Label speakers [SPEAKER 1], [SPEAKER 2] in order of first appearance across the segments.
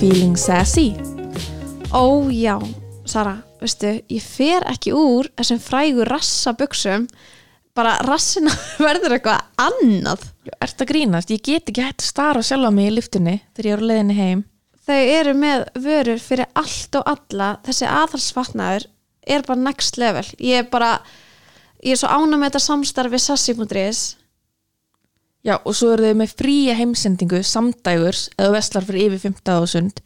[SPEAKER 1] feeling sassy?
[SPEAKER 2] Ó já, Sara, veistu, ég fer ekki úr þessum frægu rassaböksum bara rassina verður eitthvað annað
[SPEAKER 1] Ert að grínast? Ég get ekki hætt að stara á sjálfa mig í lyftunni þegar ég er á leiðinni heim.
[SPEAKER 2] Þau eru með vörur fyrir allt og alla þessi aðhalsfatnaður er bara next level ég er bara, ég er svo ánum með þetta samstarfi sassi.is
[SPEAKER 1] Já, og svo eru þau með fría heimsendingu samdægurs eða veslar fyrir yfir 15.000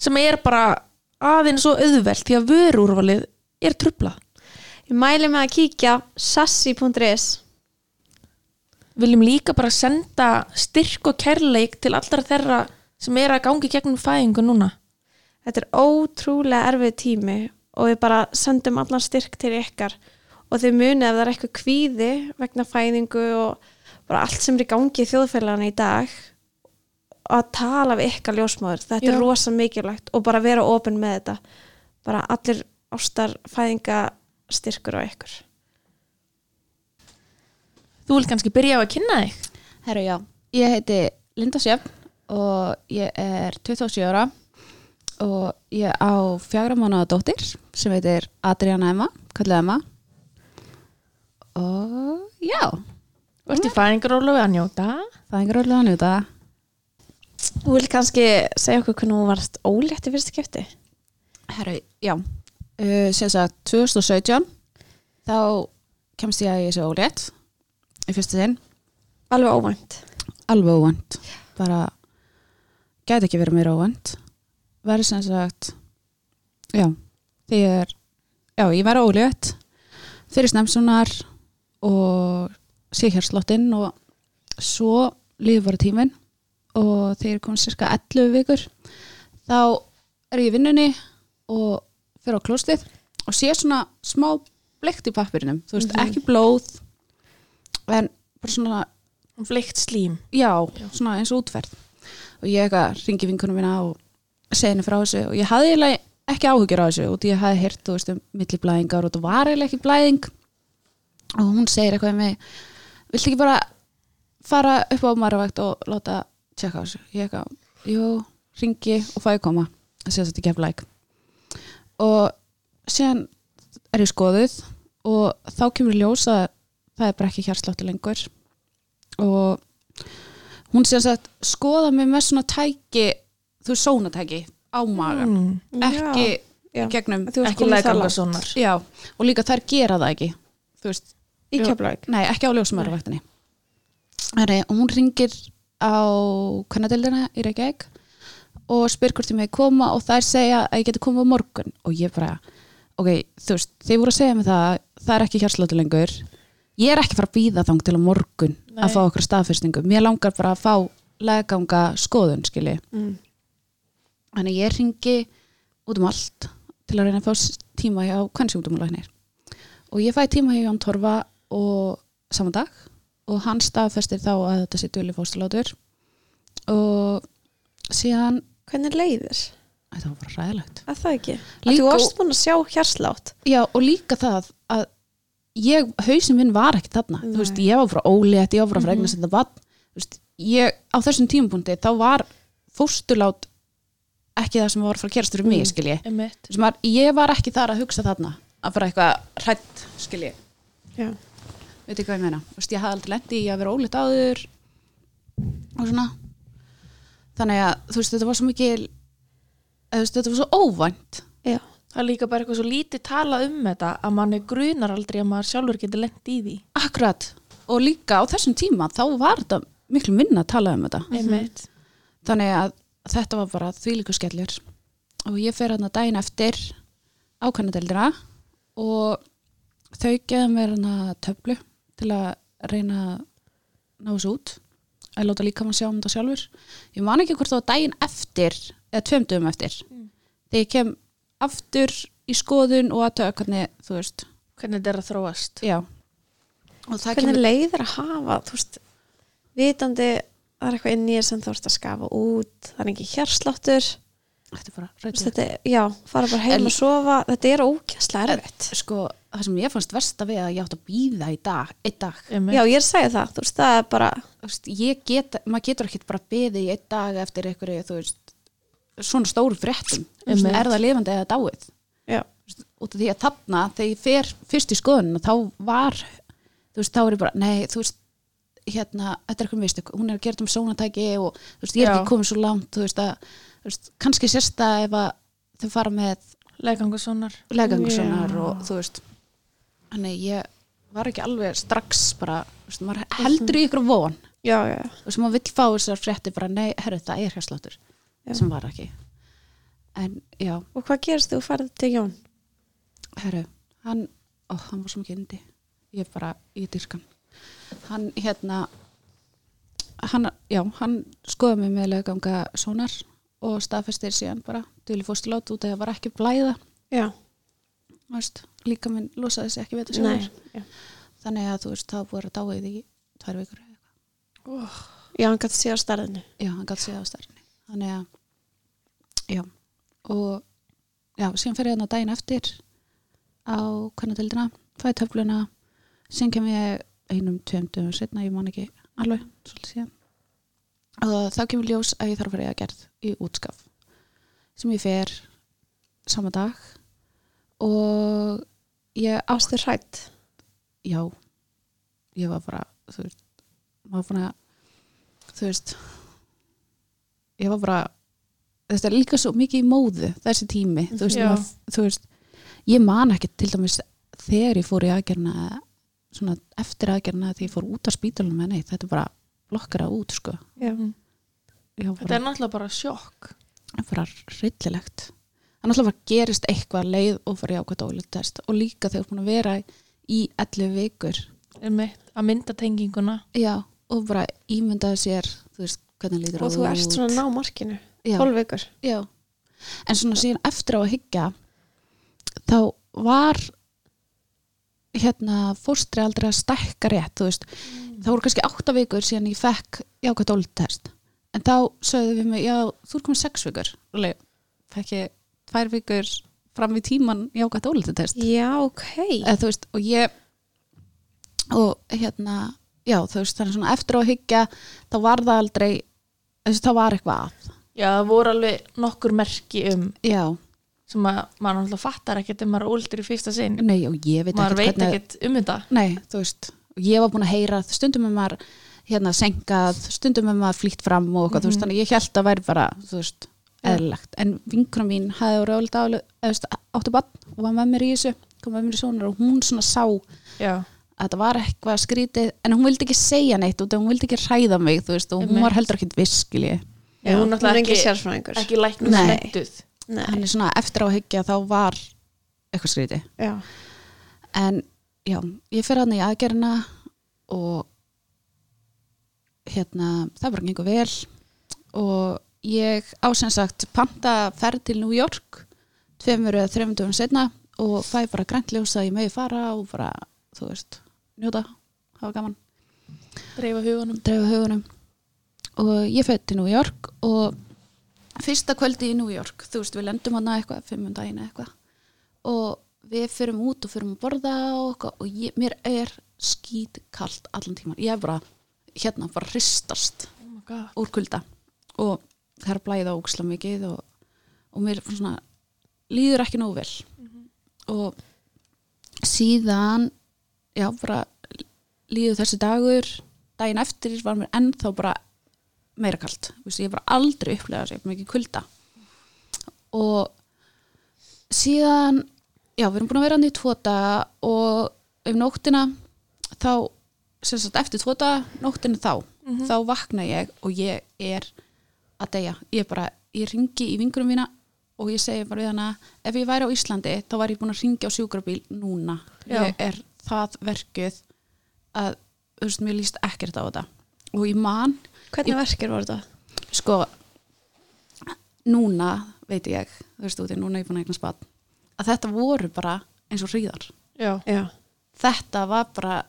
[SPEAKER 1] sem er bara aðeins svo auðvelt því að vörúrvalið er trubla.
[SPEAKER 2] ég mæli með að kíkja sassi.is
[SPEAKER 1] Viljum líka bara senda styrk og kærleik til allra þeirra sem er að gangi gegnum fæðingu núna.
[SPEAKER 2] þetta er ótrúlega erfið tími og við bara sendum allan styrk til ykkar og þau munið ef það er eitthvað kvíði vegna fæðingu og bara allt sem er í gangi í þjóðfélagana í dag að tala við ykkar ljósmáður þetta
[SPEAKER 1] Já.
[SPEAKER 2] er rosa mikilvægt og bara vera opin með þetta bara allir ástar fæðinga styrkur á ykkur
[SPEAKER 1] Þú vil kannski byrja á að kynna þig?
[SPEAKER 3] Herru, já. Ég heiti Linda Sjöfn og ég er 27 ára og ég á fjagra mánuða dóttir sem heitir Adriana Emma, kallu Emma og já,
[SPEAKER 1] Þú ert í fæðingarólu að njóta?
[SPEAKER 3] það er einhver orðlega að njóta
[SPEAKER 2] Þú vil kannski segja okkur hvernig hún varst ólétt í fyrsta skipti
[SPEAKER 3] Herru, já, uh, sem sagt 2017 þá kemst ég að ég sé ólétt í fyrsta sinn
[SPEAKER 2] alveg óvænt
[SPEAKER 3] alveg óvænt bara gæti ekki verið meira óvænt verið sem sagt já, því ég er já, ég verið ólétt fyrir snemsunar og sé hér slottinn og svo lífið bara tíminn og þegar ég kom cirka 11 vikur þá er ég í vinnunni og fyrir á klóstið og sé svona smá blikt í pappirinum þú veist, ekki blóð en bara svona
[SPEAKER 1] Fleikt slím.
[SPEAKER 3] já, svona eins og útferð og ég eitthvað ringi vinkunum mína og segi henni frá þessu og ég hafði eiginlega ekki áhyggjur á þessu og því ég hafði heyrt, þú veist, um milliblæðingar og þetta var eiginlega ekki blæðing og hún segir eitthvað með viltu ekki bara fara upp á marravægt og láta tjekka á þessu ég eitthvað, jú, ringi og fæði koma að segja þetta geflæk og síðan er ég skoðuð og þá kemur í ljós að það er bara ekki hjarsláttu lengur og hún sem sagt skoða mig með svona tæki þú veist, sónatæki á magan
[SPEAKER 1] Mm.
[SPEAKER 3] ekki
[SPEAKER 2] já.
[SPEAKER 3] gegnum
[SPEAKER 2] Þú varst
[SPEAKER 1] Ekki
[SPEAKER 2] komin það
[SPEAKER 1] legganga
[SPEAKER 2] langt.
[SPEAKER 1] svonar.
[SPEAKER 3] já, og líka þær gera það ekki þú veist,
[SPEAKER 2] í keflaug
[SPEAKER 3] nei, ekki á ljósumæruvæktinni og hún ringir á kannadeildina í Reykjavík og spyr hvort ég með koma og þær segja að ég geti komið á morgun og ég bara, ok, þú veist þeir voru að segja mig það, það er ekki hjarsláttu lengur ég er ekki að fara að býða þang til á morgun
[SPEAKER 1] Nei.
[SPEAKER 3] að fá okkur staðfyrstingu mér langar bara að fá legganga skoðun skilji
[SPEAKER 2] mm.
[SPEAKER 3] Þannig að ég ringi út um allt til að reyna að fá s- tíma hjá kvennsjúkdómulæknir. Og ég fæ tíma hjá Jón Torfa og saman dag og hann staðfestir þá að þetta sé dölu fóstulátur og síðan,
[SPEAKER 2] hvernig leiðir?
[SPEAKER 3] þetta var bara ræðilegt.
[SPEAKER 2] að það ekki?
[SPEAKER 3] Líka-
[SPEAKER 2] að þú varst búin að sjá hjarslátt
[SPEAKER 3] Já, og líka það að ég, hausin minn var ekki þarna.
[SPEAKER 2] Nei.
[SPEAKER 3] Þú veist, ég var frá ólétt, ég var frá fregna sem þetta var. Þú veist, ég, á þessum tímapunkti þá var fóstulát ekki það sem var frá kerstur um mig, mm. skil ég.
[SPEAKER 1] Einmitt.
[SPEAKER 3] Þú veist, maður, ég var ekki þar að hugsa þarna að bara eitthvað hrætt skilji
[SPEAKER 2] já
[SPEAKER 3] veit ekki hvað ég meina, Þú veist, ég hafði aldrei lendi í að vera ólitt áður og svona þannig að þú veist þetta var svo mikil eða, þú veist, þetta var svo óvænt
[SPEAKER 2] Já,
[SPEAKER 1] Það er líka bara eitthvað svo lítið talað um þetta að manni grunar aldrei að maður sjálfur getur lent í því.
[SPEAKER 3] akkurat og líka á þessum tíma þá var þetta miklu minna að tala um þetta
[SPEAKER 1] Einmitt.
[SPEAKER 3] þannig að þetta var bara þvílíku skellur og ég fer hann að dæin eftir ákannadeldina og þau geða mér hann að töflu til að reyna að ná þessu út að láta líka mann sjá um þetta sjálfur ég man ekki hvort það var dæin eftir eða tveimdugum eftir þegar ég kem aftur í skoðun og að tökja hvernig þú veist
[SPEAKER 1] Hvernig þetta er að þróast.
[SPEAKER 3] já og það
[SPEAKER 2] hvernig leiðir að hafa þú veist, vitandi það er eitthvað inn í þér sem þú ert að skafa út það er ekki hjarsláttur þú
[SPEAKER 3] þetta er bara
[SPEAKER 2] veist,
[SPEAKER 3] rætt
[SPEAKER 2] þetta, er- já, fara bara heim
[SPEAKER 3] En-
[SPEAKER 2] og sofa þetta er ókjæslega erfitt
[SPEAKER 3] sko, það sem ég fannst versta við að ég átt að býða í dag, einn dag
[SPEAKER 2] já, ég er að segja það, þú veist, það er bara
[SPEAKER 3] þú veist, ég get, maður getur ekkert bara beðið í einn dag eftir einhverju, þú veist svona stóru fréttum Þú veist,
[SPEAKER 1] Einmitt.
[SPEAKER 3] er það lifandi eða dáið
[SPEAKER 2] já,
[SPEAKER 3] Þú veist, út af því að þarna þegar ég fer fyrst í skoðunum þá var þú veist, þá er ég bara, nei, þú veist hérna, þetta er eitthvað veistu, hún er að gera þetta um sónatæki og þú veist, ég er
[SPEAKER 1] Já.
[SPEAKER 3] ekki komin svo langt þú veist, að, þú veist, kannski sérsta ef að þau fara með
[SPEAKER 1] Legangu svonar
[SPEAKER 3] legangurssonar og þú veist þannig ég var ekki alveg strax bara, þú veist, maður
[SPEAKER 1] Mhm.
[SPEAKER 3] heldur í ykkur von
[SPEAKER 2] já, já.
[SPEAKER 3] og sem maður vill fá þessar frétti bara, nei, herru, það er hérsláttur
[SPEAKER 2] Já.
[SPEAKER 3] sem var ekki en já,
[SPEAKER 2] Og hvað gerist þú farið til Jón?
[SPEAKER 3] herru, hann ó, hann var svo mikið indi ég bara, ég dyrkan hann, hérna hann, já, hann skoði mig með lögganga sónar og staðfestir síðan bara, duðli fóstilát út að það var ekki að blæða,
[SPEAKER 2] Já,
[SPEAKER 3] þú veist, líka minn losaði sig ekki við þetta
[SPEAKER 2] nei.
[SPEAKER 3] sjálfur
[SPEAKER 2] Já,
[SPEAKER 3] þannig að þú veist, það var að dáið í tvær vikur eða eitthvað.
[SPEAKER 2] já hann gæti séð á starðinu.
[SPEAKER 3] já, hann gæti séð á stærni þannig að, já og, já, síðan fer ég þarna daginn eftir á kvennatildina, fæði töfluna síðan kem ég einum tveim dögum setna, ég man ekki alveg svolítið síðan og þá kemur ljós að ég þarf að fara í að gerð í útskaf sem ég fer sama dag og ég ást
[SPEAKER 2] Ástu hrætt.
[SPEAKER 3] já ég var bara þú veist maður fann að þú veist ég var bara þetta er líka svo mikið í móðu þessi tími þú veist,
[SPEAKER 1] Já.
[SPEAKER 3] maður, þú veist ég man ekki til dæmis þegar ég fór í aðgerna svona eftir aðgerna þegar ég fór út af spítalunum en neitt þetta er bara blokkara út sko
[SPEAKER 2] Já,
[SPEAKER 3] ég var
[SPEAKER 1] Þetta
[SPEAKER 3] bara,
[SPEAKER 1] er náttúrulega bara sjokk
[SPEAKER 3] bara rillilegt það náttúrulega bara gerist eitthvað leið og farið ákvæða ólítið test og líka þegar þú ert búin að vera í 11 vikur
[SPEAKER 1] einmitt, að mynda tenginguna
[SPEAKER 3] Já, og bara ímyndaði sér þú veist, hvernig lítur
[SPEAKER 2] og þú ert svona ná markinu.
[SPEAKER 3] já,
[SPEAKER 2] 12 vikur.
[SPEAKER 3] já. En svona síðan eftir á að higgja þá var hérna fóstri aldrei að stækka rétt þú veist,
[SPEAKER 2] Mm.
[SPEAKER 3] það voru kannski átta vikur síðan ég fekk jákvæmt ólítest en þá sögðu við mig, já, þú er komin sex vikur og leið, fekk ég tvær vikur fram í tíman jákvæmt ólítest
[SPEAKER 2] Já, ok.
[SPEAKER 3] eða, þú veist, og ég og hérna já, þú veist, þannig svona eftir á að hyggja þá var það aldrei þess, þá var eitthvað að
[SPEAKER 1] Já, það voru alveg nokkur merki um
[SPEAKER 3] já,
[SPEAKER 1] sem að maður náttúrulega fattar ekkert ef maður er óldur í fyrsta sinn
[SPEAKER 3] nei, og ég veit
[SPEAKER 1] maður veit
[SPEAKER 3] ekkert hvernig
[SPEAKER 1] ekkert um þetta
[SPEAKER 3] nei, þú veist, og ég var búin að heyra að stundum er maður hérna senkað stundum er maður flýtt fram og eitthvað, þú veist, þannig að ég held að væri bara, þú veist eðlilegt, en vinkunum mín hafði ráðlega álið, eða þú veist, áttu bann og var með mér í þessu, kom með mér í sonar og hún svona sá
[SPEAKER 1] Já,
[SPEAKER 3] að þetta var eitthvað skrítið en hún vildi ekki segja neitt út af hún vildi ekki hræða mig þú veist og hún
[SPEAKER 1] Einmitt.
[SPEAKER 3] var heldur ekkit viskili
[SPEAKER 1] Já, hún náttúrulega
[SPEAKER 2] er engin
[SPEAKER 1] ekki-
[SPEAKER 2] sérfræðingur.
[SPEAKER 1] ekki læknum
[SPEAKER 3] Nei.
[SPEAKER 1] snettuð
[SPEAKER 2] Nei,
[SPEAKER 3] hann er svona eftir á að hyggja þá var eitthvað skrítið
[SPEAKER 2] já.
[SPEAKER 3] en já, ég fyrir hann í aðgerina og hérna, það bara gengur vel og ég ásinn sagt panta ferð til New York tveimur eða þreimur dögum setna og fæ bara grænt ljós að ég megi fara og bara, þú veist, njóta hafa gaman
[SPEAKER 1] dreifa hugunum
[SPEAKER 3] dreifa hugunum og ég fætt til New York og fyrsta kvöldi í New York þú veist, við lendum hana eitthvað, fimmum daginn eða eitthvað og við fyrum út og fyrum að borða og, eitthvað, og ég, mér er skít kalt allan tíman ég er bara, hérna, bara hristast
[SPEAKER 1] oh my god.
[SPEAKER 3] úr kulda og það er blæða óksla mikið og, og mér fór svona, líður ekki nógu vel og síðan já, bara líður þessi dagur daginn eftir var mér ennþá bara meira kalt, Þú veist, ég hef bara aldrei upplegað sér mikið kulda og síðan já, við erum búin að vera hann í tvo daga og um nóttina þá, sem sagt, eftir tvo daga nóttina þá þá vakna ég og ég er að deyja, ég bara, ég ringi í vingurum mína og ég segi bara við hana ef ég væri á Íslandi, þá var ég búin að ringja á sjúkrabíl núna,
[SPEAKER 1] Já.
[SPEAKER 3] ég er það verkuð að, þú veist, mér líst ekkert á þetta og ég man,
[SPEAKER 2] Hvernig verkir voru þetta?
[SPEAKER 3] sko núna veit ég, þú veist út, núna er ég búin að eigna spatt að þetta voru bara eins og hríðar
[SPEAKER 1] Já,
[SPEAKER 2] Já.
[SPEAKER 3] þetta var bara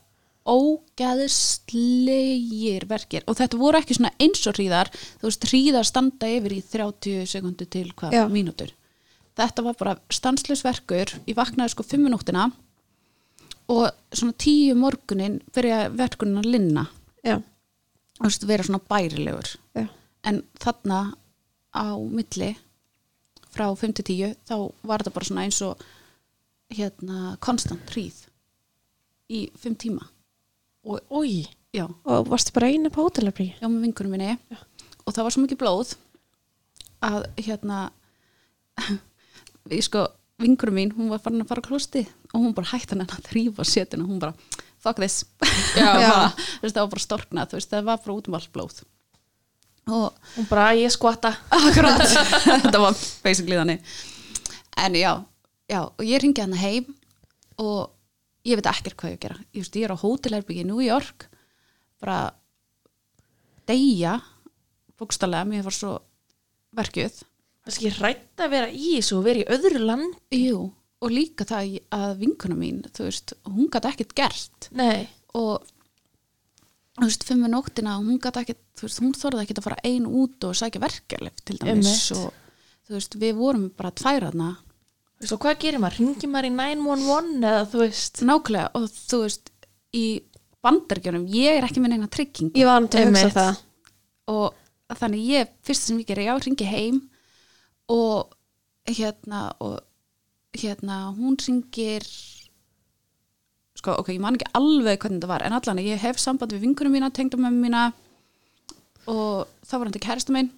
[SPEAKER 3] ógæðislegir verkir og þetta voru ekki svona eins og hríðar þú veist, hríðar standa yfir í 30 sekundu til hvað
[SPEAKER 2] Já.
[SPEAKER 3] mínútur þetta var bara stanslaus verkur ég vaknaði sko 5 minútina og svona 10 morgunin fyrir að verkunin að linna
[SPEAKER 2] Já,
[SPEAKER 3] þú veist, vera svona bærilegur
[SPEAKER 2] já.
[SPEAKER 3] en þarna á milli frá 5 til 10 þá var þetta bara svona eins og hérna konstant hríð í 5 tíma og
[SPEAKER 1] Új,
[SPEAKER 3] já,
[SPEAKER 2] og varstu bara eina på hótelabrí
[SPEAKER 3] já með vinkunum minni og það var svo mikið blóð að hérna ég sko, vinkunum mín hún var farin að fara á klósti og hún bara hætti hann að þrýfa setina hún bara, fuck this
[SPEAKER 1] Já.
[SPEAKER 3] Bara, þú veist, það var bara storknað, þú veist, það var bara út um allt blóð og
[SPEAKER 1] hún bara, ég skvata
[SPEAKER 3] Akkurat, þetta var basically þannig En já, já og ég ringi hann heim og ég veit ekkert hvað ég á að gera Ég, veist, ég er á hótelherbyggi í New York bara deyja bókstallega, mér var svo verkjuð
[SPEAKER 1] Það er ekki rætt að vera í þessu og vera í öðru land
[SPEAKER 3] Jú, og líka það að vinkuna mín, þú veist, hún gat ekkert gert
[SPEAKER 1] Nei,
[SPEAKER 3] og þú veist, fimm við nóttina hún gat ekki, þú veist, hún þorði ekki að fara ein út og sækja verkeflef til dæmis
[SPEAKER 1] Einmitt.
[SPEAKER 3] og þú veist, við vorum bara tværaðna
[SPEAKER 1] þú veist, og hvað gerir maður? Ringir maður í 911 eða þú veist
[SPEAKER 3] nákvæmlega og þú veist, í bandargjörnum, ég er ekki með neina trygging
[SPEAKER 2] ég var hann til að hugsa
[SPEAKER 1] Einmitt.
[SPEAKER 2] það
[SPEAKER 3] og þannig ég, fyrst sem ég gerir, já, ringi heim og hérna og hérna, hún ringir sko, ok, ég man ekki alveg hvernig þetta var, en allan ég hef samband við vinkunum mína, tengdumömmu mína og þá var hann til kærasta minn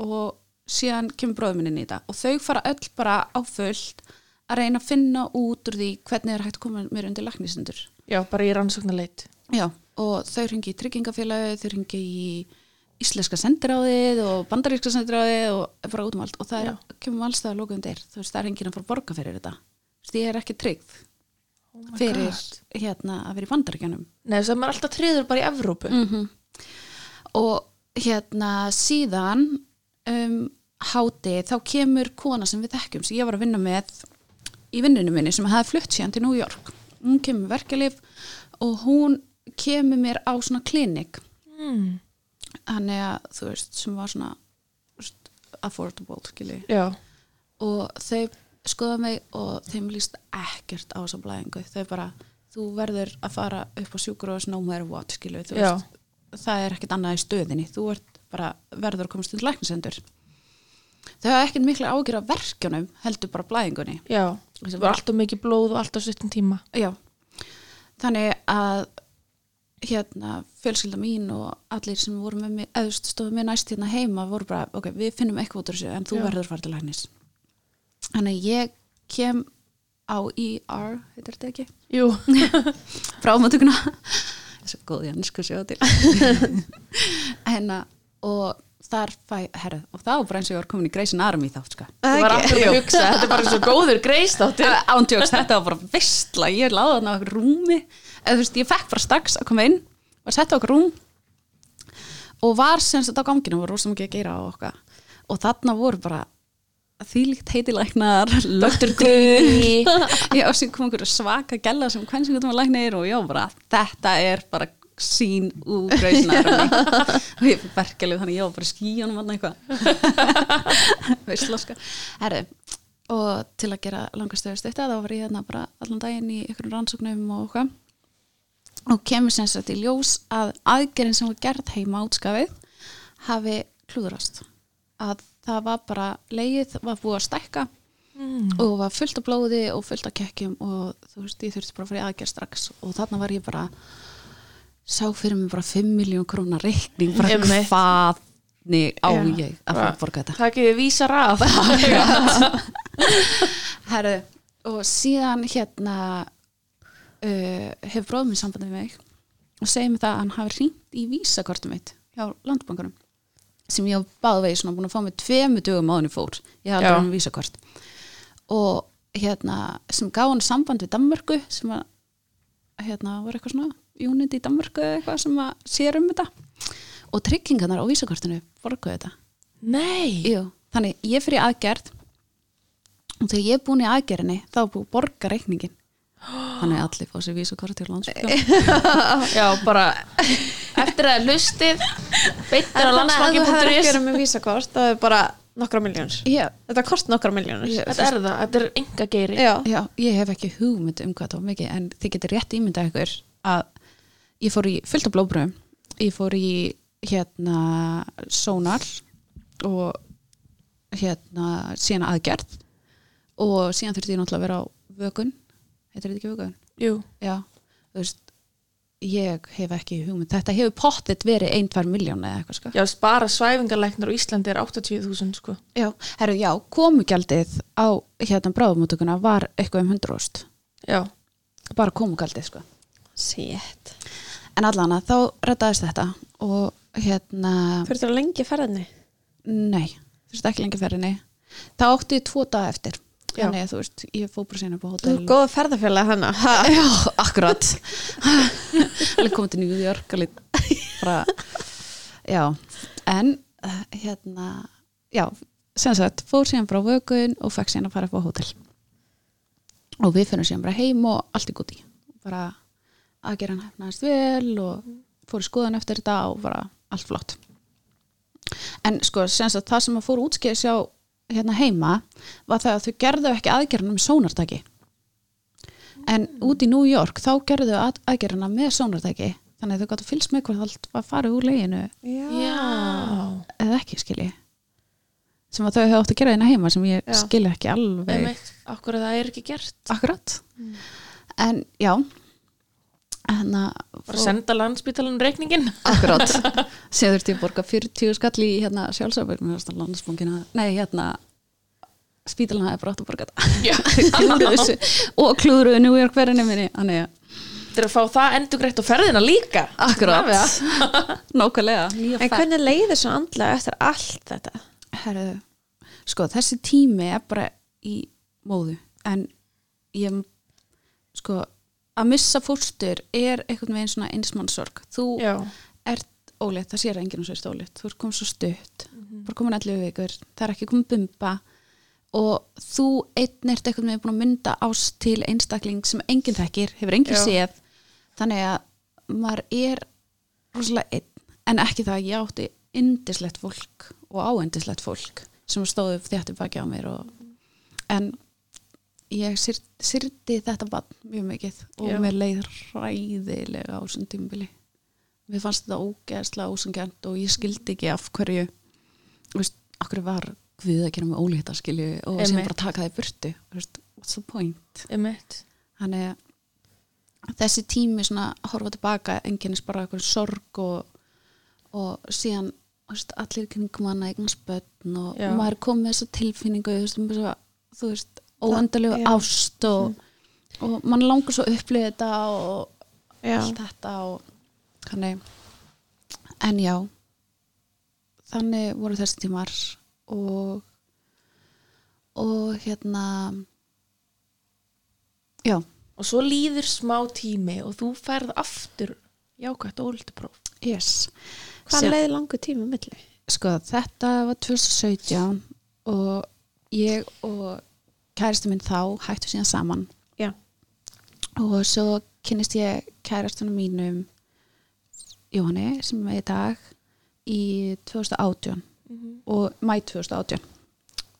[SPEAKER 3] og síðan kemur bróður minn inn í þetta og þau fara öll bara á fullt að reyna að finna út úr því hvernig er hægt að koma mér undir læknisendur
[SPEAKER 1] Já, bara í rannsóknarleit
[SPEAKER 3] Já, og þau ringi í tryggingafélagi, þau ringi í íslenska sendiráðið og bandaríska sendiráðið og bara út um allt og það er, kemur alls það að lóka undir, þú veist, það er enginn að fara að borga fyrir þetta, þú veist, ég er ekki tryggð
[SPEAKER 1] oh my
[SPEAKER 3] fyrir
[SPEAKER 1] God.
[SPEAKER 3] hérna að vera í bandaríkjanum
[SPEAKER 1] Nei, þess að maður er alltaf triður bara í Evrópu
[SPEAKER 3] og hérna síðan um, háti, þá kemur kona sem við þekkjum, sem ég var að vinna með í vinnunum minni sem hafði flutt síðan til New York, hún kemur með verkelif og hún kemur mér á svona klinik
[SPEAKER 1] mm.
[SPEAKER 3] þannig að þú veist sem var svona þú veist, affordable skilji
[SPEAKER 1] Já,
[SPEAKER 3] og þau skoða mig og þeim líst ekkert á þessa blæðingu þau bara, þú verður að fara upp á sjúkurós no matter what skilju þú
[SPEAKER 1] Já.
[SPEAKER 3] veist, það er ekkert annað í stöðinni þú ert bara, verður að komast til læknisendur þau hafa ekkert mikla ágjur af verkjunum heldur bara blæðingunni
[SPEAKER 1] já Það var alltaf mikið blóð og alltaf stuttum tíma
[SPEAKER 3] Já, þannig að hérna, fjölskylda mín og allir sem voru með mig, eðust stofu mér næst hérna heima voru bara, ok, við finnum eitthvað út úr þessu en þú
[SPEAKER 1] Já.
[SPEAKER 3] verður að fara til læknis Þannig að ég kem á ER, heitir þetta ekki
[SPEAKER 1] Jú,
[SPEAKER 3] frámatökuna þessu góði hansku sjá til hérna og þar fæ, herra, og þá bara eins og ég var komin í Greysin Army þátt, sko
[SPEAKER 1] það var alltaf að hugsa Þetta er bara svo góður greist átti
[SPEAKER 3] ándjóks, þetta var bara vistla ég láði hann á okkur rúmi eða þú veist, ég fekk bara strax að koma inn var sett á okkur rúm og var sem sagt á ganginu, var rosa mikið að gera á okkar og þarna voru bara þýlíkt heitilæknar lögtur
[SPEAKER 1] Guðni.
[SPEAKER 3] já, sem kom einhverja svaka gæla sem hvernig sem var læknir og já, bara þetta er bara sín úr gröðsina og ég er verkelið þannig, já, bara skíunum hann eitthvað veistla sko Herri, og til að gera langastöðu stötta þá var ég þarna bara allan daginn í ykkur rannsóknum og okkar og kemur sem sagt í ljós að aðgerðin sem var gerð heima átskafið hafi klúðrast að það var bara leið var búið að stækka
[SPEAKER 1] mm.
[SPEAKER 3] og var fullt af blóði og fullt af kekkjum og þú veist, ég þurfti bara að fara í aðgerð strax og þarna var ég bara sá fyrir mig bara 5 miljón krónar reikning, bara
[SPEAKER 1] Einmitt.
[SPEAKER 3] hvað nei, á
[SPEAKER 1] Já.
[SPEAKER 3] ég að fara að borga þetta
[SPEAKER 1] Takk ég vísa rað
[SPEAKER 3] Herðu, og síðan hérna uh, hefur bróðum minn sambandi við mig og segir mér það að hann hafi hringt í vísakortum mitt hjá landbankunum sem ég hef báðvegi svona búin að fá mig tveimu dögum áðunni fór, ég hafði
[SPEAKER 1] Já.
[SPEAKER 3] bara hann vísakort og hérna sem gaf hann samband við Danmörku sem að hérna var eitthvað svona unit í Danmörku eða eitthvað sem að sér um þetta og tryggingarnar á vísakortinu borguðu þetta
[SPEAKER 1] Nei,
[SPEAKER 3] Jú, þannig ég fyrir aðgerð og þegar ég er búin í aðgerðinni þá er búin að borga reikningin þannig að allir fá sér vísakort til sko. landsbyggjum
[SPEAKER 1] já, bara Eftir að lustið Beittir á
[SPEAKER 2] þannig að þú hefur
[SPEAKER 1] landsmakki.is
[SPEAKER 2] ekki verið með vísakort það er bara nokkra miljónir
[SPEAKER 3] Já,
[SPEAKER 2] þetta kost nokkra miljónir
[SPEAKER 3] Já.
[SPEAKER 1] Þetta er það, þetta er enga geiri
[SPEAKER 2] já,
[SPEAKER 3] já, ég hef ekki hugmynd um hvað það var mikið en þið getur rétt ímyndað ykkur að ég fór í fullt af blóbröðum ég fór í hérna sónar og hérna síðan aðgerð og síðan þurfti ég náttúrulega að vera á vökun heitir þetta ekki vökun?
[SPEAKER 1] Jú,
[SPEAKER 3] Já, þú veist ég hef ekki hugmynd, þetta hefur pottet verið ein, tvær miljón eða eitthvað sko
[SPEAKER 1] já, bara svæfingarlæknar á Íslandi er 80.000 sko.
[SPEAKER 3] Já, herru, já, komugjaldið á hérna bráðumótuguna var eitthvað um 100 óst,
[SPEAKER 1] Já,
[SPEAKER 3] bara komugjaldið sko
[SPEAKER 2] Sétt.
[SPEAKER 3] en allan að þá rættaðist þetta og hérna,
[SPEAKER 2] Fyrir þú lengi ferðinni?
[SPEAKER 3] nei þurfti ekki lengi ferinni, það átti ég tvo daga eftir,
[SPEAKER 1] Já.
[SPEAKER 3] þannig að þú veist ég fór bara sína upp á
[SPEAKER 2] Þú
[SPEAKER 3] hótel
[SPEAKER 2] er góða ferðarfélag þannig. Ha.
[SPEAKER 3] Já, akkurat Alveg komið til New York alveg bara Já, en eh, hérna, já sem sagt, fór síðan bara á vökun og fekk síðan að fara upp á hótel og við finnum síðan bara heim og allt í góti bara að gera hann hefnaðist vel og fór í skoðan eftir þetta og bara allt flott en sko, sem sagt, það sem að fór útskeiðis á hérna heima var það að þau gerðu ekki aðgerðan um sónartaki en út í New York þá gerðu þau að, aðgerðana með sónartæki þannig að þau gott að fylgst með hvort allt var farið úr leginu
[SPEAKER 1] já.
[SPEAKER 3] eða ekki skilji sem að þau hefðu átt að gera þeirna heima sem ég
[SPEAKER 2] Já.
[SPEAKER 3] skilji ekki alveg
[SPEAKER 1] Einmitt, akkur að það er ekki gert
[SPEAKER 3] akkurat en já en
[SPEAKER 1] bara
[SPEAKER 3] að
[SPEAKER 1] senda landspítalanum reikningin
[SPEAKER 3] akkurat sem þurfti ég að borga 40 skall í hérna sjálfsafur með þessna landsbóngina nei hérna spítalina hefði bara átt að borga þetta
[SPEAKER 1] Já.
[SPEAKER 3] Klúðruðu þessu og klúðruðu New York verðinni minni þannig að
[SPEAKER 1] Þetta er að fá það endugrætt á ferðina líka
[SPEAKER 3] akkurat nákvæmlega
[SPEAKER 2] En hvernig leiðir svo andlega eftir allt þetta?
[SPEAKER 3] Herðu, sko þessi tími er bara í móðu en ég sko að missa fóstur er einhvern veginn svona einsmannsorg þú
[SPEAKER 1] Já,
[SPEAKER 3] ert ólétt, það sér enginn og sérst ólétt þú ert komin svo stutt,
[SPEAKER 1] Mhm.
[SPEAKER 3] bara komin 11 vikur það er ekki komin bumba og þú einn ert einhvern veginn búin að mynda ást til einstakling sem enginn þekkir, hefur enginn
[SPEAKER 1] Já.
[SPEAKER 3] séð þannig að maður er rosalega einn, en ekki það að ég átti indislegt fólk og áendislegt fólk sem stóðu þjáttu baki á mér og, en ég syr- syrti þetta bann mjög mikið og
[SPEAKER 1] Já.
[SPEAKER 3] mér leið ræðilega á þessum tímbili mér fannst þetta ógeðslega ósengjant og ég skildi ekki af hverju þú veist, af hverju var Guð að gera mig ólíta skilju og sem
[SPEAKER 1] Einmitt.
[SPEAKER 3] bara taka það í burtu þú veist, what's the point
[SPEAKER 1] emitt
[SPEAKER 3] þannig að þessi tími svona að horfa tilbaka enginnist bara eitthvað sorg og, og síðan þú veist, allir kringum hana eignast börn og
[SPEAKER 1] Já.
[SPEAKER 3] maður kom með þessa tilfinningu þú veist, um þessa, þú veist
[SPEAKER 2] já.
[SPEAKER 3] óendalegu
[SPEAKER 2] Mm.
[SPEAKER 3] ást og, og mann langar svo að upplifa þetta og
[SPEAKER 2] Já.
[SPEAKER 3] allt þetta og þannig en já þannig voru þessi tímar og og hérna já,
[SPEAKER 1] Og svo líður smá tími og þú færð aftur jákvætt óldupróf
[SPEAKER 3] yes
[SPEAKER 2] Hvað
[SPEAKER 3] Sem-
[SPEAKER 2] leiði langu tími milli?
[SPEAKER 3] sko þetta var 2017 og ég og kæristu minn þá hættu síðan saman
[SPEAKER 2] Já.
[SPEAKER 3] og svo kynnist ég kærastunum mínum Jóhanni sem er í dag í 2018
[SPEAKER 1] Mhm.
[SPEAKER 3] og mæ 2018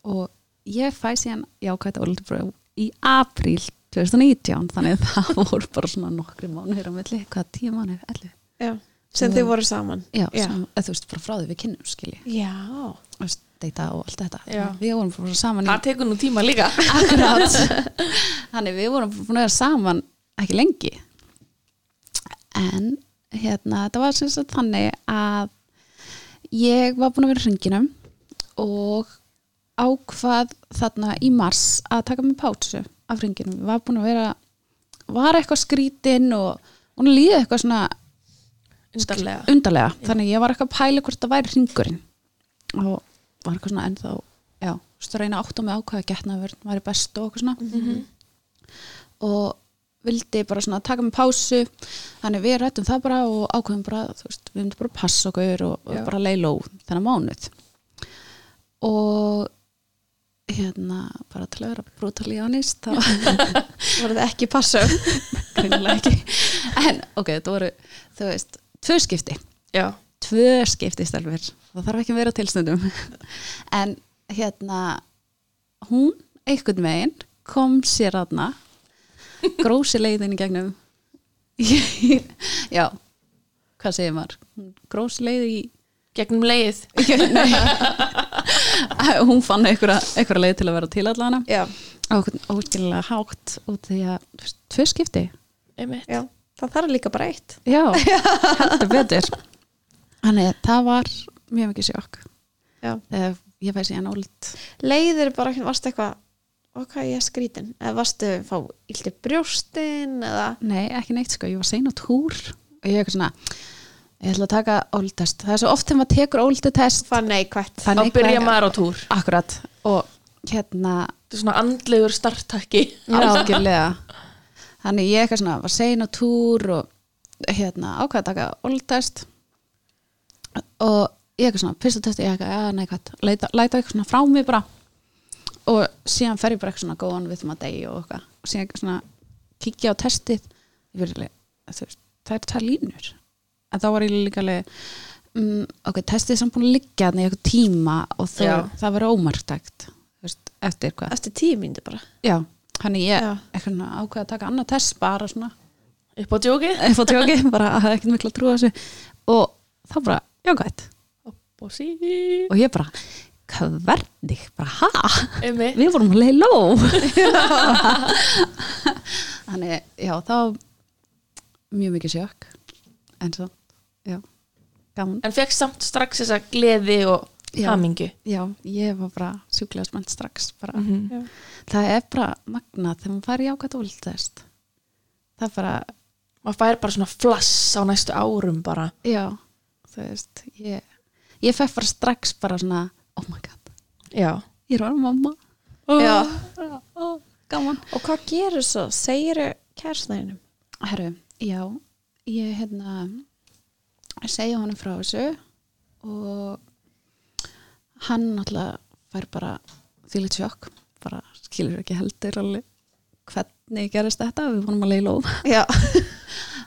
[SPEAKER 3] og ég fæ síðan jákvæða ólutubröð í apríl 2019 þannig að það voru bara svona nokkri mánuður á milli, hvað tíu mánuður, ellu
[SPEAKER 2] Já. Sem þið voru saman?
[SPEAKER 3] já,
[SPEAKER 2] Já.
[SPEAKER 3] Sem, eða þú veist, bara frá því við kynnum skilji
[SPEAKER 2] Já.
[SPEAKER 3] þú veist, deyta og allt þetta
[SPEAKER 1] Já.
[SPEAKER 3] við vorum bara saman í
[SPEAKER 1] Það tekur nú tíma líka
[SPEAKER 3] Akkurát Þannig við vorum búin að vera saman ekki lengi en hérna þetta var sem sagt þannig að ég var búin að vera í hringinum og ákvað þarna í mars að taka mig pásu af hringinum, var búin að vera var eitthvað skrítin og hún líði eitthvað svona
[SPEAKER 1] Undarlega
[SPEAKER 3] undarlega, þannig ég var eitthvað að pæla hvort það væri hringurinn og var eitthvað svona ennþá já, þú veist, að reyna að átta mig á hvaða getnaverð væri best og eitthvað svona og vildi bara svona taka mig pásu þannig við rættum það bara og ákveðum bara, þú veist, við myndum bara að passa okkur og, og
[SPEAKER 1] Já.
[SPEAKER 3] bara leið ló þennan mánuð og hérna bara til að vera brútalí ánist þá
[SPEAKER 2] Voru þið ekki passum?
[SPEAKER 3] greinilega ekki en ok, þetta voru, þú veist tvö skipti
[SPEAKER 1] Já,
[SPEAKER 3] tvö skipti stelfur það þarf ekki að vera tilstundum en hérna hún einhvern veginn kom sér aðna grósi leiðin í gegnum já hvað segir maður grósi leið í
[SPEAKER 1] gegnum leið
[SPEAKER 3] Nei. hún fann einhverja, einhverja leið til að vera til allana
[SPEAKER 2] já,
[SPEAKER 3] á einhvern óskillega hátt út því að þú veist, tvö skipti
[SPEAKER 1] einmitt
[SPEAKER 2] já, það þarf líka bara eitt
[SPEAKER 3] já, heldur betur þannig að það var mjög mikið sjokk
[SPEAKER 2] já.
[SPEAKER 3] þegar ég fæði síðan ólitt
[SPEAKER 2] leiðir bara ekki, varstu eitthvað ok, ég er skrítin, eða varstu fá íldi brjóstin eða
[SPEAKER 3] nei, ekki neitt sko, ég var sein á túr og ég er eitthvað svona ég ætla að taka ólitest, það er svo oft þegar maður tekur ólitest
[SPEAKER 2] fann neikvætt
[SPEAKER 1] þá byrja maður á túr
[SPEAKER 3] akkurat og hérna
[SPEAKER 1] þetta er svona andlegur starttakki
[SPEAKER 3] algjörlega þannig ég eitthvað svona var sein á túr og hérna ákvað að taka oldtest og ég eitthvað svona fyrsta testi ég eitthvað, já nei hvað læta, læta eitthvað svona frá mig bara og síðan fer ég bara eitthvað svona góðan við maður degi og eitthvað og síðan eitthvað svona kíkja á testið ég verið alveg, þú veist, það er það línur en þá var ég líka alveg mm, ok, testið er samt búin að liggja þannig í eitthvað tíma og þó,
[SPEAKER 1] Já.
[SPEAKER 3] það verið ómarktækt þú veist, eftir hvað
[SPEAKER 2] eftir tíu mínútur bara
[SPEAKER 3] Já, þannig ég
[SPEAKER 2] Já.
[SPEAKER 3] eitthvað svona ákveða að taka annað test bara svona,
[SPEAKER 1] upp á djóki
[SPEAKER 3] ég fór tjóki, bara að það er ekkert mikla trú á þessu og þá bara, jákvæmt
[SPEAKER 1] upp á sí
[SPEAKER 3] og ég bara, hvernig, bara ha
[SPEAKER 1] einmitt
[SPEAKER 3] við vorum að leið ló þannig, já, þá mjög mikið sjokk en svo, já gaman,
[SPEAKER 1] en fekk samt strax þessa gleði og
[SPEAKER 3] Já.
[SPEAKER 1] hamingu
[SPEAKER 3] já, ég var bara sjúklega spennt strax bara
[SPEAKER 1] Mhm.
[SPEAKER 2] já.
[SPEAKER 3] það er bara magnað þegar maður fær jákvæmt ólítest það er bara
[SPEAKER 1] maður fær bara svona flass á næstu árum bara
[SPEAKER 3] Já, þú veist, ég, ég fekk bara strax bara svona, oh my god,
[SPEAKER 1] já,
[SPEAKER 3] ég er orðin mamma.
[SPEAKER 2] Já.
[SPEAKER 3] Ó, gaman.
[SPEAKER 2] og hvað gerur svo, segir kærsnæðinum
[SPEAKER 3] Herru, já, ég hérna, segja honum frá þessu og hann náttúrulega fær bara þýlit sjokk, bara skilur ekki heldur alveg hvernig gerist þetta, við vonum að leila of.
[SPEAKER 2] já,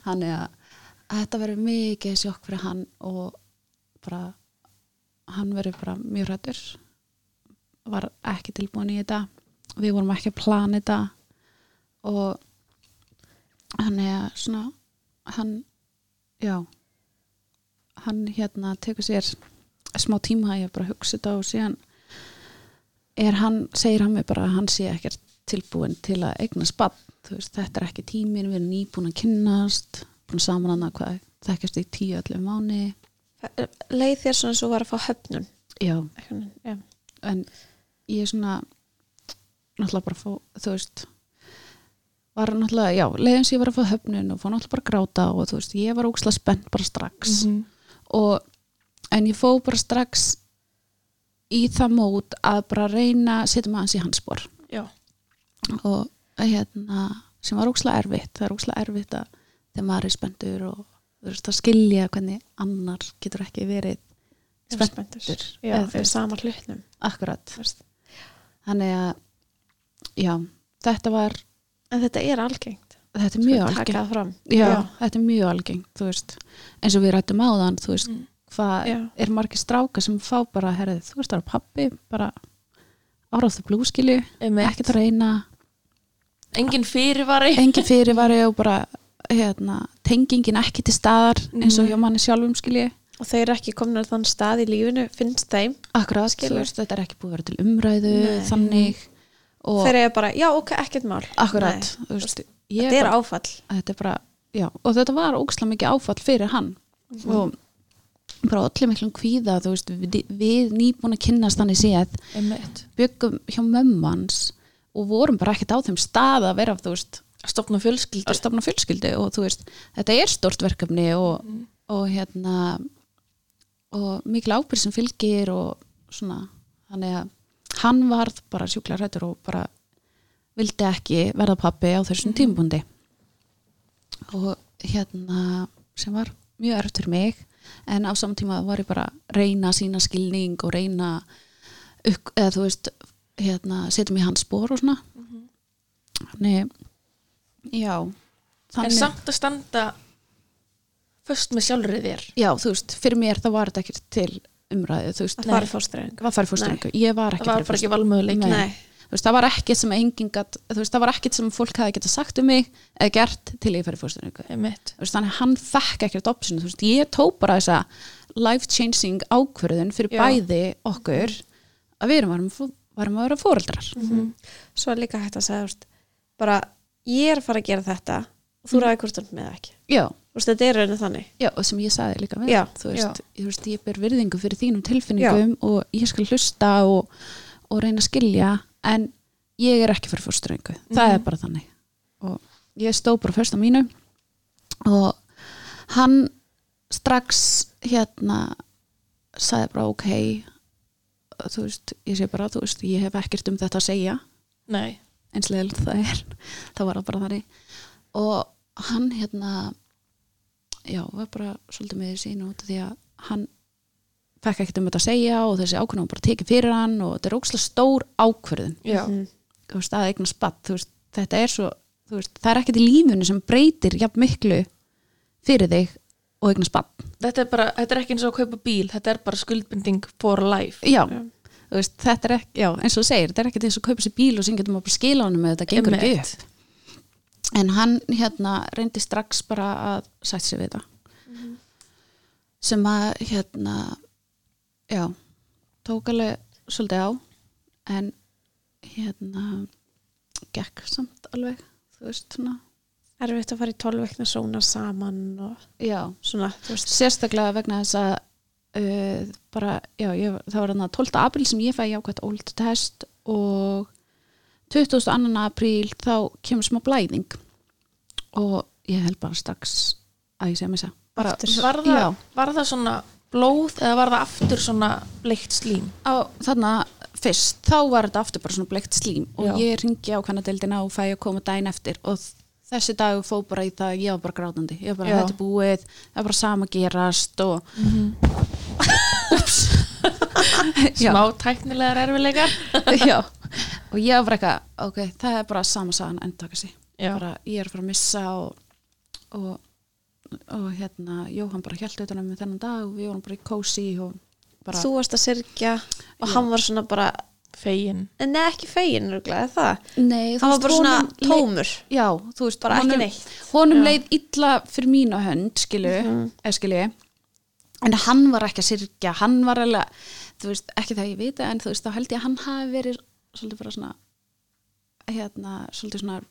[SPEAKER 3] Þannig að að þetta verður mikið sjokk fyrir hann og bara hann verður bara mjög rættur var ekki tilbúin í þetta við vorum ekki að plana þetta og hann er svona hann, já hann hérna tekur sér smá tíma að ég bara hugsa þetta og síðan er hann, segir hann mig bara að hann sé ekkert tilbúin til að eigna spatt þú veist, þetta er ekki tímin, við erum nýbúin að kynnast búin saman annað hvað þekkjast í tíu allir mánu
[SPEAKER 2] leið þér svona svo var að fá höfnun
[SPEAKER 3] já,
[SPEAKER 2] Einhvern veginn, já.
[SPEAKER 3] en ég er svona náttúrulega bara að fá, þú veist var náttúrulega, já, leiðins ég var að fá höfnun og fór náttúrulega bara að gráta og þú veist, ég var ókslega spennt bara strax
[SPEAKER 1] Mhm.
[SPEAKER 3] og, en ég fó bara strax í það mót að bara reyna, setja maður hans í hans spor
[SPEAKER 1] já,
[SPEAKER 3] og hérna sem var ókslega erfitt, það er ókslega erfitt að þegar maður er spendur og þú veist að skilja hvernig annar getur ekki verið
[SPEAKER 2] spenntur já,
[SPEAKER 3] Eða þú
[SPEAKER 2] fyrir
[SPEAKER 3] veist.
[SPEAKER 2] sama hlutnum
[SPEAKER 3] akkurat
[SPEAKER 2] þú veist.
[SPEAKER 3] þannig að já, þetta var,
[SPEAKER 2] en þetta er algengt
[SPEAKER 3] þetta er mjög
[SPEAKER 2] Taka það
[SPEAKER 3] algengt
[SPEAKER 2] fram
[SPEAKER 3] já,
[SPEAKER 2] Já.
[SPEAKER 3] þetta er mjög algengt, þú veist eins og við rættum áðan, þú veist
[SPEAKER 1] Mm.
[SPEAKER 3] hvað
[SPEAKER 2] Já.
[SPEAKER 3] er margir stráka sem fá bara herrið, þú veist það er pappi, bara áráð það blúskilju,
[SPEAKER 1] einmitt
[SPEAKER 3] ekkert að reyna
[SPEAKER 1] engin fyrirvari
[SPEAKER 3] engin fyrirvari og bara hérna, tengingin ekki til staðar eins
[SPEAKER 2] Mhm.
[SPEAKER 3] og hjá manni sjálfum skilji
[SPEAKER 2] og þeir eru ekki komin á þann stað í lífinu finnst þeim,
[SPEAKER 3] akkurat,
[SPEAKER 2] Skilur.
[SPEAKER 3] skilur, þetta er ekki búið að vera til umræðu
[SPEAKER 2] Nei.
[SPEAKER 3] þannig og
[SPEAKER 2] þeir eru bara, já ok, ekkert mál
[SPEAKER 3] akkurat,
[SPEAKER 2] Nei,
[SPEAKER 3] þú veist ég
[SPEAKER 2] þetta er
[SPEAKER 3] bara,
[SPEAKER 2] áfall
[SPEAKER 3] þetta er bara já, og þetta var ókslega mikið áfall fyrir hann og bara allir miklum kvíða, þú veist við, við nýbúin að kynnast þannig séð
[SPEAKER 1] einmitt
[SPEAKER 3] byggum hjá mömmans og vorum bara ekkert á þeim stað að vera, þú veist,
[SPEAKER 1] að stopna fjölskyldu
[SPEAKER 3] að stafna fjölskyldu og þú veist, þetta er stort verkefni og, og hérna og mikil ábyrð sem fylgir og svona þannig að hann varð bara sjúklega hrættur og bara vildi ekki verða pappi á þessum tímabundi og hérna sem var mjög erft fyrir mig en á saman tíma var ég bara að reyna sína skilning og reyna uk- eða þú veist hérna, setja mig í hans spór og svona þannig já,
[SPEAKER 1] en samt að standa föst með sjálfrið þér
[SPEAKER 3] já, þú veist, fyrir mér það var þetta ekkert til umræðu, þú veist,
[SPEAKER 2] að fara í fóstræðing
[SPEAKER 3] var farið fórstöngu ég var
[SPEAKER 1] það
[SPEAKER 3] ekki
[SPEAKER 1] var bara
[SPEAKER 3] farið
[SPEAKER 1] ekki valmöguleik
[SPEAKER 3] Nei. þú veist, það var ekkert sem engin gat, þú veist, það var ekkert sem fólk hafi getað sagt um mig eða gert til ég farið fórstöngu
[SPEAKER 1] einmitt
[SPEAKER 3] þú veist, þannig að hann fekk ekkert opsinu, þú veist, ég tó bara þessa life changing ákvörðun fyrir
[SPEAKER 1] Já.
[SPEAKER 3] bæði okkur að við erum varum, fó- varum að vera fóreldrar
[SPEAKER 1] Mm. Mhm.
[SPEAKER 2] svo er líka hægt að segja þú veist, bara ég er að fara að gera þetta og
[SPEAKER 3] Mhm.
[SPEAKER 2] þú ræði hvort hann með það ekki
[SPEAKER 3] já,
[SPEAKER 2] Þú veist, þetta er rauninu þannig
[SPEAKER 3] já, og sem ég saði líka við
[SPEAKER 2] Já,
[SPEAKER 3] Mm, þú veist, ég, veist, ég ber virðingu fyrir þínum tilfinningum
[SPEAKER 2] Já.
[SPEAKER 3] og ég skal hlusta og, og reyna að skilja en ég er ekki fyrir fórströngu það
[SPEAKER 2] Mhm.
[SPEAKER 3] er bara þannig og ég stóð bara fyrst á mínu og hann strax hérna sagði bara ok þú veist, ég sé bara, þú veist, ég hef ekkert um þetta að segja
[SPEAKER 1] Nei.
[SPEAKER 3] eins leðilegt og það er þá var það bara þannig og hann hérna já, var bara svolítið með sín út af því að hann fekk ekkert um þetta að segja og þessi ákvörðun var bara tekið fyrir hann og þetta er ókslega stór ákvörðun
[SPEAKER 1] Já.
[SPEAKER 2] Mhm.
[SPEAKER 3] þú veist, að eigna spatt þú veist, þetta er svo, þú veist, það er ekkert í lífunu sem breytir jafn miklu fyrir þig og eigna spatt
[SPEAKER 1] Þetta er bara, þetta er ekki eins og að kaupa bíl, þetta er bara skuldbending for life.
[SPEAKER 3] já, þú veist, þetta er ekki já, eins og þú segir, þetta er ekkert eins og kaupa sér bíl og sem getur maður bara skila honum með þetta gengur ekki
[SPEAKER 1] Einmitt.
[SPEAKER 3] upp en hann hérna reyndi strax bara að sætt sér við það sem að hérna já, tók alveg svolítið á en hérna gekk samt alveg þú veist, svona,
[SPEAKER 2] erfitt að fara í 12 veikna sóna saman og
[SPEAKER 3] já
[SPEAKER 2] svona, þú veist
[SPEAKER 3] sérstaklega vegna þess að uh, bara, já, ég, það var þannig 12. apríl sem ég fæ jákvæmt old test og 22. apríl þá kemur smá blæðing og ég held bara strax að ég segja mér þess að bara,
[SPEAKER 2] Aftur.
[SPEAKER 1] Var það,
[SPEAKER 3] já,
[SPEAKER 1] var það svona blóð eða var það aftur svona bleikt slím?
[SPEAKER 3] á, þarna fyrst, þá var þetta aftur bara svona bleikt slím og
[SPEAKER 1] Já.
[SPEAKER 3] ég ringi á kanadeldina og fæ að koma dæn eftir og þessi dag fó bara í það, ég var bara grátandi ég var bara,
[SPEAKER 1] Já.
[SPEAKER 3] þetta er búið, það er bara sama að gerast og
[SPEAKER 1] Mhm.
[SPEAKER 3] Já.
[SPEAKER 1] Smá tæknilegar erfilegar?
[SPEAKER 3] já, og ég var eitthvað ok, það er bara sama sagan endtaka sig
[SPEAKER 1] Já.
[SPEAKER 3] bara ég er að fara að missa og, og, og hérna Jóhann bara hjælti utan að mig þennan dag og við vorum bara í kósi og bara,
[SPEAKER 2] þú varst að syrkja og hann var svona bara
[SPEAKER 1] Fegin.
[SPEAKER 2] en neða ekki fegin örgulega, er það
[SPEAKER 3] nei, þú
[SPEAKER 2] hann var
[SPEAKER 3] veist,
[SPEAKER 2] bara svona
[SPEAKER 3] honum leið-
[SPEAKER 2] tómur
[SPEAKER 3] já, þú veist,
[SPEAKER 2] Bara ekki
[SPEAKER 3] honum,
[SPEAKER 2] neitt. Mhm.
[SPEAKER 3] honum leið illa fyrir mína hönd, skilu eða skilu en hann var ekki að syrkja, hann var alveg þú veist, ekki það ég vita, en þú veist, þá held ég að hann hafi verið svolítið bara svona hérna, svolítið svona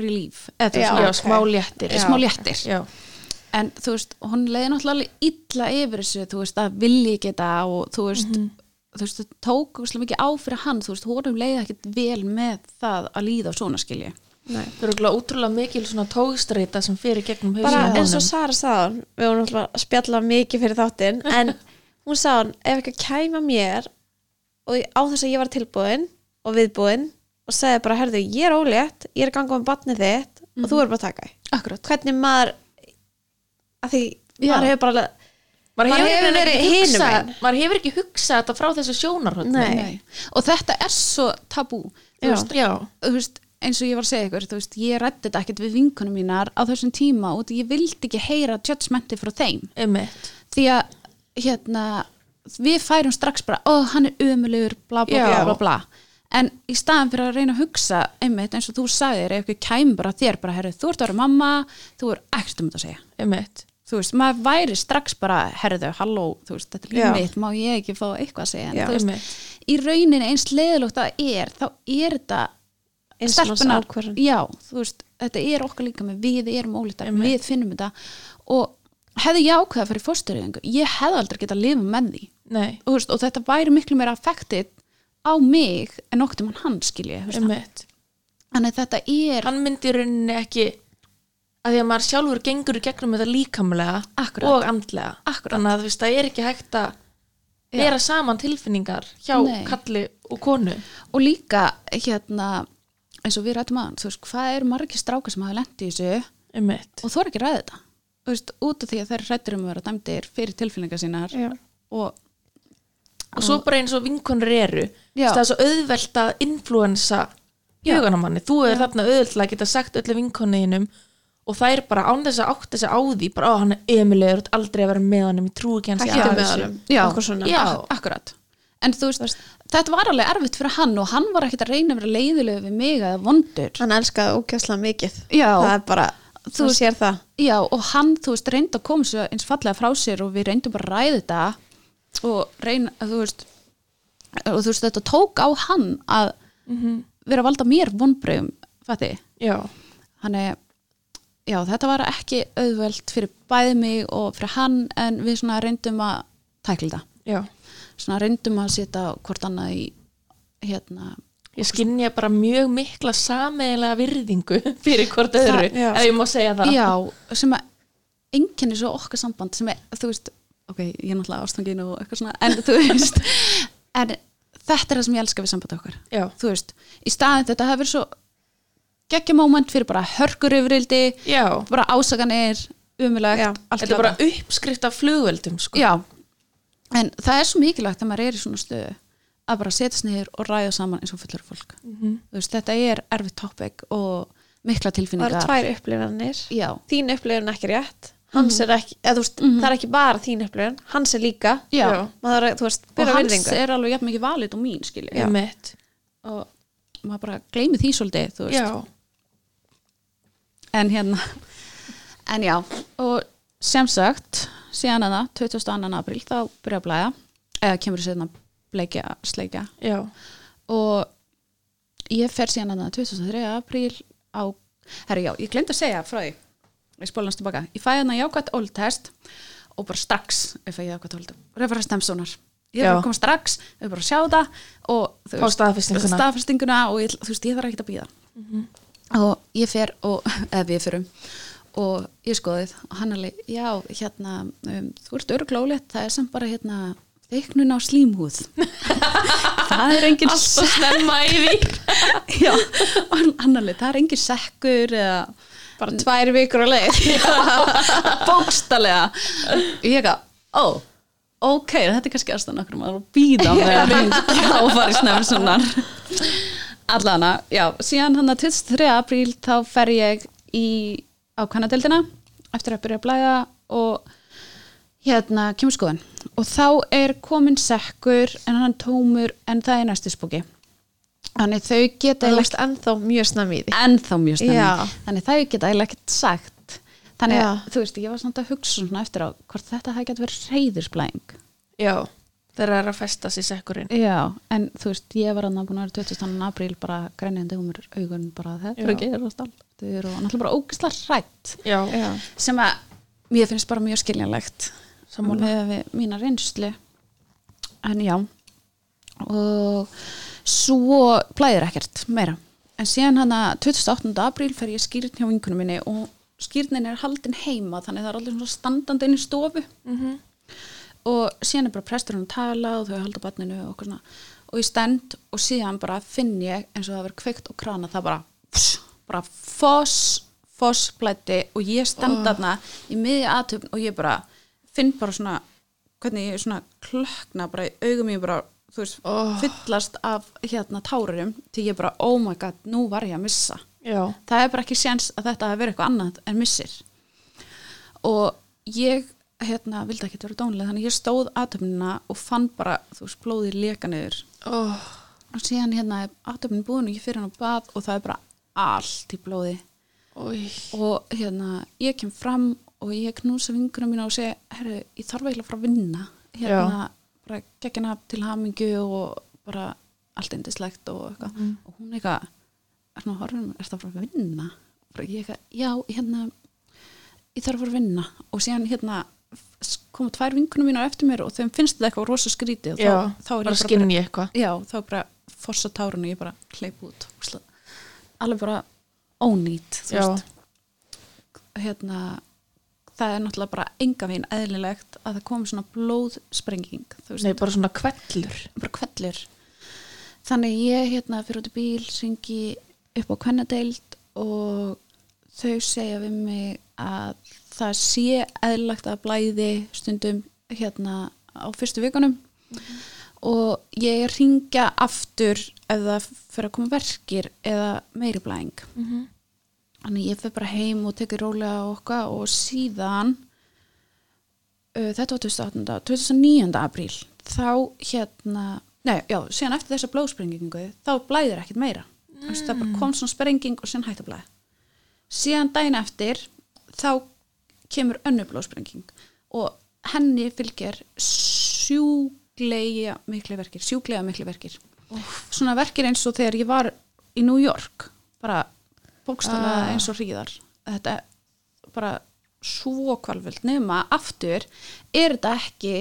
[SPEAKER 3] relief, eða þú veist,
[SPEAKER 2] Já,
[SPEAKER 3] svona-
[SPEAKER 1] Já,
[SPEAKER 2] ok.
[SPEAKER 1] smá léttir.
[SPEAKER 3] Já. smá léttir
[SPEAKER 1] Já.
[SPEAKER 3] en þú veist, hún leiði náttúrulega alveg illa yfir þessu, þú veist, að vilji ekki þetta og þú veist, þú veist það tók svolítið mikið á fyrir hann, þú veist, honum leiði ekkit vel með það að líða á svona skilji.
[SPEAKER 2] Nei.
[SPEAKER 1] Það eru útrúlega mikil svona tógstreita sem fyrir gegnum hausinn á
[SPEAKER 2] bara
[SPEAKER 1] honum.
[SPEAKER 2] eins og Sara sagði hún við vorum náttúrulega að spjalla mikið fyrir þáttinn en hún sagði hún, ef eitthvað kæma mér og ég- á þess að ég var tilbúin og viðbúin og sagði bara, herðu, ég er ólétt ég er að ganga um batnið þitt og þú er bara að taka því
[SPEAKER 3] Akkurat.
[SPEAKER 2] hvernig maður að því
[SPEAKER 3] Já.
[SPEAKER 2] maður hefur bara alveg-
[SPEAKER 1] maður hefur,
[SPEAKER 2] Maður hefur
[SPEAKER 1] hefur
[SPEAKER 2] verið
[SPEAKER 1] ekki
[SPEAKER 2] hinum
[SPEAKER 1] hugsað
[SPEAKER 2] megin.
[SPEAKER 1] maður hefur ekki hugsað þetta frá þessu sjónarhótt
[SPEAKER 2] Nei.
[SPEAKER 3] Og þetta er svo tabú, þú veist,
[SPEAKER 1] já,
[SPEAKER 3] þú veist, eins og ég var að segja ykkur, þú veist, ég rætti þetta ekkit við vinkunum mínar á þessum tíma og ég vildi ekki heyra judgmenti frá þeim.
[SPEAKER 1] einmitt
[SPEAKER 3] því að hérna, við færum strax bara, ó, hann er ömulegur bla bla
[SPEAKER 1] Já.
[SPEAKER 3] bla bla bla en í staðan fyrir að reyna að hugsa einmitt eins og þú sagðir, ef ykkur kæm bara að þér bara, herri, þú ert að vera mamma, þú er ekkert um þetta að segja,
[SPEAKER 1] einmitt
[SPEAKER 3] þú veist, maður væri strax bara, herriðu, halló, þú veist, þetta er
[SPEAKER 2] Já.
[SPEAKER 3] líf mitt, má ég ekki fá eitthvað að segja en
[SPEAKER 2] Já.
[SPEAKER 3] þú veist,
[SPEAKER 1] Einmitt.
[SPEAKER 3] í rauninni eins leðilótt að það er, þá er þetta
[SPEAKER 2] Eins manns
[SPEAKER 3] stelpunar,
[SPEAKER 2] ákvörðun.
[SPEAKER 3] já, þú veist, þetta er okkar líka með við erum ólítar,
[SPEAKER 1] Einmitt.
[SPEAKER 3] við finnum þetta og hefði ég ákveða að fara í fórstöruðingu ég hefði aldrei getað að lifa með því
[SPEAKER 1] nei,
[SPEAKER 3] og, veist, og þetta væri miklu meira affektið á mig en okkur mann hann skilji
[SPEAKER 1] einmitt
[SPEAKER 3] þannig að þetta er
[SPEAKER 1] hann myndi í rauninni ekki að því að maður sjálfur gengur í gegnum þetta líkamlega
[SPEAKER 3] Akkúrat.
[SPEAKER 1] og andlega
[SPEAKER 3] Akkúrat.
[SPEAKER 1] þannig að þú veist, það er ekki hægt að
[SPEAKER 3] Já.
[SPEAKER 1] vera saman tilfinningar hjá
[SPEAKER 3] Nei.
[SPEAKER 1] kalli og konu
[SPEAKER 3] og líka hérna eins og við rættum aðan, þú veist, hvað eru margir strákar sem hafa lent í þessu
[SPEAKER 1] einmitt,
[SPEAKER 3] og þú er ekki að ræða þetta Þú veist, út af því að þær hrættur um að vera dæmdir fyrir tilfinningar sínar
[SPEAKER 2] Já.
[SPEAKER 3] og
[SPEAKER 1] og svo bara eins og vinkonur eru
[SPEAKER 3] Já.
[SPEAKER 1] það er svo auðvelt að influensa huganamanni, þú er þarna auðvelt að geta sagt öllu vinkonuðinum og það er bara án þess að átta sig á því bara á hann er emilegur, aldrei að vera með honum ég trúi ekki hans
[SPEAKER 2] Hættu með honum,
[SPEAKER 3] Já.
[SPEAKER 2] okkur svona
[SPEAKER 1] Já.
[SPEAKER 3] Ak- akkurat en þú veist, þetta var alveg erfitt fyrir hann og hann var ekkert að reyna að vera leiðilegu við mig eða vondur
[SPEAKER 2] hann elskaði ókjæslega mikið
[SPEAKER 3] Já.
[SPEAKER 2] það er bara,
[SPEAKER 3] Þú
[SPEAKER 2] þú
[SPEAKER 3] veist-
[SPEAKER 2] sér það
[SPEAKER 3] já, og hann, þú veist, reyndi að koma sér eins fallega frá sér og við reyndum bara að ræða þetta og reyna, þú veist og þú veist þetta tók á hann að vera að valda mér vonbröðum fætti,
[SPEAKER 1] Mhm. já,
[SPEAKER 3] hann er já, þetta var ekki auðvelt fyrir bæði mig og fyrir hann en við svona reyndum að tækla þetta
[SPEAKER 1] já
[SPEAKER 3] svona reyndum að setja hvort annað í hérna,
[SPEAKER 1] ég skinja bara mjög mikla sameiglega virðingu fyrir hvort öðru
[SPEAKER 2] já.
[SPEAKER 1] ef ég má segja það
[SPEAKER 3] já, sem að enginni svo okkar samband sem er, þú veist, ok, ég er náttúrulega ástangin og eitthvað svona, en þú veist en þetta er það sem ég elska við samband okkar
[SPEAKER 1] já,
[SPEAKER 3] þú veist, í staðin þetta hefur verið svo geggja moment fyrir bara hörkur yfirildi,
[SPEAKER 1] já.
[SPEAKER 3] bara ásakanir umulagt,
[SPEAKER 2] Já,
[SPEAKER 3] allt
[SPEAKER 1] þetta er bara
[SPEAKER 3] þetta.
[SPEAKER 1] uppskrift af flugveldum sko.
[SPEAKER 3] já, en það er svo mikilvægt þegar maður er í svona stöðu að bara setjast niður og ræða saman eins og fullar fólk
[SPEAKER 1] Mhm.
[SPEAKER 3] þú veist, þetta er erfitt topic og mikla
[SPEAKER 2] það
[SPEAKER 3] tilfinningar
[SPEAKER 2] eru tvær upplifanir
[SPEAKER 3] já,
[SPEAKER 2] þín upplifun er ekki rétt hans er ekki, eða, þú veist, það er ekki bara þín upplifun hans er líka
[SPEAKER 3] já,
[SPEAKER 1] Já.
[SPEAKER 2] maður, þú veist,
[SPEAKER 3] og
[SPEAKER 2] byrja
[SPEAKER 3] hans
[SPEAKER 2] virðingu
[SPEAKER 3] er alveg jafn mikið valið og mín, skilja
[SPEAKER 1] Einmitt.
[SPEAKER 3] og maður bara gleymi því svolítið þú veist,
[SPEAKER 1] já,
[SPEAKER 3] en hérna en já, og sem sagt síðan að það, 22. apríl þá byrja að blæja, eða kemur sérna bleikja, sleikja
[SPEAKER 1] já,
[SPEAKER 3] og ég fer síðan að það 2003. apríl á herru já, ég glemt að segja frá því ég spóla hans tilbaka, ég fæði hérna jákvætt óltest og bara strax ef ég jákvætt óltest, refara stemsónar ég
[SPEAKER 1] Já.
[SPEAKER 3] er bara að koma strax, ég er bara að sjá það og þú
[SPEAKER 1] Fá staðfestinguna.
[SPEAKER 3] staðfestinguna og ég, þú veist, ég þarf ekki að býða og ég fer og, eða við fyrum og ég skoðið og hann alveg, já, hérna um, þú ert örglólegt, það er samt bara hérna þeiknun á slímhúð það er engin
[SPEAKER 1] alltaf snemma í því
[SPEAKER 3] já, og hann hann alveg, það er engin sekkur eða
[SPEAKER 2] bara tvær vikur á leið
[SPEAKER 3] bókstallega ég eitthvað, ó, ok þetta er kannski aðstæðan okkur maður að býða með áfari snefnsunar allana, já síðan hann að 23. apríl þá fer ég í ákvæmnadeldina eftir að byrja að blæða og hérna kemur skoðan og þá er komin sekkur en hann er tómur en það er næstu spóki þannig þau geta
[SPEAKER 2] það
[SPEAKER 3] eiginlega
[SPEAKER 2] er ennþá mjög snemmi í því
[SPEAKER 3] ennþá mjög snemmi
[SPEAKER 2] Já.
[SPEAKER 3] þannig það geta eiginlega ekkert sagt þannig
[SPEAKER 2] Já.
[SPEAKER 3] að þú veist, ég var samt að hugsa svona eftir á hvort þetta hafi gett verið reyðursblæðing
[SPEAKER 1] já, þeirra er að festa sér sekkurinn
[SPEAKER 3] já, en þú veist, ég var annað búin að vera 20. apríl bara grænjandi um augun bara þetta er
[SPEAKER 1] Já.
[SPEAKER 3] að gerast alltur og náttúrulega bara ógislega hrætt
[SPEAKER 1] já,
[SPEAKER 2] já,
[SPEAKER 3] sem að mér finnst bara mjög skiljanlegt
[SPEAKER 1] Sammála.
[SPEAKER 3] með við mína reynslu en já og svo blæðir ekkert meira en síðan hann að 28. apríl fer ég skýrn hjá vinkunum minni og skýrnin er haldin heima þannig það er allir svona standandi inn í stofu og síðan er bara presturinn að tala og þau halda barninu og okkur svona og ég stend og síðan bara finn ég eins og það verið kveikt og krana það bara pss, bara foss foss blætti og ég stend þarna í miðja aðtöfn og ég bara finn bara svona hvernig ég svona klökna bara í augum ég bara þú veist fyllast af hérna tárurum til ég bara oh my god nú var ég að missa
[SPEAKER 1] já,
[SPEAKER 3] það er bara ekki séns að þetta hafi verið eitthvað annað en missir og ég hérna vildi ekki vera dónlega þannig að ég stóð aðtöfnina og fann bara þú veist blóðið leka niður
[SPEAKER 1] oh,
[SPEAKER 3] og síðan hérna er aðtöfnin búin og ég fyrir hann á bað og það er bara allt í blóði
[SPEAKER 1] oj,
[SPEAKER 3] og hérna ég kem fram og ég knúsa vingunum mína og segja herru, ég þarf eiginlega að fara að vinna hérna, bara geggina til hamingu og bara allt indislegt og eitthvað,
[SPEAKER 1] Mhm.
[SPEAKER 3] og hún eitthvað er það að horfum, er það að fara að vinna bara ég eitthvað, já, hérna ég þarf að fara að vinna og síðan hérna f- koma tvær vingunum mína eftir mér og þeim finnst þetta eitthvað rosa skrítið og
[SPEAKER 1] já,
[SPEAKER 3] þá, þá er ég
[SPEAKER 1] bara
[SPEAKER 3] bara
[SPEAKER 1] skinn ég eitthvað
[SPEAKER 3] já, þá bara fossa tárun og ég bara hleyp út ógeðslega- alveg bara ónýtt þú
[SPEAKER 1] Já.
[SPEAKER 3] veist. hérna það er náttúrulega bara enga veginn eðlilegt að það komi svona blóðsprenging þú veist,
[SPEAKER 1] Nei, bara svona kvellur
[SPEAKER 3] bara kveldur þannig ég hérna fyrir út í bíl syngi upp á kvennadeild og þau segja við mig að það sé eðlilegt að blæði stundum hérna á fyrstu vikunum
[SPEAKER 1] Mhm.
[SPEAKER 3] og ég ringja aftur ef það fyrir að koma verkir eða meiri blæðing þannig ég fyrir bara heim og tekið rólega á okkar og síðan uh, þetta var 2018 2009. apríl þá hérna, nei, já, síðan eftir þessa blóðsprengingu þá blæðir ekkert meira mm. Þessi, það bara kom svona sprenging og síðan hætti að blæða síðan dæin eftir þá kemur önnu blóðsprenging og henni fylgir sjúk sjúklega miklu verkir, sjúklega miklu verkir. Svona verkir eins og þegar ég var í New York, bara bókstala
[SPEAKER 1] Ah.
[SPEAKER 3] eins og hríðar. Þetta er bara svo kvalvöld, nema aftur er þetta ekki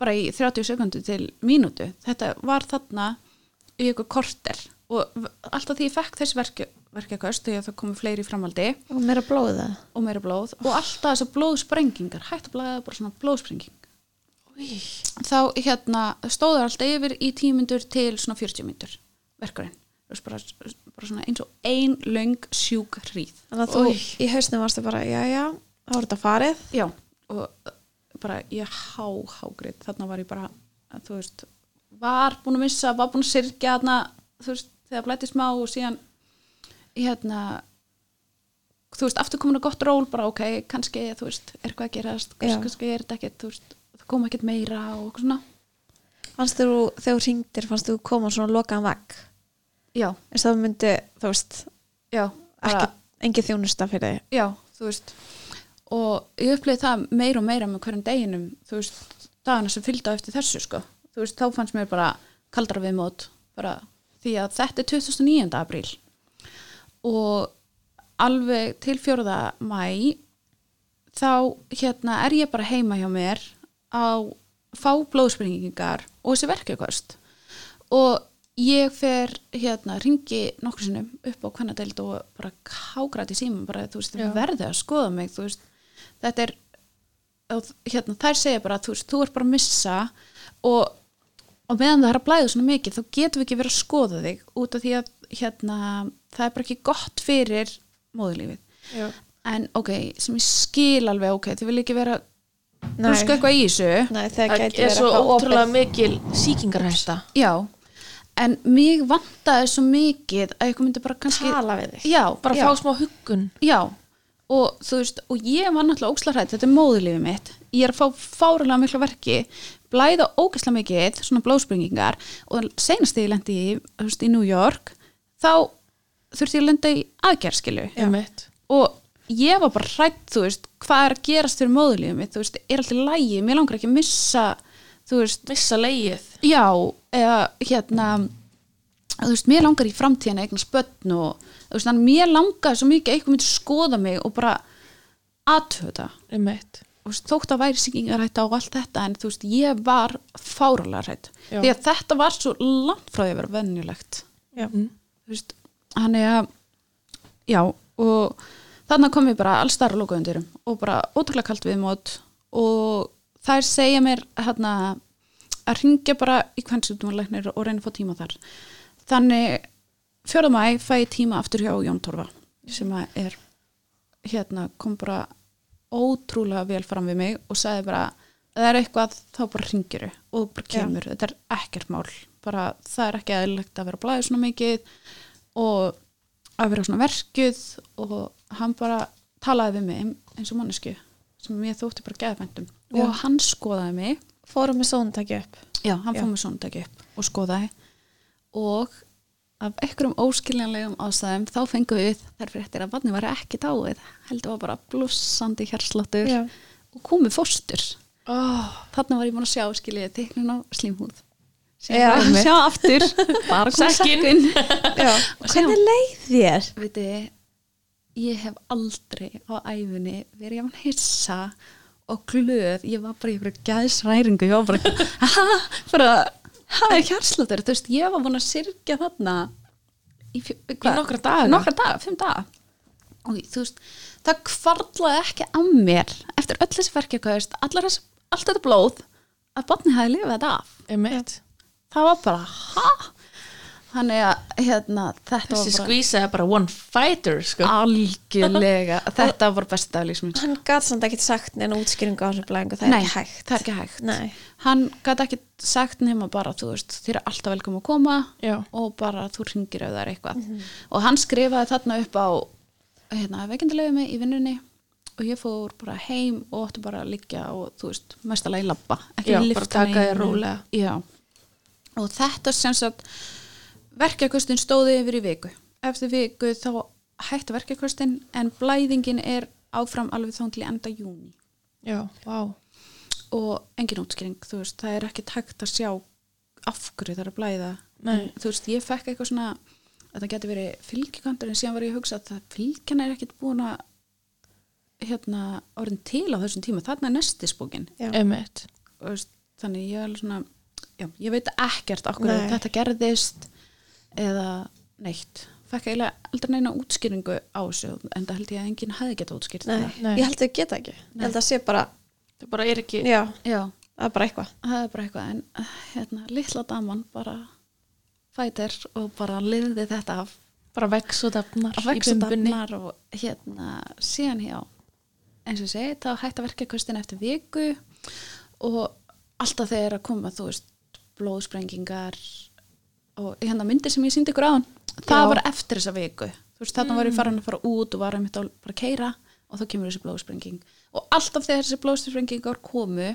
[SPEAKER 3] bara í 30 sekundu til mínútu. Þetta var þarna í ykkur korter og v- alltaf því ég fekk þessi verki, verkjaköst þegar það komu fleiri í framhaldi
[SPEAKER 2] og meira blóða
[SPEAKER 3] og meira blóð og alltaf þessar blóðsprengingar hægt að blæða bara svona blóðsprenging þá hérna stóður alltaf yfir í tímyndur til svona 40 myndur verkurinn Þú veist, bara, bara svona eins og ein löng sjúk hríð
[SPEAKER 2] þannig að þú í hausnum varstu bara já já, þá er þetta farið
[SPEAKER 3] já, og uh, bara ég há hágrið, þarna var ég bara að, þú veist, var búin að missa var búin að sirkja þarna þú veist, þegar blætti smá og síðan hérna þú veist, aftur komin að gott ról bara ok, kannski, þú veist, er hvað að gerast
[SPEAKER 2] Já.
[SPEAKER 3] kannski, kannski er þetta ekkert, þú veist, það kom ekkert meira og eitthvað svona,
[SPEAKER 2] fannst þú, þegar þú ringdir, fannst þú koma svona lokaðan vekk
[SPEAKER 3] já,
[SPEAKER 2] eins og það myndi, þú veist
[SPEAKER 3] já
[SPEAKER 2] ekki,
[SPEAKER 3] bara,
[SPEAKER 2] engin þjónusta fyrir þig
[SPEAKER 3] já, þú veist og ég upplýði það meira og meira með hverjum deginum, þú veist dagana sem fylgdu á eftir þessu, sko þú veist, þá fannst mér bara kaldra við mót bara því að þetta er 2009. apríl og alveg til 4. mæ þá hérna er ég bara heima hjá mér á fá blóðsprengingar og þessi verkefkost og ég fer hérna ringi nokkur sinnum upp á hvernadeild og bara hágræti síma bara þú veist,
[SPEAKER 1] Já.
[SPEAKER 3] þið verðið að skoða mig þú veist, þetta er og hérna, þær segja bara þú veist, þú ert bara að missa og, og meðan það er að blæða svona mikið þá getum við ekki verið að skoða þig út af því að hérna, það er bara ekki gott fyrir móðulífið
[SPEAKER 1] Já.
[SPEAKER 3] en ok, sem ég skil alveg ok, þið vil ekki vera
[SPEAKER 2] Nei.
[SPEAKER 3] brúsku eitthvað í þessu
[SPEAKER 2] Nei, það
[SPEAKER 1] það
[SPEAKER 2] gæti
[SPEAKER 1] er
[SPEAKER 2] verið
[SPEAKER 1] svo
[SPEAKER 2] eitthvað
[SPEAKER 1] ótrúlega
[SPEAKER 2] opið.
[SPEAKER 1] mikil sýkingarhæsta
[SPEAKER 3] já, en mig vantaði svo mikið að eitthvað myndi bara kannski
[SPEAKER 2] tala við þig
[SPEAKER 3] já,
[SPEAKER 1] bara
[SPEAKER 3] já,
[SPEAKER 1] fá smá huggun
[SPEAKER 3] já, og þú veist og ég var náttúrulega ókslarhætt, þetta er móðulífið mitt ég er að fá fárulega mikla verki blæða ógæsla mikið, svona blóðsprengingar og senast þegar ég lendi í, þú veist, í New York þá þurfti ég að lenda í aðgerðskilu
[SPEAKER 1] einmitt
[SPEAKER 3] og ég var bara hrætt, þú veist, hvað er að gerast fyrir móðulífið mitt, þú veist, er alltaf lægi mér langar ekki að missa, þú veist
[SPEAKER 1] missa leið
[SPEAKER 3] já, eða hérna þú veist, mér langar í framtíðina eignan spötn og þú veist, þannig mér langar svo mikið að eitthvað myndi skoða mig og bara aðtöða,
[SPEAKER 1] einmitt
[SPEAKER 3] þú veist, þótt að væri sýkingarætt á allt þetta, en þú veist, ég var fárulega hrætt,
[SPEAKER 1] Já.
[SPEAKER 3] því að þetta var svo langt frá því að vera venjulegt
[SPEAKER 2] Já.
[SPEAKER 1] Mm.
[SPEAKER 3] þú veist, hann er að já, og þannig kom ég bara alls þar að lokaundurum og bara ótrúlega kalt við mót og þær segja mér hérna að ringja bara í kvennsjúkdumulegnir og reyna að fá tíma þar þannig 4. mæ fæ ég tíma aftur hjá Jón Torfa sem að er hérna kom bara ótrúlega vel fram við mig og sagði bara ef það er eitthvað þá bara ringir og bara kemur, þetta er ekkert mál bara það er ekki aðeinlegt að vera blæðið svona mikið og að vera svona verkuð og hann bara talaði við mig eins og mannesku sem ég þótti bara geðvendum
[SPEAKER 2] Já.
[SPEAKER 3] og hann skoðaði mig
[SPEAKER 2] fórum með sóndaki upp
[SPEAKER 3] Já, hann
[SPEAKER 2] Já.
[SPEAKER 3] fór með sondagi upp og skoðaði og af einhverjum óskiljanlegum ástæðum þá fengum við þær fréttir að barni var ekki dáið heldur var bara blussandi hjarsláttur
[SPEAKER 2] Já.
[SPEAKER 3] og komið fóstur
[SPEAKER 1] oh,
[SPEAKER 3] þarna var ég búin að sjá skiljiði teiknun á slímhúð
[SPEAKER 2] Já,
[SPEAKER 3] síðan var ég að
[SPEAKER 2] einmitt.
[SPEAKER 3] sjá aftur bara komið
[SPEAKER 1] Sekkin.
[SPEAKER 3] sekkin
[SPEAKER 2] Já, hvernig leið þér?
[SPEAKER 3] veitu, ég hef aldrei á æfunni verið jafn hissa og glöð, ég var bara í einhverju gæðsræringu, ég var bara ha, bara, það er hjarsláttur þú veist, ég var búin að sirkja þarna í, fjö, hva,
[SPEAKER 1] nokkra daga.
[SPEAKER 3] nokkra daga, fimm daga og þú veist, það kvarlaði ekki að mér eftir öll þessi verkefkaust allar þess, allt þetta blóð að barni hafi lifað þetta af
[SPEAKER 1] einmitt
[SPEAKER 3] það var bara, ha þannig að, hérna, þetta
[SPEAKER 1] þessi
[SPEAKER 3] var bara Ah.
[SPEAKER 1] skvísa er bara one fighter sko.
[SPEAKER 3] algjörlega, þetta var besta dag lífsmins
[SPEAKER 2] Hann gat samt ekki sagt neina útskýringu á þessu blæðingu, það er
[SPEAKER 3] Nei,
[SPEAKER 2] ekki hægt.
[SPEAKER 3] það er ekki hægt.
[SPEAKER 2] Nei.
[SPEAKER 3] hann gæti ekki sagt nema bara þú veist, þér er alltaf velkom að koma
[SPEAKER 1] Já.
[SPEAKER 3] og bara þú ringir ef það er eitthvað
[SPEAKER 1] Mhm.
[SPEAKER 3] og hann skrifaði þarna upp á hérna, veikindilegu mig í vinnunni og ég fór bara heim og ótti bara að liggja og þú veist, mestalega í labba ekki
[SPEAKER 1] Já, bara
[SPEAKER 3] lyfta
[SPEAKER 1] taka
[SPEAKER 3] neinu.
[SPEAKER 1] þér rólega.
[SPEAKER 3] Já. og þetta sem sagt verkjakostin stóði yfir í viku eftir viku þá hætti verkjakostin en blæðingin er áfram alveg þá til enda júni
[SPEAKER 1] já, vá
[SPEAKER 3] og engin útskýring, þú veist, það er ekki takt að sjá af hverju það er að blæða
[SPEAKER 1] Nei.
[SPEAKER 3] En, þú veist, ég fekk eitthvað svona að það geti verið fylgikandur en síðan var ég að hugsa að það fylgjan er ekkit búin að hérna orðin til á þessum tíma, þarna er nestisbókin
[SPEAKER 1] Einmitt.
[SPEAKER 3] Og, þú veist, þannig ég er alveg svona já, ég veit ekkert okkur
[SPEAKER 2] Nei.
[SPEAKER 3] þetta gerðist eða neitt fekk eiginlega aldrei neina útskýringu á þessu en það held ég að enginn hafi getað útskýrt
[SPEAKER 2] Nei.
[SPEAKER 3] það
[SPEAKER 1] Nei.
[SPEAKER 2] Ég held þau geta ekki. Ég held það sé bara,
[SPEAKER 1] Það bara er ekki
[SPEAKER 2] já,
[SPEAKER 3] já,
[SPEAKER 2] það er bara eitthvað.
[SPEAKER 3] það er bara eitthvað en eh, hérna, litla daman bara fætir og bara liði þetta af
[SPEAKER 1] bara vex og dafnar
[SPEAKER 3] að vexa dafnar og hérna síðan hjá eins og ég segi, þá hægt að verka kostin eftir viku og alltaf þegar að koma þú veist, blóðsprengingar og hérna myndir sem ég síndi ykkur á það
[SPEAKER 1] Já.
[SPEAKER 3] var eftir þessa viku þú veist, þarna var ég farin að fara út og var einmitt að bara keira og þá kemur þessi blóðsprenging og alltaf þegar þessi blóðsprengingar komu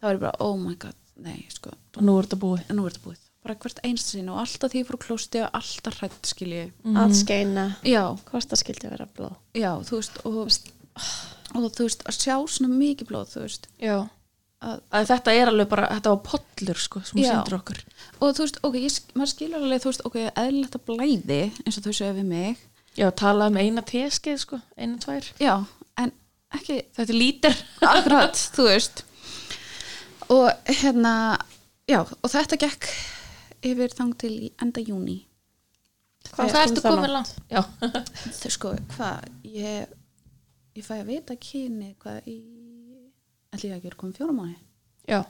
[SPEAKER 3] þá var ég bara, oh my god, nei sko,
[SPEAKER 1] og nú er þetta búið
[SPEAKER 3] nú er þetta búið bara hvert einst sinni og alltaf því ég fór klósti og alltaf hrætt skilji
[SPEAKER 2] Að skeina,
[SPEAKER 3] já,
[SPEAKER 2] hvort það skildi vera blóð.
[SPEAKER 3] já, þú veist og, og þú veist, að sjá svona mikið blóð þú veist,
[SPEAKER 1] já
[SPEAKER 3] að,
[SPEAKER 1] að þetta er alveg bara, þetta var pollur sko, sem hún
[SPEAKER 3] Já.
[SPEAKER 1] sendur okkur
[SPEAKER 3] og þú veist, ok, ég, sk- maður skilur alveg þú veist, ok, eðlilegt að blæði eins og þau sögðu við mig,
[SPEAKER 1] já, talað um eina teskeið sko, eina tvær
[SPEAKER 3] já, en ekki
[SPEAKER 1] þetta er lítir
[SPEAKER 3] akkurat, þú veist og hérna já, og þetta gekk yfir þang til í enda júni
[SPEAKER 2] Hvað
[SPEAKER 1] það
[SPEAKER 2] varst þú
[SPEAKER 1] ertu
[SPEAKER 2] þá
[SPEAKER 1] komin langt já,
[SPEAKER 3] þau sko, hvað ég, ég fæ að vita kyni hvað í ætli ég að gera komið fjórum mánu
[SPEAKER 1] já,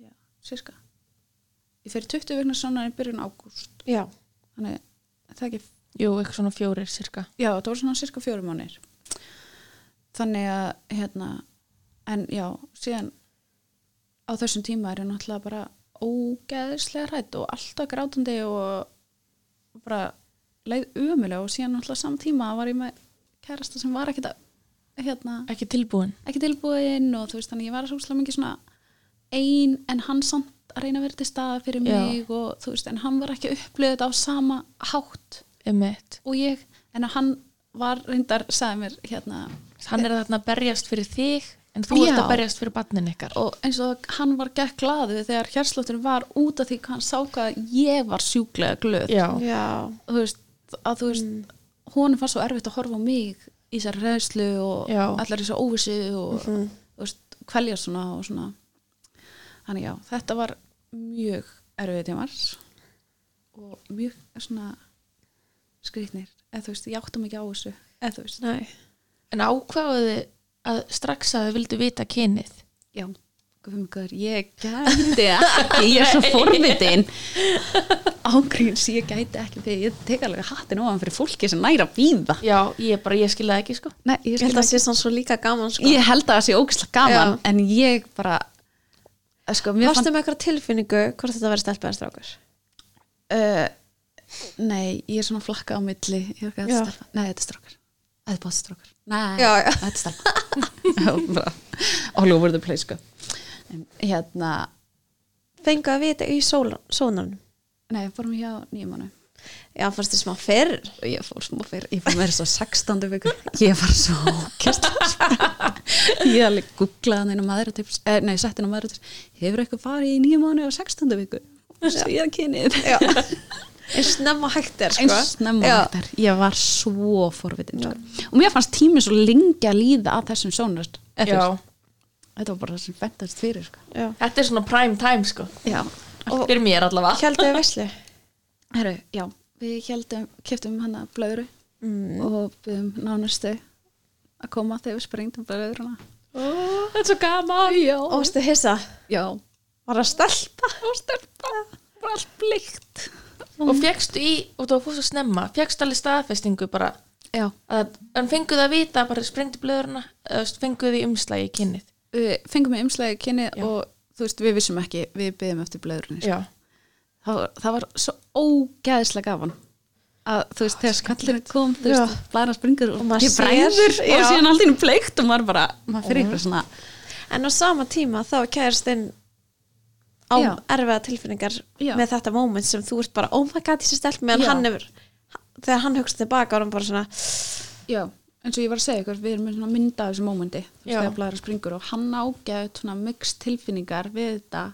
[SPEAKER 3] já, sérska ég fer 20 vegna svona í byrjun ágúst
[SPEAKER 2] Já,
[SPEAKER 3] þannig það er ekki
[SPEAKER 1] jú, eitthvað svona fjórir cirka
[SPEAKER 3] já, það voru svona cirka fjórum mánir þannig að hérna, en já, síðan á þessum tíma er ég náttúrulega bara ógeðislega hrætt og alltaf grátandi og og bara leið umulega og síðan náttúrulega samtíma var ég með kærasta sem var ekkit að hérna,
[SPEAKER 1] ekki tilbúin
[SPEAKER 3] ekki tilbúin og þú veist þannig ég var svo mikið svona ein en hann samt að reyna að vera til staða fyrir
[SPEAKER 1] Já.
[SPEAKER 3] mig og þú veist en hann var ekki upplöðið þetta á sama hátt
[SPEAKER 1] emitt,
[SPEAKER 3] og ég en að hann var reyndar sagði mér hérna
[SPEAKER 1] hann er þarna að berjast fyrir þig en þú
[SPEAKER 3] Já.
[SPEAKER 1] ert að berjast fyrir barnin ykkar
[SPEAKER 3] og eins og hann var gekk glaðu þegar hérslótturinn var út af því hvað hann sá hvað ég var sjúklega glöð
[SPEAKER 1] já,
[SPEAKER 2] já, Mhm.
[SPEAKER 3] þú veist að þú veist mm. honum var svo erfitt að horfa á mig í þessari reyðslu og
[SPEAKER 1] Já. Mhm.
[SPEAKER 3] allar þessu óvissu og
[SPEAKER 2] Mhm.
[SPEAKER 3] þú veist kvelja svona og svona þannig já, þetta var mjög erfið tímar og mjög svona skrýtnir, eða þú veist, ég áttum ekki á þessu eða þú veist,
[SPEAKER 2] næ,
[SPEAKER 1] en ákvaðuði að strax að þið vildu vita kynið
[SPEAKER 3] já Guðmungur, ég gæti ekki ég er svo forvitin ángríns, ég gæti ekki þegar ég tek alveg hattin ofan fyrir fólki sem næra býða
[SPEAKER 1] já, ég bara, ég skiljaði ekki sko
[SPEAKER 3] Nei,
[SPEAKER 2] ég held það sé sann svo líka gaman, sko.
[SPEAKER 3] ég held að það sé ógislega gaman
[SPEAKER 2] Já.
[SPEAKER 3] en ég bara eh, sko, mér
[SPEAKER 2] Varstu með eitthvað tilfinningu hvort þetta verið stelpa eða strákur?
[SPEAKER 3] uh, nei, ég er svona flakka á milli ég er ekki að
[SPEAKER 2] Já.
[SPEAKER 3] þetta strákar nei, þetta er strákar, þetta er bátt strákar nei,
[SPEAKER 2] Já, já.
[SPEAKER 3] þetta er strákar all over the place sko. en, hérna,
[SPEAKER 2] Fengu að vita í sónanum?
[SPEAKER 3] nei, fórum hjá nýjum mánu
[SPEAKER 2] Já, fannst þið smá fyrr?
[SPEAKER 3] og ég fór smá fyrr, ég fór með þess að 16. viku ég var svo kjast ég alveg googlaði henni maður tips, eh, nei, sett henni maður tips hefur eitthvað farið í nýjum mánu á 16. viku og síðan kynið
[SPEAKER 2] Já. Eins snemma hægt er, sko.
[SPEAKER 3] eins snemma
[SPEAKER 2] Já.
[SPEAKER 3] vaknar. ég var svo forvitin sko. og mér fannst tími svo lengi að líða að þessum sónast
[SPEAKER 1] já,
[SPEAKER 3] þetta var bara það sem fentast fyrir sko.
[SPEAKER 2] Já.
[SPEAKER 1] þetta er svona prime time sko
[SPEAKER 3] já, og
[SPEAKER 1] fyrir mér allavega
[SPEAKER 2] Hjaldu við veslu?
[SPEAKER 3] heru, já, við heldum, keftum hana blöðru
[SPEAKER 2] Mm.
[SPEAKER 3] og byggum nánustu að koma þegar við sprengtum blöðruna
[SPEAKER 1] Ó, þetta er svo gaman
[SPEAKER 3] já,
[SPEAKER 2] Og varstu hissa?
[SPEAKER 3] já
[SPEAKER 2] Var það stelpa?
[SPEAKER 3] og stelpa, bara allt blikt
[SPEAKER 1] og fegstu í, og þú fórst að snemma fegstu alveg staðfestingu bara
[SPEAKER 3] já,
[SPEAKER 1] að, en fenguð að vita bara sprengdi blöðurna eða þú veist, fenguð því umslagi í kynnið
[SPEAKER 3] við fengum við umslægi kynni
[SPEAKER 1] Já.
[SPEAKER 3] og þú veist, við vissum ekki við byggum eftir blöðrunni sko.
[SPEAKER 1] já,
[SPEAKER 3] það var, það var svo ógæðislega gaman að þú veist, þegar skallinu kom þú veist, bara springur
[SPEAKER 2] Og
[SPEAKER 3] og
[SPEAKER 2] maður
[SPEAKER 3] maður Mm.
[SPEAKER 2] sér,
[SPEAKER 3] bræður og
[SPEAKER 2] já.
[SPEAKER 3] síðan allt í hennu bleikt og maður bara, maður fyrir ykkur svona
[SPEAKER 2] En á sama tíma þá er kæristinn á
[SPEAKER 3] Já.
[SPEAKER 2] erfiða tilfinningar
[SPEAKER 3] Já.
[SPEAKER 2] með þetta moment sem þú ert bara oh my god, þessi stelp meðan
[SPEAKER 3] Já.
[SPEAKER 2] hann hefur þegar hann hugst tilbaka og hann bara svona
[SPEAKER 3] já, eins og ég var að segja ykkur, við erum með svona mynda af þessu mómenti, þú veist,
[SPEAKER 1] Já.
[SPEAKER 3] þegar blæðra springur og hann ágæðt svona mix tilfinningar við þetta,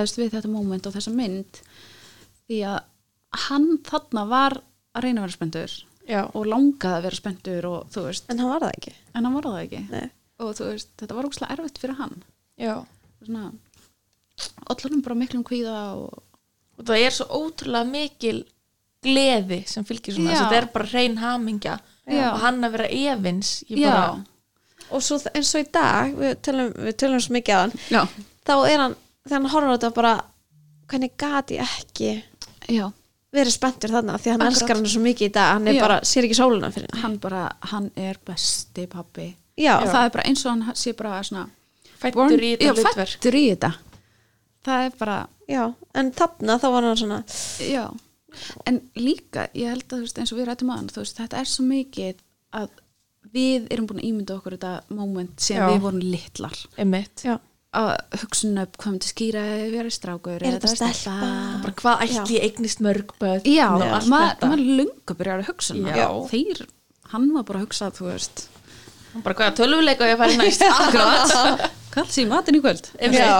[SPEAKER 3] eðast við þetta móment og þessa mynd því að hann þarna var að reyna að vera spenntur
[SPEAKER 1] já,
[SPEAKER 3] og langaði að vera spenntur og þú veist,
[SPEAKER 2] en hann var það ekki
[SPEAKER 3] en hann var það ekki
[SPEAKER 2] Nei.
[SPEAKER 3] og þú veist, þetta var ókslega erfitt fyrir hann
[SPEAKER 1] já
[SPEAKER 3] svona, allanum bara miklum kvíða og
[SPEAKER 1] og það er svo ótrúlega mikil gleði sem fylgir svona
[SPEAKER 3] Já.
[SPEAKER 1] þetta er bara reyn hamingja
[SPEAKER 3] Já.
[SPEAKER 1] og hann að vera efins ég
[SPEAKER 3] já,
[SPEAKER 1] bara,
[SPEAKER 2] og svo, þ- eins og í dag, við tölum, við tölum svo mikið að hann
[SPEAKER 3] já,
[SPEAKER 2] þá er hann, þegar hann horfir á þetta bara hvernig gati ég ekki
[SPEAKER 3] já
[SPEAKER 2] verið spenntur þarna því að hann
[SPEAKER 3] Akkurat.
[SPEAKER 2] elskar hann svo mikið í dag hann er
[SPEAKER 3] Já.
[SPEAKER 2] bara, sér ekki sóluna fyrir hann
[SPEAKER 3] hann bara, hann er besti pappi
[SPEAKER 2] já,
[SPEAKER 3] og það er bara eins og hann sé bara svona
[SPEAKER 1] fættur í
[SPEAKER 3] já,
[SPEAKER 1] þetta hlutverk
[SPEAKER 3] fæddur í þetta það er bara,
[SPEAKER 2] já, en þarna þá var hann svona
[SPEAKER 3] já en líka, ég held að þú veist eins og við rættum aðan, þú veist, þetta er svo mikið að við erum búin að ímynda okkur þetta moment sem
[SPEAKER 1] Já.
[SPEAKER 3] við vorum litlar
[SPEAKER 1] einmitt
[SPEAKER 2] já,
[SPEAKER 3] að hugsa um upp hvað myndi skýra ef við erum strákur
[SPEAKER 2] Er
[SPEAKER 3] eða
[SPEAKER 2] þetta
[SPEAKER 3] þetta er
[SPEAKER 2] stelpa?
[SPEAKER 1] bara hvað ætti ég eignist mörg börn
[SPEAKER 3] já,
[SPEAKER 1] og
[SPEAKER 3] maður
[SPEAKER 1] allt
[SPEAKER 3] maður
[SPEAKER 1] þetta
[SPEAKER 3] er lunga byrjar að hugsa um
[SPEAKER 1] Já.
[SPEAKER 3] það þeir, hann var bara að hugsa þú veist,
[SPEAKER 1] bara hvaða tölvuleika ég færi næst
[SPEAKER 3] akkurat hvað sé matinn í kvöld
[SPEAKER 2] já,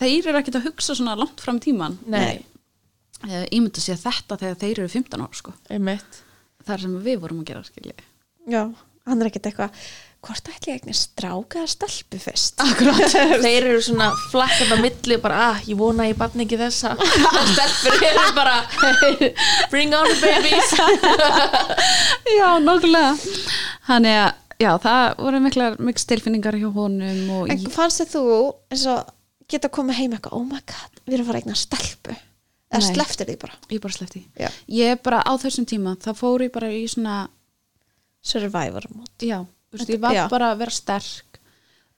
[SPEAKER 3] þeir eru ekkert að hugsa svona langt fram í tíman
[SPEAKER 1] nei,
[SPEAKER 3] Eh, ímynda sér þetta þegar þeir eru 15 ára sko.
[SPEAKER 1] einmitt
[SPEAKER 3] það er sem við vorum að gera skilji
[SPEAKER 2] já hann er ekkert eitthvað, hvort ætli ég ekki stráka eða stelpu fyrst
[SPEAKER 3] akkurat
[SPEAKER 1] þeir eru svona flakkað á milli bara, ah, ég vona að ég batni ekki þessa og stelpur eru bara bring on the babies
[SPEAKER 3] já, nokkulega þannig að já, það voru miklar mikil stilfinningar hjá honum og
[SPEAKER 2] en
[SPEAKER 3] ég,
[SPEAKER 2] fannst þér þú eins og geta að koma heim eitthvað, oh my god, við erum að fara að eigna stelpu eða
[SPEAKER 3] Nei.
[SPEAKER 2] sleftir því bara
[SPEAKER 3] ég bara sleppti
[SPEAKER 2] Já.
[SPEAKER 3] ég bara á þessum tíma, það fór ég bara í svona
[SPEAKER 2] survivor mode
[SPEAKER 3] já, þú veist,
[SPEAKER 2] Þetta-
[SPEAKER 3] ég var
[SPEAKER 2] já.
[SPEAKER 3] bara að vera sterk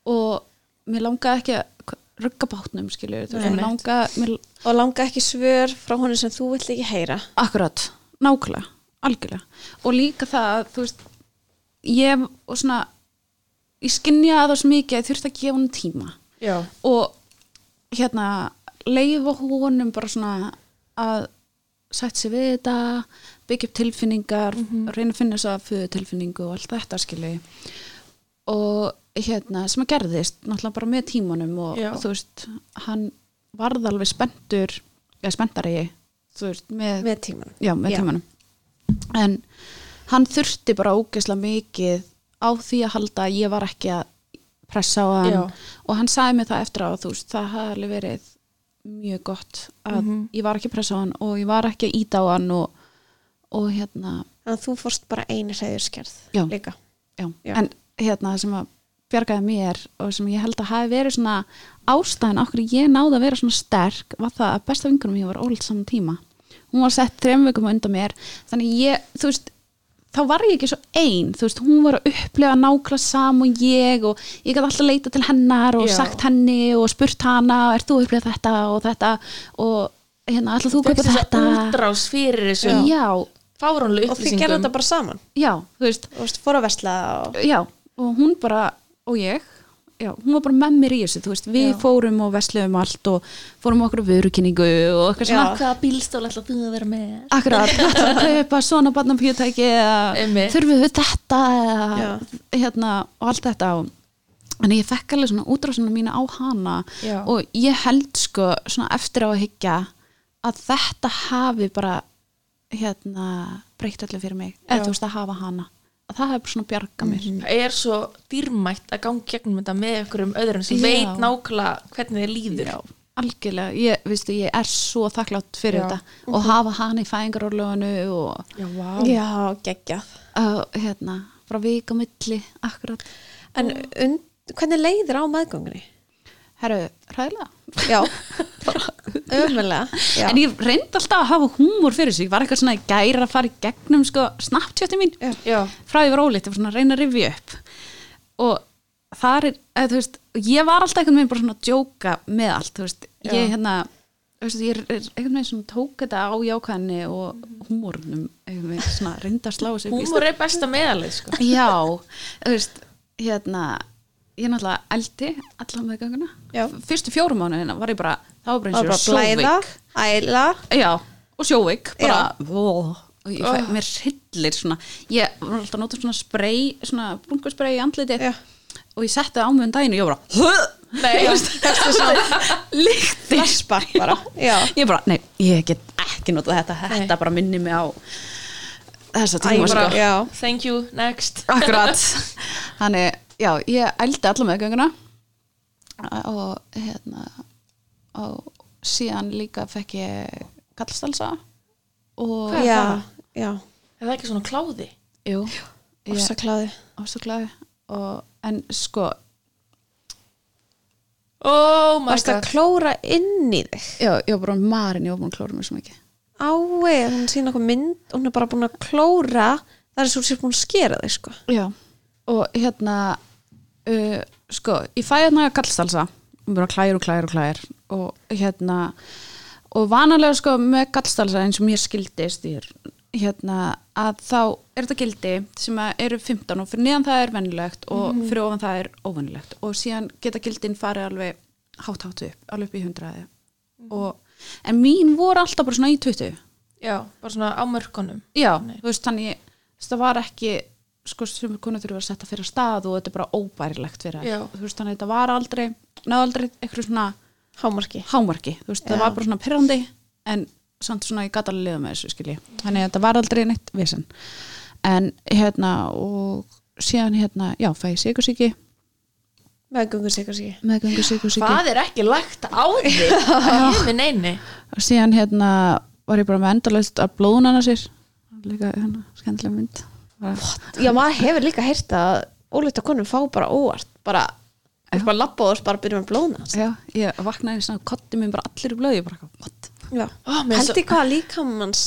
[SPEAKER 3] og mér langaði ekki að rugga bátnum skilju þú veist,
[SPEAKER 1] Nei,
[SPEAKER 3] mér
[SPEAKER 1] mitt.
[SPEAKER 3] langaði, mér,
[SPEAKER 2] og langa ekki svör frá honum sem þú vilt ekki heyra
[SPEAKER 3] Akkurat, nákvæmlega, algjörlega og líka það að þú veist ég og svona ég skinja að það svo mikið að ég þurfti að gefa honum tíma
[SPEAKER 1] já,
[SPEAKER 3] og hérna leifa honum bara svona að sætt sér við þetta byggja upp tilfinningar reyna að finna þess að föðu tilfinningu og allt þetta skilji og hérna sem að gerðist náttúrulega bara með tímanum og
[SPEAKER 1] Já.
[SPEAKER 3] þú veist hann varð alveg spenntur eða spenntari þú veist með,
[SPEAKER 2] með tímanum
[SPEAKER 3] já, með
[SPEAKER 2] Já.
[SPEAKER 3] tímanum en hann þurfti bara ógeðslega mikið á því að halda að ég var ekki að pressa á hann
[SPEAKER 1] Já.
[SPEAKER 3] og hann sagði mér það eftir á þú veist, það hafði alveg verið mjög gott að ég var ekki að pressa á hann og ég var ekki að íta á hann og, og hérna
[SPEAKER 2] þannig að þú fórst bara einu reyðurskerð
[SPEAKER 3] Já.
[SPEAKER 2] líka
[SPEAKER 3] já.
[SPEAKER 2] Já.
[SPEAKER 3] en hérna sem að bjargaði mér og sem ég held að hafi verið svona ástæðan okkur ég náði að vera svona sterk var það að besta vingunum ég var ólitt saman tíma hún var sett þrem vikum undan mér þannig ég, þú veist þá var ég ekki svo ein, þú veist, hún var að upplega nákvæmlega sam og ég og ég gæti alltaf leita til hennar og
[SPEAKER 1] Já.
[SPEAKER 3] sagt henni og spurt hana, er þú að upplega þetta og þetta og hérna, ætla þú að kaupa
[SPEAKER 1] þess að
[SPEAKER 3] þetta
[SPEAKER 1] útrás fyrir þessu
[SPEAKER 3] já,
[SPEAKER 1] fáránlega
[SPEAKER 2] og þið gerðu
[SPEAKER 1] upplýsingum
[SPEAKER 2] þetta bara saman
[SPEAKER 3] já, þú veist
[SPEAKER 2] og veist, fór að vesla og
[SPEAKER 3] já, og hún bara og ég, já, hún var bara með mér í þessu þú veist, við
[SPEAKER 1] Já.
[SPEAKER 3] fórum og vesluðum allt og fórum á okkur vörukynningu og okkar svona,
[SPEAKER 2] Já.
[SPEAKER 1] hvaða bílstól ætla þú að vera með
[SPEAKER 3] akkurat þetta að kaupa svona barnapíutæki eða
[SPEAKER 1] Einmitt.
[SPEAKER 3] þurfum við þetta eða,
[SPEAKER 2] Já.
[SPEAKER 3] hérna, og allt þetta og en ég fekk alveg svona útrásuna mína á hana
[SPEAKER 1] Já.
[SPEAKER 3] og ég held sko svona eftir á að hyggja að þetta hafi bara hérna breytt allir fyrir mig eða
[SPEAKER 1] Já. Mhm.
[SPEAKER 3] þú veist að hafa hana að það hefur svona bjarga mér
[SPEAKER 1] það er svo dýrmætt að gangi gegnum þetta með ykkur um öðrum sem
[SPEAKER 3] Já.
[SPEAKER 1] veit nákvæmlega hvernig þið líður
[SPEAKER 3] Já, algjörlega, ég, viðstu, ég er svo þakklátt fyrir
[SPEAKER 1] Já. Mhm.
[SPEAKER 3] þetta og hafa hana í fæðingarorlöfunu og
[SPEAKER 1] já, vá
[SPEAKER 2] já, geggjað
[SPEAKER 3] uh, hérna, bara vika á milli, akkurat
[SPEAKER 2] en und, hvernig leiðir á meðgöngunni?
[SPEAKER 3] herru, hræðilega
[SPEAKER 2] já, ömulega já.
[SPEAKER 3] en ég reyndi alltaf að hafa húmor fyrir sig, ég var eitthvað svona í gæra að fara í gegnum sko, snapptjötti mín
[SPEAKER 2] Já.
[SPEAKER 1] já,
[SPEAKER 3] frá ég var óleitt, ég var svona að reyna að rifja upp og þar er eða, þú veist, ég var alltaf einhvern veginn bara svona að djóka með allt, þú veist,
[SPEAKER 1] Já.
[SPEAKER 3] ég hérna þú veist, ég er er einhvern veginn svona tók þetta á jákvæðinni og húmórnum einhvern veginn svona reynda að slá sig
[SPEAKER 1] húmur er besta meðalið sko.
[SPEAKER 3] já, þú veist, hérna ég er náttúrulega eldi allan með
[SPEAKER 2] Já.
[SPEAKER 3] ganguna fyrstu fjórum mánuðina var ég bara, þá var bara
[SPEAKER 2] og
[SPEAKER 3] eins
[SPEAKER 2] bara
[SPEAKER 3] og ég var
[SPEAKER 2] blæða,
[SPEAKER 3] sjóveik
[SPEAKER 2] æla
[SPEAKER 3] já, og sjóveik bara, vó, og ég, fæ, mér hryllir svona ég var alltaf að nota svona spray svona brunkusspray í andlitið
[SPEAKER 2] Já.
[SPEAKER 3] og ég setti það á mig um daginn og ég var bara
[SPEAKER 1] Nei, já,
[SPEAKER 3] Þessu svona líkti Flaspar bara
[SPEAKER 2] Já.
[SPEAKER 3] Ég bara, nei, ég get ekki notað þetta Þetta bara minni mig á þessa tíma
[SPEAKER 2] bara-
[SPEAKER 3] sko.
[SPEAKER 2] já.
[SPEAKER 1] thank you, next
[SPEAKER 3] Akkurat Þannig, já, ég eldi alla meðgönguna og hérna og síðan líka fekk ég kallstalsa og
[SPEAKER 2] já, já,
[SPEAKER 1] Er það ekki svona kláði?
[SPEAKER 3] Jú, ég
[SPEAKER 2] ofsakláði
[SPEAKER 3] ofsaklæði og, en sko,
[SPEAKER 1] Oh my
[SPEAKER 2] varst að klóra inn í þig
[SPEAKER 3] já, ég var bara marinn, ég var búin að klóra mér svo mikið
[SPEAKER 2] ái, hún sýna okkur mynd hún er bara búin að klóra það er svo sér búin að skera þig sko
[SPEAKER 3] Já, og hérna uh, sko, ég fæ hérna gallstalsa, bara klæðir og klæðir og klæðir og hérna og vanalega sko með gallstalsa eins og mér skildist ég er hérna að þá er þetta gildi sem að eru 15 og fyrir neðan það er venjulegt og fyrir ofan það er óvenjulegt og síðan geta gildin farið alveg hátt hátt upp, alveg upp í 100 og, en mín voru alltaf bara svona í 20
[SPEAKER 1] Já, bara svona á mörkunum
[SPEAKER 3] Já,
[SPEAKER 1] Nei.
[SPEAKER 3] þú veist, þannig það var ekki, sko, sem konu þurfa að setja fyrir stað og þetta er bara óbærilegt fyrir
[SPEAKER 1] Já.
[SPEAKER 3] þær. þú veist, þannig þetta var aldrei náðu aldrei eitthvað svona
[SPEAKER 2] hámarki
[SPEAKER 3] hámarki, þú veist, það var bara svona perrandi en samt svona ég gata alveg liða með þessu skilji, þannig að þetta var aldrei neitt vesen, en hérna og síðan hérna, já, fæ ég sigursíki
[SPEAKER 2] meðgöngur sig kannski
[SPEAKER 3] meðgöngu sigursíki
[SPEAKER 1] Hvað er ekki lagt á þig? Það er minn eini
[SPEAKER 3] og síðan hérna var ég bara með endalaust að blóðunana sér líka hérna, skemmtilega mynd bara,
[SPEAKER 2] já, maður hefur líka heyrt að óleita konum fá bara óvart bara, þú ert bara labba og þú ert bara byrjum að blóna
[SPEAKER 3] Já, ég vaknaði svona kotti minn bara allir í blöði, ég bara eitthvað, what?
[SPEAKER 2] já,
[SPEAKER 1] Ó, Oh, mér er svo-
[SPEAKER 2] held ég hvað líkamans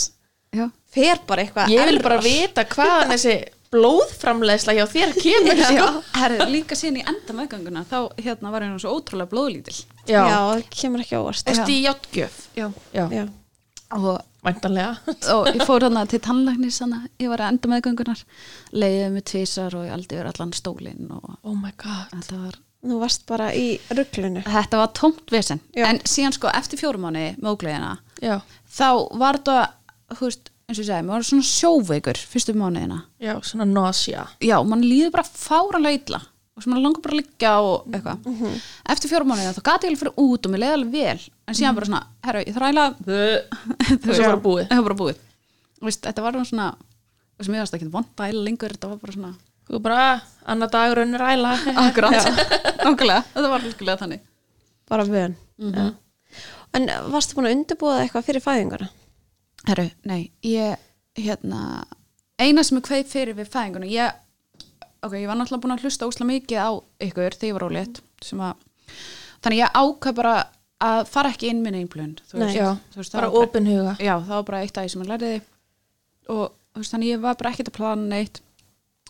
[SPEAKER 3] Já,
[SPEAKER 2] fer bara eitthvað
[SPEAKER 1] Ég vil bara vita hvaðan þessi blóðframleiðsla hjá þér kemur sko.
[SPEAKER 3] herri, líka síðan í enda meðganguna þá hérna var ég nú svo ótrúlega blóðlítil
[SPEAKER 2] já, það kemur ekki á óvart
[SPEAKER 1] Ertu í játgjöf?
[SPEAKER 3] Já,
[SPEAKER 1] Já,
[SPEAKER 2] já,
[SPEAKER 3] og,
[SPEAKER 1] væntanlega
[SPEAKER 3] og ég fór hann til tannlæknis hann ég var í enda meðgangunar leiðið með tvisar og ég aldrei verið allan stólinn og
[SPEAKER 1] Oh my god
[SPEAKER 3] þetta var
[SPEAKER 2] þú varst bara í rugglunu
[SPEAKER 3] þetta var tómt vesen
[SPEAKER 2] Já.
[SPEAKER 3] en síðan sko eftir fjórum mánu mógleðina
[SPEAKER 1] Já,
[SPEAKER 3] þá var þetta, þú veist, eins og ég segi, maður var svona sjóveikur fyrstu mánuðina
[SPEAKER 1] já svona nausea
[SPEAKER 3] já, mann líður bara fáranlega illa og sem mann langar bara að liggja og eitthvað eftir fjórum mánuðið þá gati ég alveg fyrir út og mér leiði alveg vel en síðan bara svona, herra, ég þræla það
[SPEAKER 1] svo bara búið.
[SPEAKER 3] það var bara búið Vist, þetta var bara svona sem ég varst ekki vond að æla lengur þetta var bara svona
[SPEAKER 1] Þú bara, annar dagur önnur æla
[SPEAKER 3] akkurat Nákvæmlega. þetta var líkulega þannig
[SPEAKER 2] bara vön Já. en varstu búin að undirbúa það eitthvað fyrir fæðinguna
[SPEAKER 3] herru, nei, ég hérna, eina sem ég kveið fyrir við fæðinguna ég, ok, ég var náttúrulega búin að hlusta ósla mikið á ykkur þegar ég var ólétt sem að, þannig ég ákvað bara að fara ekki inn minn einblönd þú
[SPEAKER 2] Nei.
[SPEAKER 1] Já,
[SPEAKER 3] þú veist,
[SPEAKER 1] bara
[SPEAKER 3] það var
[SPEAKER 1] opin huga
[SPEAKER 3] já, það var bara eitt aðeins sem ég lærði og þú veist, þannig ég var bara ekkert að plana neitt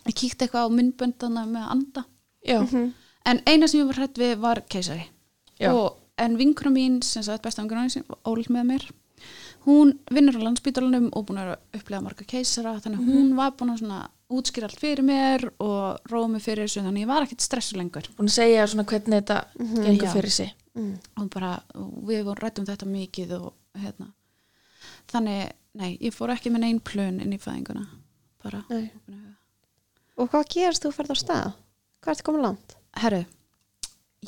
[SPEAKER 3] ég kíkti eitthvað á myndböndana með að anda
[SPEAKER 1] Já,
[SPEAKER 3] en eina sem ég var hrætt við var keisari
[SPEAKER 1] Já.
[SPEAKER 3] og, en vinkra mín sem sagt besta vinkra mín sem var ólitt með mér hún vinnur á landsbítalunum og búin að upplega marga keisara þannig að hún var búin að svona útskýra allt fyrir mér og róa mig fyrir þessu þannig að ég var ekkert stressu lengur
[SPEAKER 1] búin að segja svona hvernig þetta gengur
[SPEAKER 3] já.
[SPEAKER 1] fyrir sig
[SPEAKER 3] og bara og við vorum rættum þetta mikið og hérna þannig, nei, ég fór ekki með neinn plön inn í fæðinguna bara
[SPEAKER 2] Nei. og hvað gerst þú ferð á stað hvað ertu komin langt
[SPEAKER 3] herru,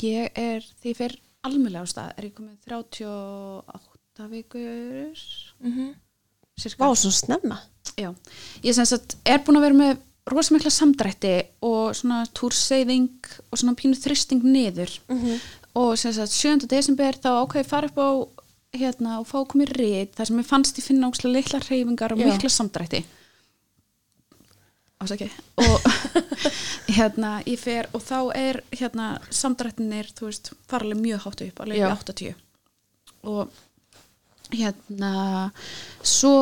[SPEAKER 3] ég er því ég fer almjölega á stað, er ég komið 38 vikur
[SPEAKER 1] Mhm.
[SPEAKER 3] sirka
[SPEAKER 2] vá, svo snemma
[SPEAKER 3] Já, ég sem sagt er búin að vera með rosa mikla samdrætti og svona túrseyðing og svona pínu þristing niður og sem sagt 7. desember þá ákveði fara upp á hérna og fá að koma í rít þar sem ég fannst ég finna ókslega litla hreyfingar og
[SPEAKER 1] Já.
[SPEAKER 3] mikla samdrætti ásæki og hérna ég fer og þá er hérna samdrættinir þú veist farlega mjög hátt upp alveg
[SPEAKER 1] Já.
[SPEAKER 3] í 80 og hérna svo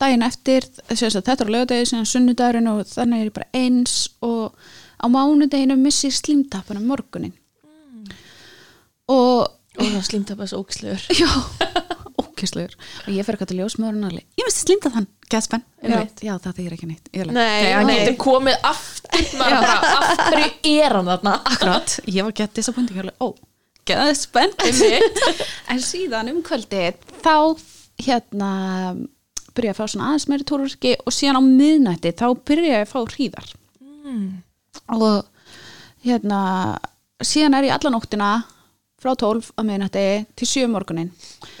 [SPEAKER 3] daginn eftir þess að þetta er lögadegi síðan sunnudagurinn og þannig er ég bara eins og á mánudeginu missi ég slímtappan um morgunin
[SPEAKER 1] Mm.
[SPEAKER 3] og
[SPEAKER 1] Og það slímt að bara svo ókslegur
[SPEAKER 3] já, ókesslegur og ég fer eitthvað til ljósmaðurinn alveg ég missi slímtappan, gæðspenn já,
[SPEAKER 1] Einmitt.
[SPEAKER 3] já, það þýr ekki neitt Ég er alveg-
[SPEAKER 2] nei,
[SPEAKER 1] Nei, þetta er komið aftur maður bara, af hverju er hann þarna?
[SPEAKER 3] Akkurat, ég var gett disappointing ég var alveg, ó, gæðið spennt en síðan um kvöldið þá hérna byrja að fá svona aðeins meiri tórverki og síðan á miðnætti þá byrja ég að fá hríðar
[SPEAKER 1] Mm.
[SPEAKER 3] og hérna síðan er ég alla nóttina frá 12 að miðnætti til um 7 morgunin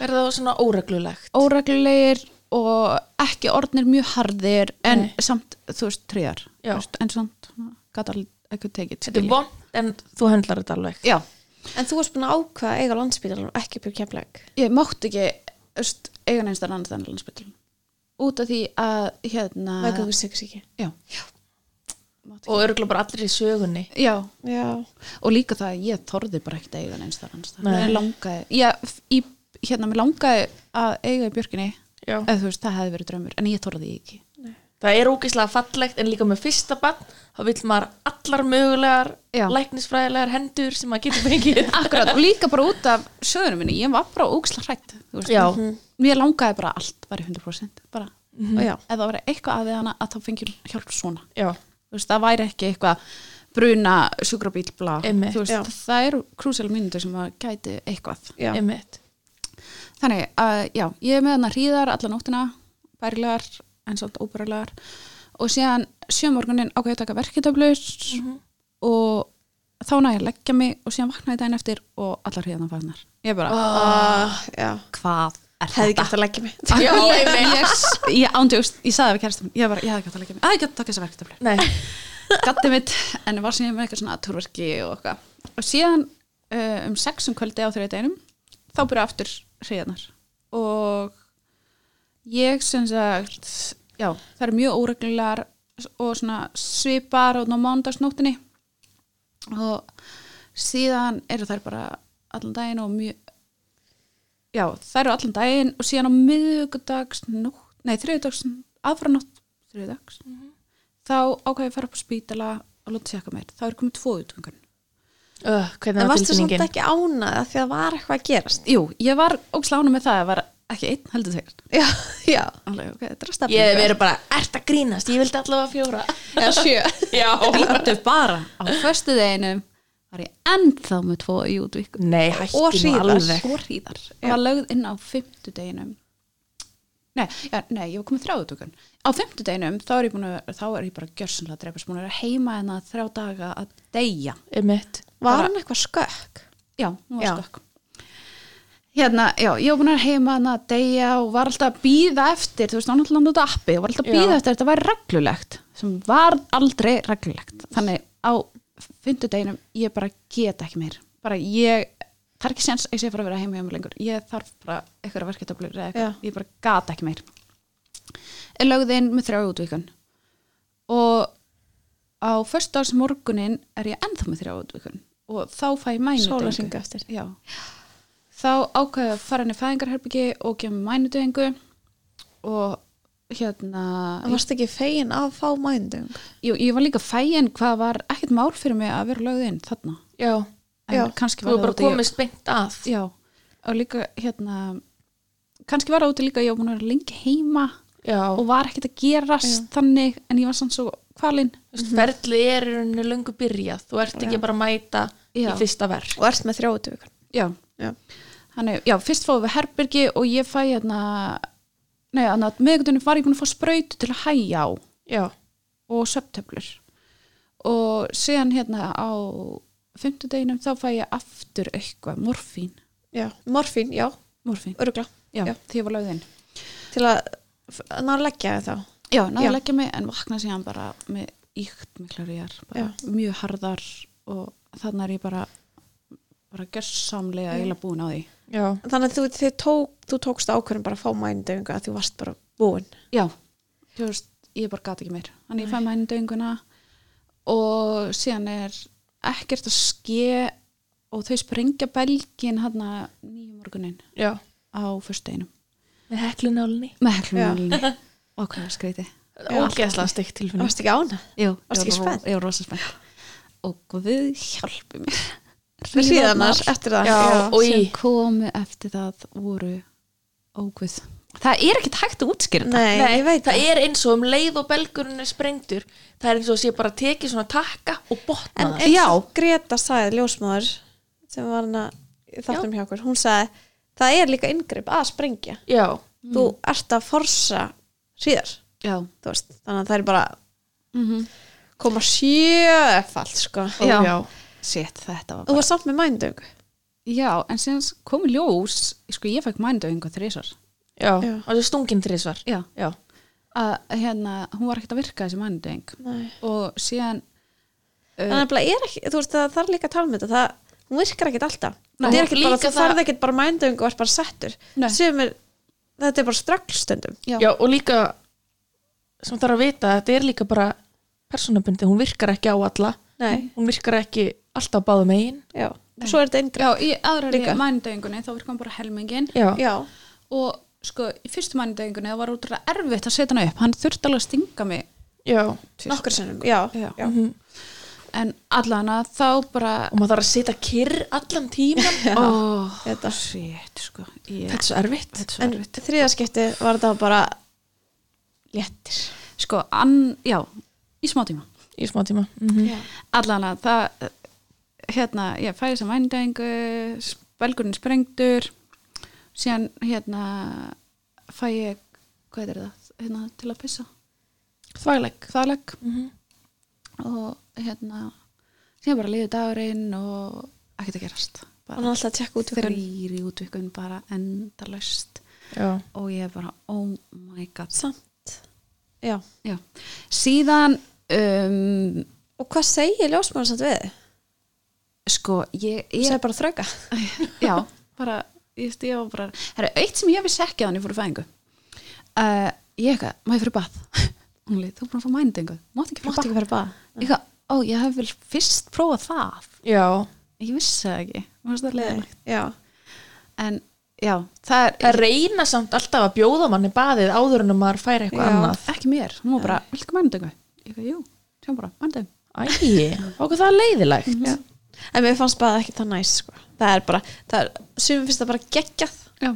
[SPEAKER 1] Er það svona óreglulegt?
[SPEAKER 3] óreglulegir og ekki orðnir mjög harðir en samt, þú veist, tríðar
[SPEAKER 1] Já.
[SPEAKER 3] en samt, gæti alveg ekki tekið
[SPEAKER 1] Þetta er
[SPEAKER 3] skilja.
[SPEAKER 1] vond, en þú hendlar þetta alveg.
[SPEAKER 3] Já,
[SPEAKER 2] En þú varst búin að ákvaða að eiga landsbílarnum ekki upp í kemleg.
[SPEAKER 3] ég mátti ekki þú veist, eiga neins þar annars þannig landsbytl út af því að hérna,
[SPEAKER 2] Meðgöngu sykursíki.
[SPEAKER 3] já,
[SPEAKER 1] Og örgulega bara allir í sögunni.
[SPEAKER 3] já
[SPEAKER 2] Já.
[SPEAKER 3] og líka það að ég þorði bara ekkert að eiga neins þar annars
[SPEAKER 1] Nei.
[SPEAKER 3] þannig ég langaði ég, í, hérna, mér langaði að eiga í björkinni
[SPEAKER 1] Já.
[SPEAKER 3] eða þú veist, það hefði verið draumur en ég þorði því ekki
[SPEAKER 1] Það er ógeðslega fallegt, en líka með fyrsta bann, þá vill maður allar mögulegar,
[SPEAKER 3] Já.
[SPEAKER 1] læknisfræðilegar hendur sem maður getur fengið.
[SPEAKER 3] Akkurat, og líka bara út af söðunum minni, ég var bara óksla hrætt
[SPEAKER 1] Já.
[SPEAKER 3] Mér langaði bara allt, bara í 100% bara.
[SPEAKER 1] Mhm.
[SPEAKER 2] Og já.
[SPEAKER 3] Ef það væri eitthvað að við hana að þá fengi hún hjálp svona
[SPEAKER 1] Já,
[SPEAKER 3] Þú veist, Það væri ekki eitthvað bruna sjúkrabíl bla
[SPEAKER 1] Einmitt.
[SPEAKER 3] Þú
[SPEAKER 2] Já.
[SPEAKER 3] veist, Það eru krúsel mínútur sem að gæti eitthvað
[SPEAKER 2] Já.
[SPEAKER 1] einmitt.
[SPEAKER 3] Þannig, að já, ég er með hana hríðar alla nóttina, bærilegar en svolítið óbærilegar og síðan sjömorgunin ákveði að taka verkitöflur
[SPEAKER 1] Mhm.
[SPEAKER 3] og þá næði ég að leggja mig og síðan vaknaði daginn eftir og allar hríðan fagnar. Ég bara,
[SPEAKER 2] Uh, já.
[SPEAKER 3] hvað er
[SPEAKER 2] Hefði
[SPEAKER 3] þetta?
[SPEAKER 2] gett að leggja mig.
[SPEAKER 1] Já,
[SPEAKER 3] ég,
[SPEAKER 1] einmitt.
[SPEAKER 3] ég, ég ándjóst, ég sagði við kæristum, ég bara, ég hefði gætt að leggja mig, að ég gætt að taka þessa verkitöflur
[SPEAKER 1] Nei,
[SPEAKER 3] gatti mitt, en var síðan með eitthvað svona túrverki og eitthvað og síðan uh, um sex um kvöldi á þriðja deginum þá byrja aftur hreiðarnar og ég sem sagt já, það eru mjög óreglulegar og svona svipar og á mándagsnóttinni og síðan eru þær bara allan daginn og mjög já, þær eru allan daginn og síðan á miðvikudags nótt, nei, þriðudags aðfranótt, þriðudags þá ákvæði ég að fara upp á spítala og láta sér mér, þá er komið tvo utungun
[SPEAKER 1] uh, hvernig
[SPEAKER 2] En
[SPEAKER 1] var
[SPEAKER 2] varstu
[SPEAKER 1] tilfinningin?
[SPEAKER 2] samt ekki ánaða því að það var eitthvað að gerast?
[SPEAKER 3] Jú, ég var ógslána með það að var ekki einn heldur þegar
[SPEAKER 2] Já, já.
[SPEAKER 3] Alveg, ok, þetta er að stefna
[SPEAKER 1] Ég hef verið bara, ert að grínast, ég vildi allavega fjóra.
[SPEAKER 2] Eða sjö.
[SPEAKER 1] Já.
[SPEAKER 3] Lítu bara á föstu deginum var ég ennþá með tvo í útvíkun
[SPEAKER 1] Nei, hætti
[SPEAKER 2] Og
[SPEAKER 1] nú
[SPEAKER 2] hríðar.
[SPEAKER 1] alveg.
[SPEAKER 3] og hríðar og var lögð inn á fymtu deginum Nei, já, nei, ég var komið þrjá utungun Á fymtu deginum, þá er ég, búin að, þá er ég bara gjörsanlega að drepa sem hún er heima en að þrjá daga að deyja
[SPEAKER 1] Einmitt.
[SPEAKER 2] Var hann eitthvað skökk?
[SPEAKER 3] Já, hún var
[SPEAKER 1] Já.
[SPEAKER 3] skökk. Hérna, já, ég var búin að vera heima hann að deyja og var alltaf að býða eftir, þú veist, hún alltaf að nota appi og var alltaf að
[SPEAKER 1] Já.
[SPEAKER 3] býða eftir að þetta væri reglulegt sem var aldrei reglulegt. Þannig á fyndudeginum, ég bara get ekki meir. Bara ég, það er ekki sens að ég sé fara að vera heima hjá mér lengur. Ég þarf bara eitthvað að verka eða eitthvað. Ég bara gat ekki meir. Ég lögði inn með þrjá útvíkun og á föstudags morgunin er ég ennþá með þrjá útvíkun og þá fæ ég mænudengu.
[SPEAKER 2] Sólarhringa eftir.
[SPEAKER 3] Já. Þá ákveði ég að fara inn í fæðingarherbyggi og gefa mér mænudengu og hérna
[SPEAKER 2] En varstu ekki fegin að fá mændung?
[SPEAKER 3] ég, ég var líka fæin hvað var ekkert mál fyrir mig að vera lögð inn þarna
[SPEAKER 1] Já.
[SPEAKER 3] en
[SPEAKER 2] Já,
[SPEAKER 1] Þú
[SPEAKER 3] kannski var
[SPEAKER 1] er
[SPEAKER 3] það
[SPEAKER 1] bara
[SPEAKER 3] út í-
[SPEAKER 1] komist beint að.
[SPEAKER 3] já, og líka hérna kannski var það úti líka að ég var búin að vera lengi heima
[SPEAKER 1] Já.
[SPEAKER 3] og var ekkert að gerast þannig en ég var samt svo kvalinn
[SPEAKER 1] Þú veist, ferlið er í rauninni löngu byrjað þú ert ekki bara að mæta
[SPEAKER 3] Já.
[SPEAKER 1] í fyrsta verk
[SPEAKER 2] Og ert með þrjóðu vikar?
[SPEAKER 3] já,
[SPEAKER 2] Já.
[SPEAKER 3] Þannig, já, fyrst fóðum við herbyrgi og ég fæ hérna, nei, þannig að meðgundunni var ég búin að fá sprautu til að hæja á
[SPEAKER 1] já,
[SPEAKER 3] og söptöflur. Og síðan hérna á fymtudeginum þá fæ ég aftur eitthvað, morfín,
[SPEAKER 2] Já. Morfín, já.
[SPEAKER 3] morfín,
[SPEAKER 2] Örugla.
[SPEAKER 3] já,
[SPEAKER 2] Já.
[SPEAKER 3] því ég var lögðin.
[SPEAKER 2] Til að f- ná að leggja þér þá.
[SPEAKER 3] Já, náðu
[SPEAKER 2] Já.
[SPEAKER 3] að leggja mig en vakna síðan bara með íkt miklar ég er, bara mjög harðar og þannig er ég bara, bara gjörsamlega eila búin á því.
[SPEAKER 1] já,
[SPEAKER 2] Þannig að þú, þið tók, þú tókst ákvörðum bara að fá mændunga að þú varst bara búin.
[SPEAKER 3] Já, þú veist, ég bara gat ekki meir. Þannig ég fæ mæni dönguna og síðan er ekkert að ske og þau sprengja belgin hann að nýjum morgunin
[SPEAKER 1] já
[SPEAKER 3] á fyrsteinum.
[SPEAKER 1] með heklunálinni
[SPEAKER 3] Með heklumjólinni og hvað er skreiti.
[SPEAKER 1] ógeðslega steikt
[SPEAKER 2] Það
[SPEAKER 1] tilfinning
[SPEAKER 2] varst ekki ána.
[SPEAKER 3] Jú,
[SPEAKER 2] Varstu ekki
[SPEAKER 3] ég var ro-
[SPEAKER 2] spennt?
[SPEAKER 3] Ég var rosa spennt. Og guð hjálpi mér.
[SPEAKER 2] Hríðarnar eftir það.
[SPEAKER 1] Já. og í.
[SPEAKER 3] sem komu eftir það voru óguð. Það er ekkert hægt að útskýra þetta.
[SPEAKER 2] Nei, ég veit
[SPEAKER 1] það er eins og um leið og belgurinn er sprengdur það er eins og sé bara tekið svona takka og botna
[SPEAKER 2] En
[SPEAKER 1] það
[SPEAKER 2] eins
[SPEAKER 3] Já.
[SPEAKER 2] og Greta sagði ljósmaður sem var hana í þáttum hjá okkur, hún sagði það er líka yngripp að sprengja.
[SPEAKER 1] já,
[SPEAKER 2] Þú ert að forsa síðar
[SPEAKER 3] já,
[SPEAKER 2] þú veist, þannig að það er bara
[SPEAKER 3] Mhm.
[SPEAKER 2] koma sjöfald sko.
[SPEAKER 1] Ó,
[SPEAKER 3] Já.
[SPEAKER 1] já.
[SPEAKER 3] shit, þetta var
[SPEAKER 2] Þú
[SPEAKER 3] bara
[SPEAKER 2] var samt með mændöng
[SPEAKER 3] já, en síðan kom í ljós sko, ég fekk mændauðingu þrísar
[SPEAKER 1] Já,
[SPEAKER 2] Já.
[SPEAKER 1] og þessu stungin þrísvar
[SPEAKER 3] já,
[SPEAKER 1] Já,
[SPEAKER 3] að hérna, hún var ekkert að virka þessi mændauðing
[SPEAKER 2] Þannig
[SPEAKER 3] og síðan Eh.
[SPEAKER 2] að bara er ekki, þú veist, það þarf líka að tala með þetta það, hún virkar ekkit alltaf
[SPEAKER 3] Nei,
[SPEAKER 2] það er ekkit bara,
[SPEAKER 1] líka
[SPEAKER 2] þú
[SPEAKER 1] það-
[SPEAKER 2] þarf ekkit bara mændöng og er bara settur
[SPEAKER 3] Nei.
[SPEAKER 2] Sumir, þetta er bara strögglstundum
[SPEAKER 3] já,
[SPEAKER 1] já og líka sem þarf að vita að þetta er líka bara persónubundi, hún virkar ekki á alla
[SPEAKER 2] Nei,
[SPEAKER 1] hún virkar ekki alltaf báðu megin
[SPEAKER 2] já, svo er þetta eingra
[SPEAKER 3] já í aðrari
[SPEAKER 2] Líka.
[SPEAKER 3] mændauðingunni þá virka hún bara helmingin
[SPEAKER 1] Já,
[SPEAKER 2] Já,
[SPEAKER 3] og sko, í fyrstu mændauðingunni það var útrúlega erfitt að setja hana upp hann þurfti alveg að stinga mig
[SPEAKER 1] já
[SPEAKER 3] tvisvar.
[SPEAKER 2] nokkur sinnum, já, já.
[SPEAKER 3] Já. en allan að þá bara
[SPEAKER 1] og maður þarf að sitja kyrr allan tíman
[SPEAKER 3] oh,
[SPEAKER 2] Þetta.
[SPEAKER 3] shit, sko ég,
[SPEAKER 1] Þetta er svo erfitt
[SPEAKER 3] þetta
[SPEAKER 2] En
[SPEAKER 3] var-
[SPEAKER 2] þriðaskipti var þetta bara léttir
[SPEAKER 3] sko, an, já, í smá tíma
[SPEAKER 1] í smá tíma mm
[SPEAKER 2] Mhm.
[SPEAKER 1] -hmm.
[SPEAKER 3] allan að það hérna, ég fæði þess að mændæðingu belgurinn sprengdur síðan hérna fæ ég, hvað er það hérna, til að pissa,
[SPEAKER 1] Þvægleg
[SPEAKER 3] þaðleg
[SPEAKER 1] mm -hmm.
[SPEAKER 3] og hérna síðan bara liðu dagurinn og ekkert að gerast
[SPEAKER 2] Hann er
[SPEAKER 3] bara
[SPEAKER 2] alltaf að tjekka út fyrir
[SPEAKER 3] þrýri útvikun bara endalaust
[SPEAKER 1] Já,
[SPEAKER 3] og ég bara, oh my god
[SPEAKER 2] Samt Já,
[SPEAKER 3] já. síðan um,
[SPEAKER 2] og hvað segir ljósmaður samt við?
[SPEAKER 3] sko, ég,
[SPEAKER 2] Ég
[SPEAKER 3] ég
[SPEAKER 2] segi bara þrauka
[SPEAKER 3] já, bara, ég veist, ég var bara það er eitt sem ég hefði sekkið hann ég fór í fæðingu uh, ég eitthvað, má ég fyrir bað hún leið, þú er búin að fá mændingu mátt ekki fyrir
[SPEAKER 2] Máttu
[SPEAKER 3] bað
[SPEAKER 2] ekki fyrir bað
[SPEAKER 3] ég eitthvað, ó, ég hef vel fyrst prófað það
[SPEAKER 1] já
[SPEAKER 3] ég vissi það ekki, mér finnst það leðilegt
[SPEAKER 2] Já,
[SPEAKER 3] en já, það er
[SPEAKER 1] Það reyna samt alltaf að bjóða manni baðið áður en að maður fær eitthvað
[SPEAKER 2] Já.
[SPEAKER 1] annað
[SPEAKER 3] ekki mér, hún var bara, viltu ekki mændingu ég eitthvað, jú, sjá bara, mændingu
[SPEAKER 1] Æi, okkur það er leiðilegt
[SPEAKER 3] Mhm.
[SPEAKER 2] já En mér fannst bara ekki það næs sko. Það er bara, það er, sumum finnst það bara geggjað
[SPEAKER 3] já,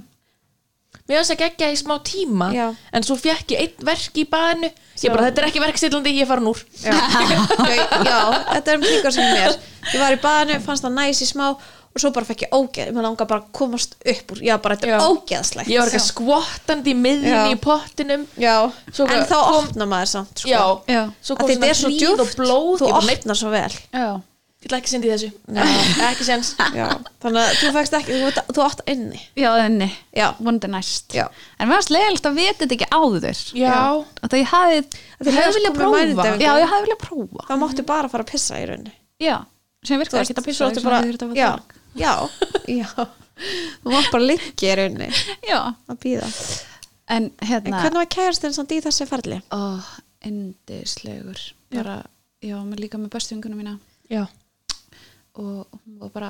[SPEAKER 1] Mér finnst ekki ekki í smá tíma
[SPEAKER 2] Já.
[SPEAKER 1] en svo fekk ég einn verk í baðinu ég bara, þetta er ekki verkstillandi, ég er farin úr
[SPEAKER 2] Já, já, já þetta er um líka sem mér Ég var í baðinu, fannst það næs í smá og svo bara fekk ég ógeð, mér langar bara að komast upp úr, já bara þetta
[SPEAKER 1] Já.
[SPEAKER 2] er ógeðslegt
[SPEAKER 1] Ég var ekki skvottandi í miðjunni
[SPEAKER 2] Já.
[SPEAKER 1] í pottinum
[SPEAKER 2] Já,
[SPEAKER 1] Svo
[SPEAKER 2] en
[SPEAKER 1] kom-
[SPEAKER 2] þá opna maður samt sko.
[SPEAKER 1] Já,
[SPEAKER 3] Já.
[SPEAKER 1] svo
[SPEAKER 2] að
[SPEAKER 1] kom
[SPEAKER 2] þetta
[SPEAKER 1] svona
[SPEAKER 2] er svo
[SPEAKER 1] hríð og
[SPEAKER 2] djúft
[SPEAKER 1] blóð
[SPEAKER 2] þú
[SPEAKER 1] Ég bara,
[SPEAKER 2] opnar svo vel
[SPEAKER 3] já,
[SPEAKER 1] nei, ég ætla ekki sendið þessu Nei, ekki sens
[SPEAKER 2] já. þannig að þú fækst ekki, þú, þú átt inni
[SPEAKER 3] já, þenni
[SPEAKER 2] já,
[SPEAKER 3] vondi næst
[SPEAKER 2] Já.
[SPEAKER 3] en mér finnst leðilegt að veta þetta ekki áður
[SPEAKER 1] Já,
[SPEAKER 3] að það ég hafi
[SPEAKER 2] Að þið hefði komið mænudagur.
[SPEAKER 3] já, ég hafi viljað prófa
[SPEAKER 2] þá máttu bara fara að pissa í rauninni
[SPEAKER 3] Já, sem virkar
[SPEAKER 2] veist,
[SPEAKER 3] ekkert að
[SPEAKER 2] svo
[SPEAKER 3] pissa
[SPEAKER 2] ertu
[SPEAKER 3] þess að þið þurft að
[SPEAKER 2] já,
[SPEAKER 3] fara þorg.
[SPEAKER 2] já, já þú mátt bara liggja í rauninni
[SPEAKER 3] Já,
[SPEAKER 2] að býða
[SPEAKER 3] en
[SPEAKER 2] en
[SPEAKER 3] hérna
[SPEAKER 2] hvernig var kærastinn samt í þessi ferli?
[SPEAKER 3] Ó, endislegur bara, já, með líka með bestungunum mína
[SPEAKER 1] já
[SPEAKER 3] og hún var bara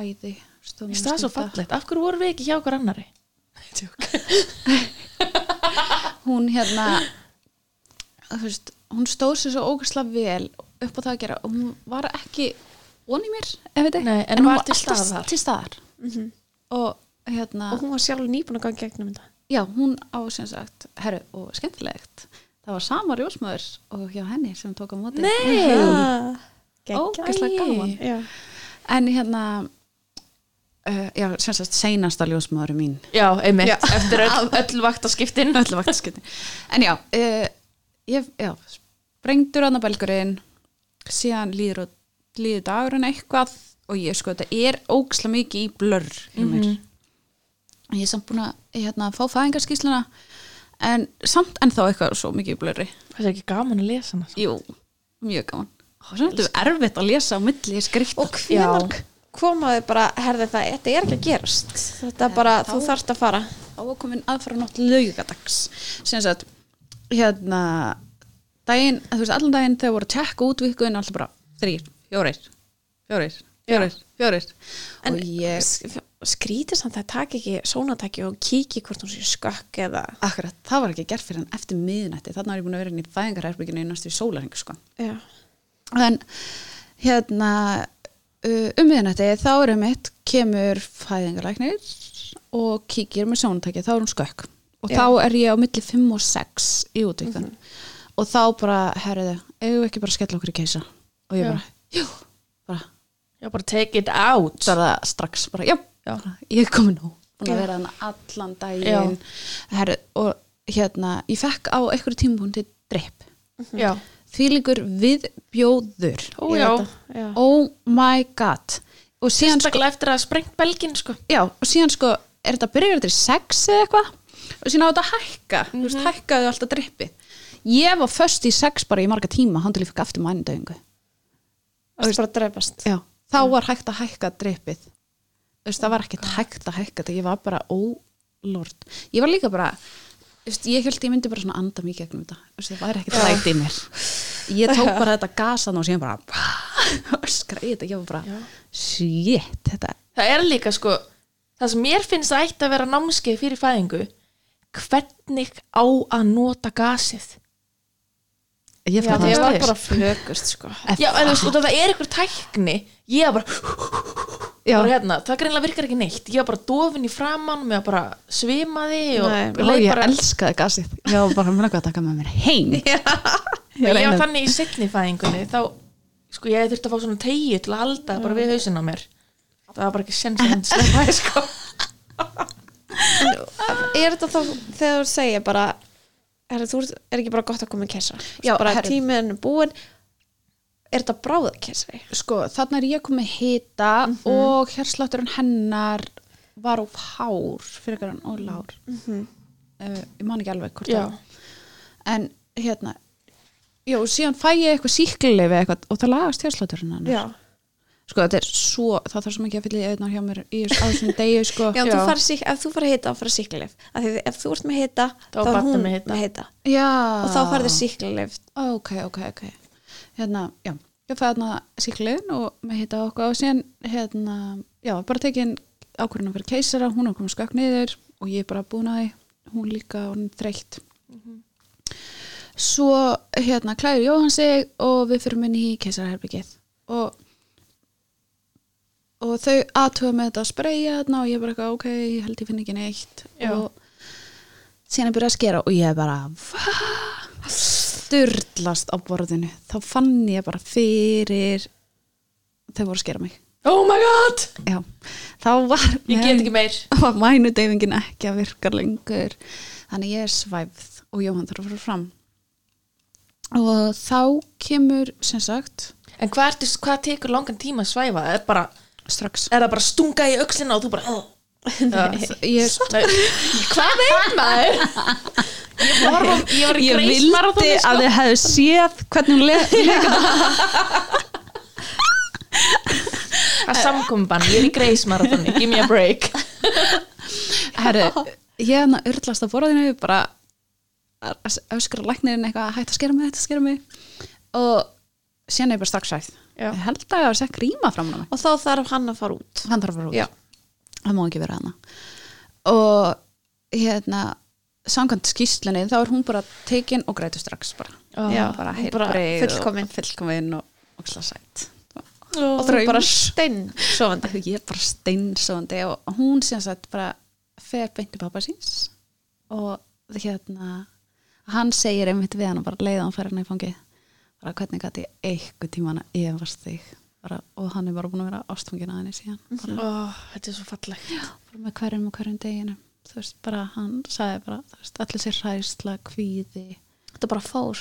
[SPEAKER 3] æði stóð
[SPEAKER 1] Mér
[SPEAKER 3] mér
[SPEAKER 1] finnst það svo
[SPEAKER 3] stunda.
[SPEAKER 1] fallegt, af hverju vorum við ekki hjá okkur annari?
[SPEAKER 3] Hún hérna þú veist, hún stóð sér svo ógæslega vel upp á það að gera og hún var ekki onni mér, ef veit
[SPEAKER 1] Nei, en
[SPEAKER 3] hún
[SPEAKER 1] var
[SPEAKER 3] var
[SPEAKER 1] til
[SPEAKER 3] alltaf
[SPEAKER 1] staðar.
[SPEAKER 3] til staðar og hérna
[SPEAKER 2] og hún var sjálf nýbúin að ganga gegnum þetta
[SPEAKER 3] Já, hún á sem sagt, herru, og skemmtilegt, það var sama rjósmöður og hjá henni sem tók á móti.
[SPEAKER 1] Nei,
[SPEAKER 2] geggjað
[SPEAKER 3] Ógæslega gaman.
[SPEAKER 2] Ah. já,
[SPEAKER 3] En hérna, uh, já, sem sagt, seinasta ljósmöður mín.
[SPEAKER 1] já, einmitt
[SPEAKER 2] Já.
[SPEAKER 1] Eftir öll, öll vaktaskiptin
[SPEAKER 3] Öllu vaktaskytti. En já, uh, ég, já, sprengdur annar belgurinn, síðan líður, og, líður dagurinn eitthvað og ég sko, þetta er ógæslega mikið í blörr hjá mér.
[SPEAKER 1] Mhm.
[SPEAKER 3] Ég er samt búin að, hérna, fá fæðingarskísluna, en samt ennþá eitthvað svo mikið í blörri.
[SPEAKER 1] Það er ekki gaman að lesa hana
[SPEAKER 3] Jú, mjög gaman. Það er þetta erfitt að lesa á milli skrifta.
[SPEAKER 2] og hvernig komaði bara herði það, þetta er ekki að gerast þetta
[SPEAKER 3] Eh,
[SPEAKER 2] er bara, þú þarft að fara
[SPEAKER 3] þá var komin aðfara nótt laugadags. Sem sagt, hérna, daginn, þú veist, allan daginn þegar voru að tekka út vikuðin alltaf bara þrýr, fjórir, fjórir, fjórir, fjórir.
[SPEAKER 2] en
[SPEAKER 3] og ég,
[SPEAKER 2] ég... skrítið samt að taka ekki sónataki og kíki hvort hún sé skökk eða
[SPEAKER 3] akkurat, það var ekki gert fyrir hann eftir miðnætti. Þannig var ég búin að vera inn í fæðingarherbygginu í næstu sólaringu, sko.
[SPEAKER 2] já,
[SPEAKER 3] en hérna uh, um miðnætti þá er um eitt kemur fæðingalæknir og kíkir með sjónutæki, þá er hún skökk og
[SPEAKER 2] Já.
[SPEAKER 3] þá er ég á milli 5 og 6 í útvikun
[SPEAKER 1] Mhm.
[SPEAKER 3] og þá bara, herriðu, eigum við ekki bara að skella okkur í keisa og ég
[SPEAKER 1] Já.
[SPEAKER 3] bara, jú, bara
[SPEAKER 1] Já, bara take it out
[SPEAKER 3] það strax, bara, já,
[SPEAKER 1] Já.
[SPEAKER 3] bara, ég er komin nú búin
[SPEAKER 2] Já.
[SPEAKER 3] að vera hann allan
[SPEAKER 1] Já.
[SPEAKER 3] daginn herru, og hérna, ég fekk á einhverju tímapunkti dreip.
[SPEAKER 1] já,
[SPEAKER 3] Því líkur viðbjóður.
[SPEAKER 1] ó já
[SPEAKER 2] já.
[SPEAKER 3] Oh my god. Og síðan sko,
[SPEAKER 1] sérstaklega eftir að sprengt belgin sko
[SPEAKER 3] já, og síðan sko, er þetta byrjar þetta í sex eða eitthvað? Og síðan á þetta að hækka, þú veist, hækkaðu alltaf dreipið. Ég var föst í sex bara í marga tíma, hann til ég fekk aftur mænindauðingu.
[SPEAKER 2] Það er bara að dreipast.
[SPEAKER 3] Já, Oh þá var hægt að hækka dreipið Þú veist, það var ekkert hægt að hækka þetta ég var bara ólord ég var líka bara, þú veist, ég held ég myndi bara svona anda mikið gegnum þetta Þú veist, það var ekkert læti í mér ég tók bara þetta gasan og síðan bara öskraði þetta, ég var bara shit, þetta
[SPEAKER 1] það er líka sko það sem mér finnst að ætti að vera námskeið fyrir fæðingu hvernig á að nota gasið
[SPEAKER 3] ég
[SPEAKER 2] Já,
[SPEAKER 3] fann
[SPEAKER 2] það var
[SPEAKER 3] það
[SPEAKER 2] bara flökust, sko.
[SPEAKER 1] já, en þú veist, og það er einhver tækni ég var bara,
[SPEAKER 3] Já.
[SPEAKER 1] bara hérna, það greinlega virkar ekki neitt ég var bara dofin í framann, mér var bara svimaði og
[SPEAKER 2] Nei,
[SPEAKER 1] leið
[SPEAKER 3] og ég
[SPEAKER 1] bara,
[SPEAKER 3] elskaði gasið ég var bara mér langaði að taka með mér heim já,
[SPEAKER 1] ég var þannig í setni fæðingunni þá, sko, ég þurfti að fá svona tegju til að alda bara við hausinn á mér það var bara ekki sens að sleppa því, sko.
[SPEAKER 2] Er þetta þá, þegar þú segir bara, er, þú, ert- er ekki bara gott að koma í kessa?
[SPEAKER 3] Já,
[SPEAKER 2] bara
[SPEAKER 3] herru.
[SPEAKER 2] tíminn er búinn, er þetta bráða kessa?
[SPEAKER 3] sko, þannig er ég komið hita og hérslátturinn hennar var of hár fyrir ykkur hann og lár uh, ég man ekki alveg hvort
[SPEAKER 1] Já.
[SPEAKER 3] það var. en hérna já, og síðan fæ ég eitthvað síklilefi eitthvað og það lagast hérslátturinn hennar
[SPEAKER 2] Já.
[SPEAKER 3] sko, þetta er svo, það þarf svo mikið að fylla í auðnar hjá mér í þessu- á þessum degi, sko
[SPEAKER 2] Já, en þú
[SPEAKER 1] Já.
[SPEAKER 2] farið sík, ef þú farið að hita, þá farið síklarleif. Af því ef þú ert með hita,
[SPEAKER 1] Þá
[SPEAKER 2] þá,
[SPEAKER 1] er
[SPEAKER 2] er
[SPEAKER 1] barnið
[SPEAKER 2] hún
[SPEAKER 1] með
[SPEAKER 2] með
[SPEAKER 1] hita.
[SPEAKER 2] hita.
[SPEAKER 3] já,
[SPEAKER 2] Og þá farið þið síklarleif.
[SPEAKER 3] ok, ok, ok hérna, já, ég fæði hérna síkliðin og með hitta okkur og síðan hérna, já, bara tekin ákvörðunum fyrir keisara, hún er komið skökk niður og ég er bara búin að því, hún líka og hún er þreytt svo hérna klæður Jóhann sig og við fyrir minni í keisaraherbyggið og og þau aðtöða með þetta að spreja þarna og ég er bara eitthvað, ok, ég held ég finn ekki neitt
[SPEAKER 1] Já.
[SPEAKER 3] og síðan er byrjað að skera og ég er bara "Vá!" sturlast á borðinu þá fann ég bara fyrir þau voru að skera mig
[SPEAKER 1] oh my god,
[SPEAKER 3] já, þá var
[SPEAKER 1] ég get ekki meir
[SPEAKER 3] var mænudeyfingin ekki að virka lengur þannig ég er svæfð og Jóhann þarf að fara fram og þá kemur sem sagt
[SPEAKER 1] En hvað, ertu, hvað tekur langan tíma að svæfa? Er, bara,
[SPEAKER 3] strax
[SPEAKER 1] er það bara stunga í öxlina og þú bara Nei,
[SPEAKER 3] ég,
[SPEAKER 1] Nei. Hvað er maður? Ég var, ég var í
[SPEAKER 3] ég vildi
[SPEAKER 1] greismarathoni
[SPEAKER 3] að
[SPEAKER 1] sko.
[SPEAKER 3] þið hefðu séð hvernig hún leik
[SPEAKER 1] Það er samkomban, ég er í greismarathoni Give me a break
[SPEAKER 3] Herru, ég hann að urlast á borðinu bara að að öskra læknirinn eitthvað hætt að skera mig, hætt að skera mig og síðan er ég bara strax sæð
[SPEAKER 1] Já.
[SPEAKER 3] ég held að ég hafa sett gríma fram á mig
[SPEAKER 2] Og þá þarf hann að fara út.
[SPEAKER 3] hann þarf að fara
[SPEAKER 2] Já.
[SPEAKER 3] út, hann má ekki vera hana og hérna samkvæmt skýslunni þá er hún bara tekin og grætu strax bara,
[SPEAKER 1] Ó.
[SPEAKER 2] Já,
[SPEAKER 3] bara
[SPEAKER 2] hún bara
[SPEAKER 3] heilbreið og-
[SPEAKER 2] fullkomin.
[SPEAKER 3] fullkomin og, og slæsætt
[SPEAKER 2] Og þú
[SPEAKER 3] draumur.
[SPEAKER 2] bara stein sofandi.
[SPEAKER 3] ég er bara steinsóðandi og hún sem sagt bara fer beint í pappa síns og hérna hann segir einmitt við hann og bara leiða hann færa hann í fangið bara hvernig gæti ég einhver tíman að ég varst þig bara, og hann er bara búin að vera ástfangin að henni síðan bara,
[SPEAKER 1] Ó, Þetta er svo fallegt
[SPEAKER 3] bara með hverjum og hverjum deginu þú veist bara hann sagði bara þú veist allir sér hræsla, kvíði
[SPEAKER 2] Þetta bara fór.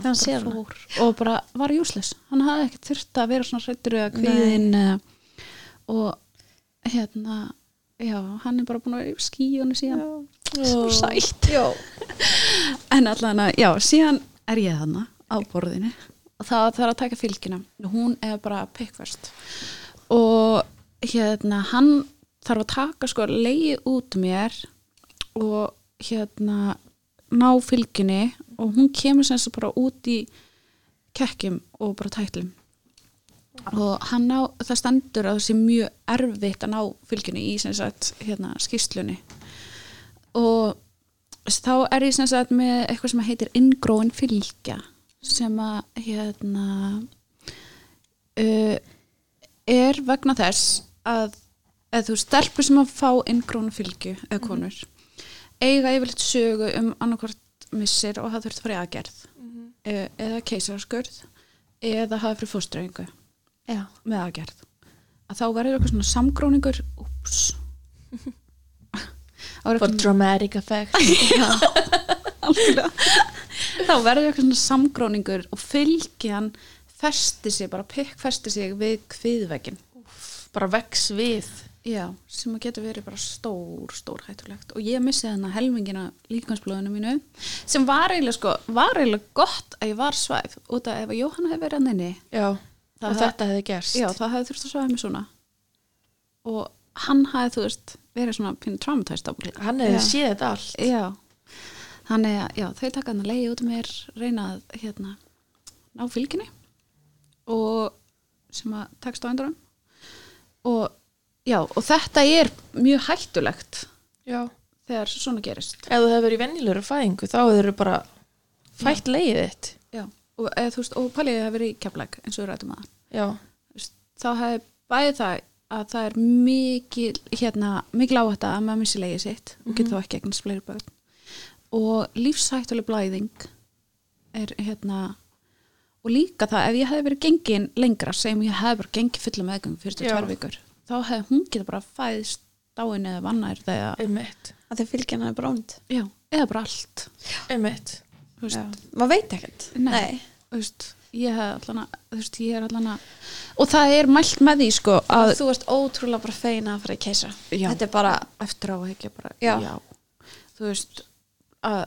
[SPEAKER 2] Þegar hann
[SPEAKER 3] bara
[SPEAKER 2] sér hana.
[SPEAKER 3] fór og bara var júslis hann hafði ekkert þurft að vera svona hrættur eða kvíðin eða, og hérna já, hann er bara búin að vera í skíjónu síðan svo sætt
[SPEAKER 2] Já.
[SPEAKER 3] en allan að, já, síðan er ég þarna á borðinu og það þarf að taka fylgina hún er bara pikkverst og hérna hann þarf að taka sko leið út mér og hérna ná fylginni og hún kemur sem þess að bara út í kekkjum og bara tætlum og hann ná, það stendur að það sé mjög erfitt að ná fylginu í sem sagt hérna skýslunni og þá er ég sem sagt með eitthvað sem heitir inngróin fylgja sem að hérna uh, er vegna þess að eða þú stelpur sem að fá inngróin fylgju eða konur eiga yfirleitt sögu um annarkvort missir og það þurft að fara í aðgerð eh, eða keisaraskurð eða hafa fyrir fóströðingu
[SPEAKER 2] Já.
[SPEAKER 3] með aðgerð að þá verður eitthvað svona samgróningur úps
[SPEAKER 1] For dramatic effect
[SPEAKER 3] Já. algjörlega. þá verður eitthvað svona samgróningur og fylgjan festi sig, bara pikkfesti sig við kviðveginn.
[SPEAKER 1] bara vex við
[SPEAKER 3] Já, sem að getur verið bara stór, stór hættulegt og ég missi þarna helmingina líkansblóðinu mínu sem var eiginlega sko, var eiginlega gott að ég var svæf út að ef að Jóhanna hefði verið hann inni
[SPEAKER 1] já,
[SPEAKER 3] Það
[SPEAKER 1] og
[SPEAKER 3] hef-
[SPEAKER 1] þetta hefði gerst
[SPEAKER 3] Já, það hefði þurft að svæfa mig svona og hann hefði, þú veist, verið svona pínu traumatæst á búin
[SPEAKER 1] hann hefði
[SPEAKER 2] Já.
[SPEAKER 1] séð þetta allt
[SPEAKER 3] Já, þannig að já, þau taka hann að leiði út um mér reyna að hérna, ná fylginni og sem að tekst á endurum og já, og þetta er mjög hættulegt
[SPEAKER 1] já.
[SPEAKER 3] þegar svona gerist
[SPEAKER 1] ef þú hefur verið í venjulegur fæðingu þá hefur þú bara fætt leiðið þitt
[SPEAKER 3] já. og, eða, þú veist, og pæliðið hefur verið í keflæk eins og við um rættum að
[SPEAKER 1] já,
[SPEAKER 3] þá hefði bæði það að það er mikil, hérna, mikil áhætta að maður missi leiði sitt og getur þá ekki eignast fleiri börn og lífshættuleg blæðing er hérna og líka það ef ég hefði verið gengin lengra segjum ég hefði bara gengið fulla meðgöngu fyrstu
[SPEAKER 1] Já.
[SPEAKER 3] tvær vikur þá hefði hún getur bara fæðist dáin eða vannar þegar
[SPEAKER 1] einmitt,
[SPEAKER 2] að þau fylgja hana er brónd
[SPEAKER 3] já, eða bara allt
[SPEAKER 1] einmitt
[SPEAKER 3] þú veist,
[SPEAKER 2] maður veit ekkert
[SPEAKER 3] Nei. þú veist, ég hef allan að þú veist, ég er allan að og það er mælt með því sko að
[SPEAKER 2] Að þú ert ótrúlega bara feina að fara í keisa
[SPEAKER 3] Já.
[SPEAKER 2] þetta er bara
[SPEAKER 3] eftir á að hekja bara
[SPEAKER 2] Já.
[SPEAKER 3] þú veist að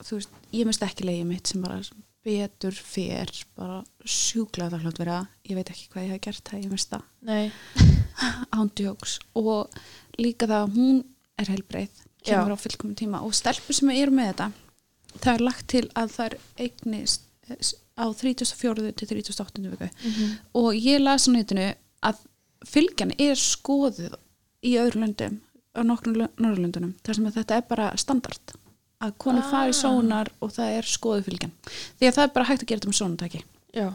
[SPEAKER 3] þú veist, ég misti ekki leiði mitt sem bara betur fer bara sjúklega það hlut vera ég veit ekki hvað ég hef gert það, ég misti það
[SPEAKER 1] nei,
[SPEAKER 3] ándjóks og líka það að hún er helbreið kemur
[SPEAKER 1] Já.
[SPEAKER 3] á fullkomum tíma og stelpur sem eru með þetta það er lagt til að það er eignist eh, s- á 34. til 38. viku og ég las á netinu að fylgjan er skoðuð í öðrum löndum á nokkrum lö- norðurlöndunum þar sem að þetta er bara standard að konu
[SPEAKER 1] Ah.
[SPEAKER 3] ah. fari sónar og það er skoðuð fylgjan því að það er bara hægt að gera þetta með sónutæki
[SPEAKER 1] já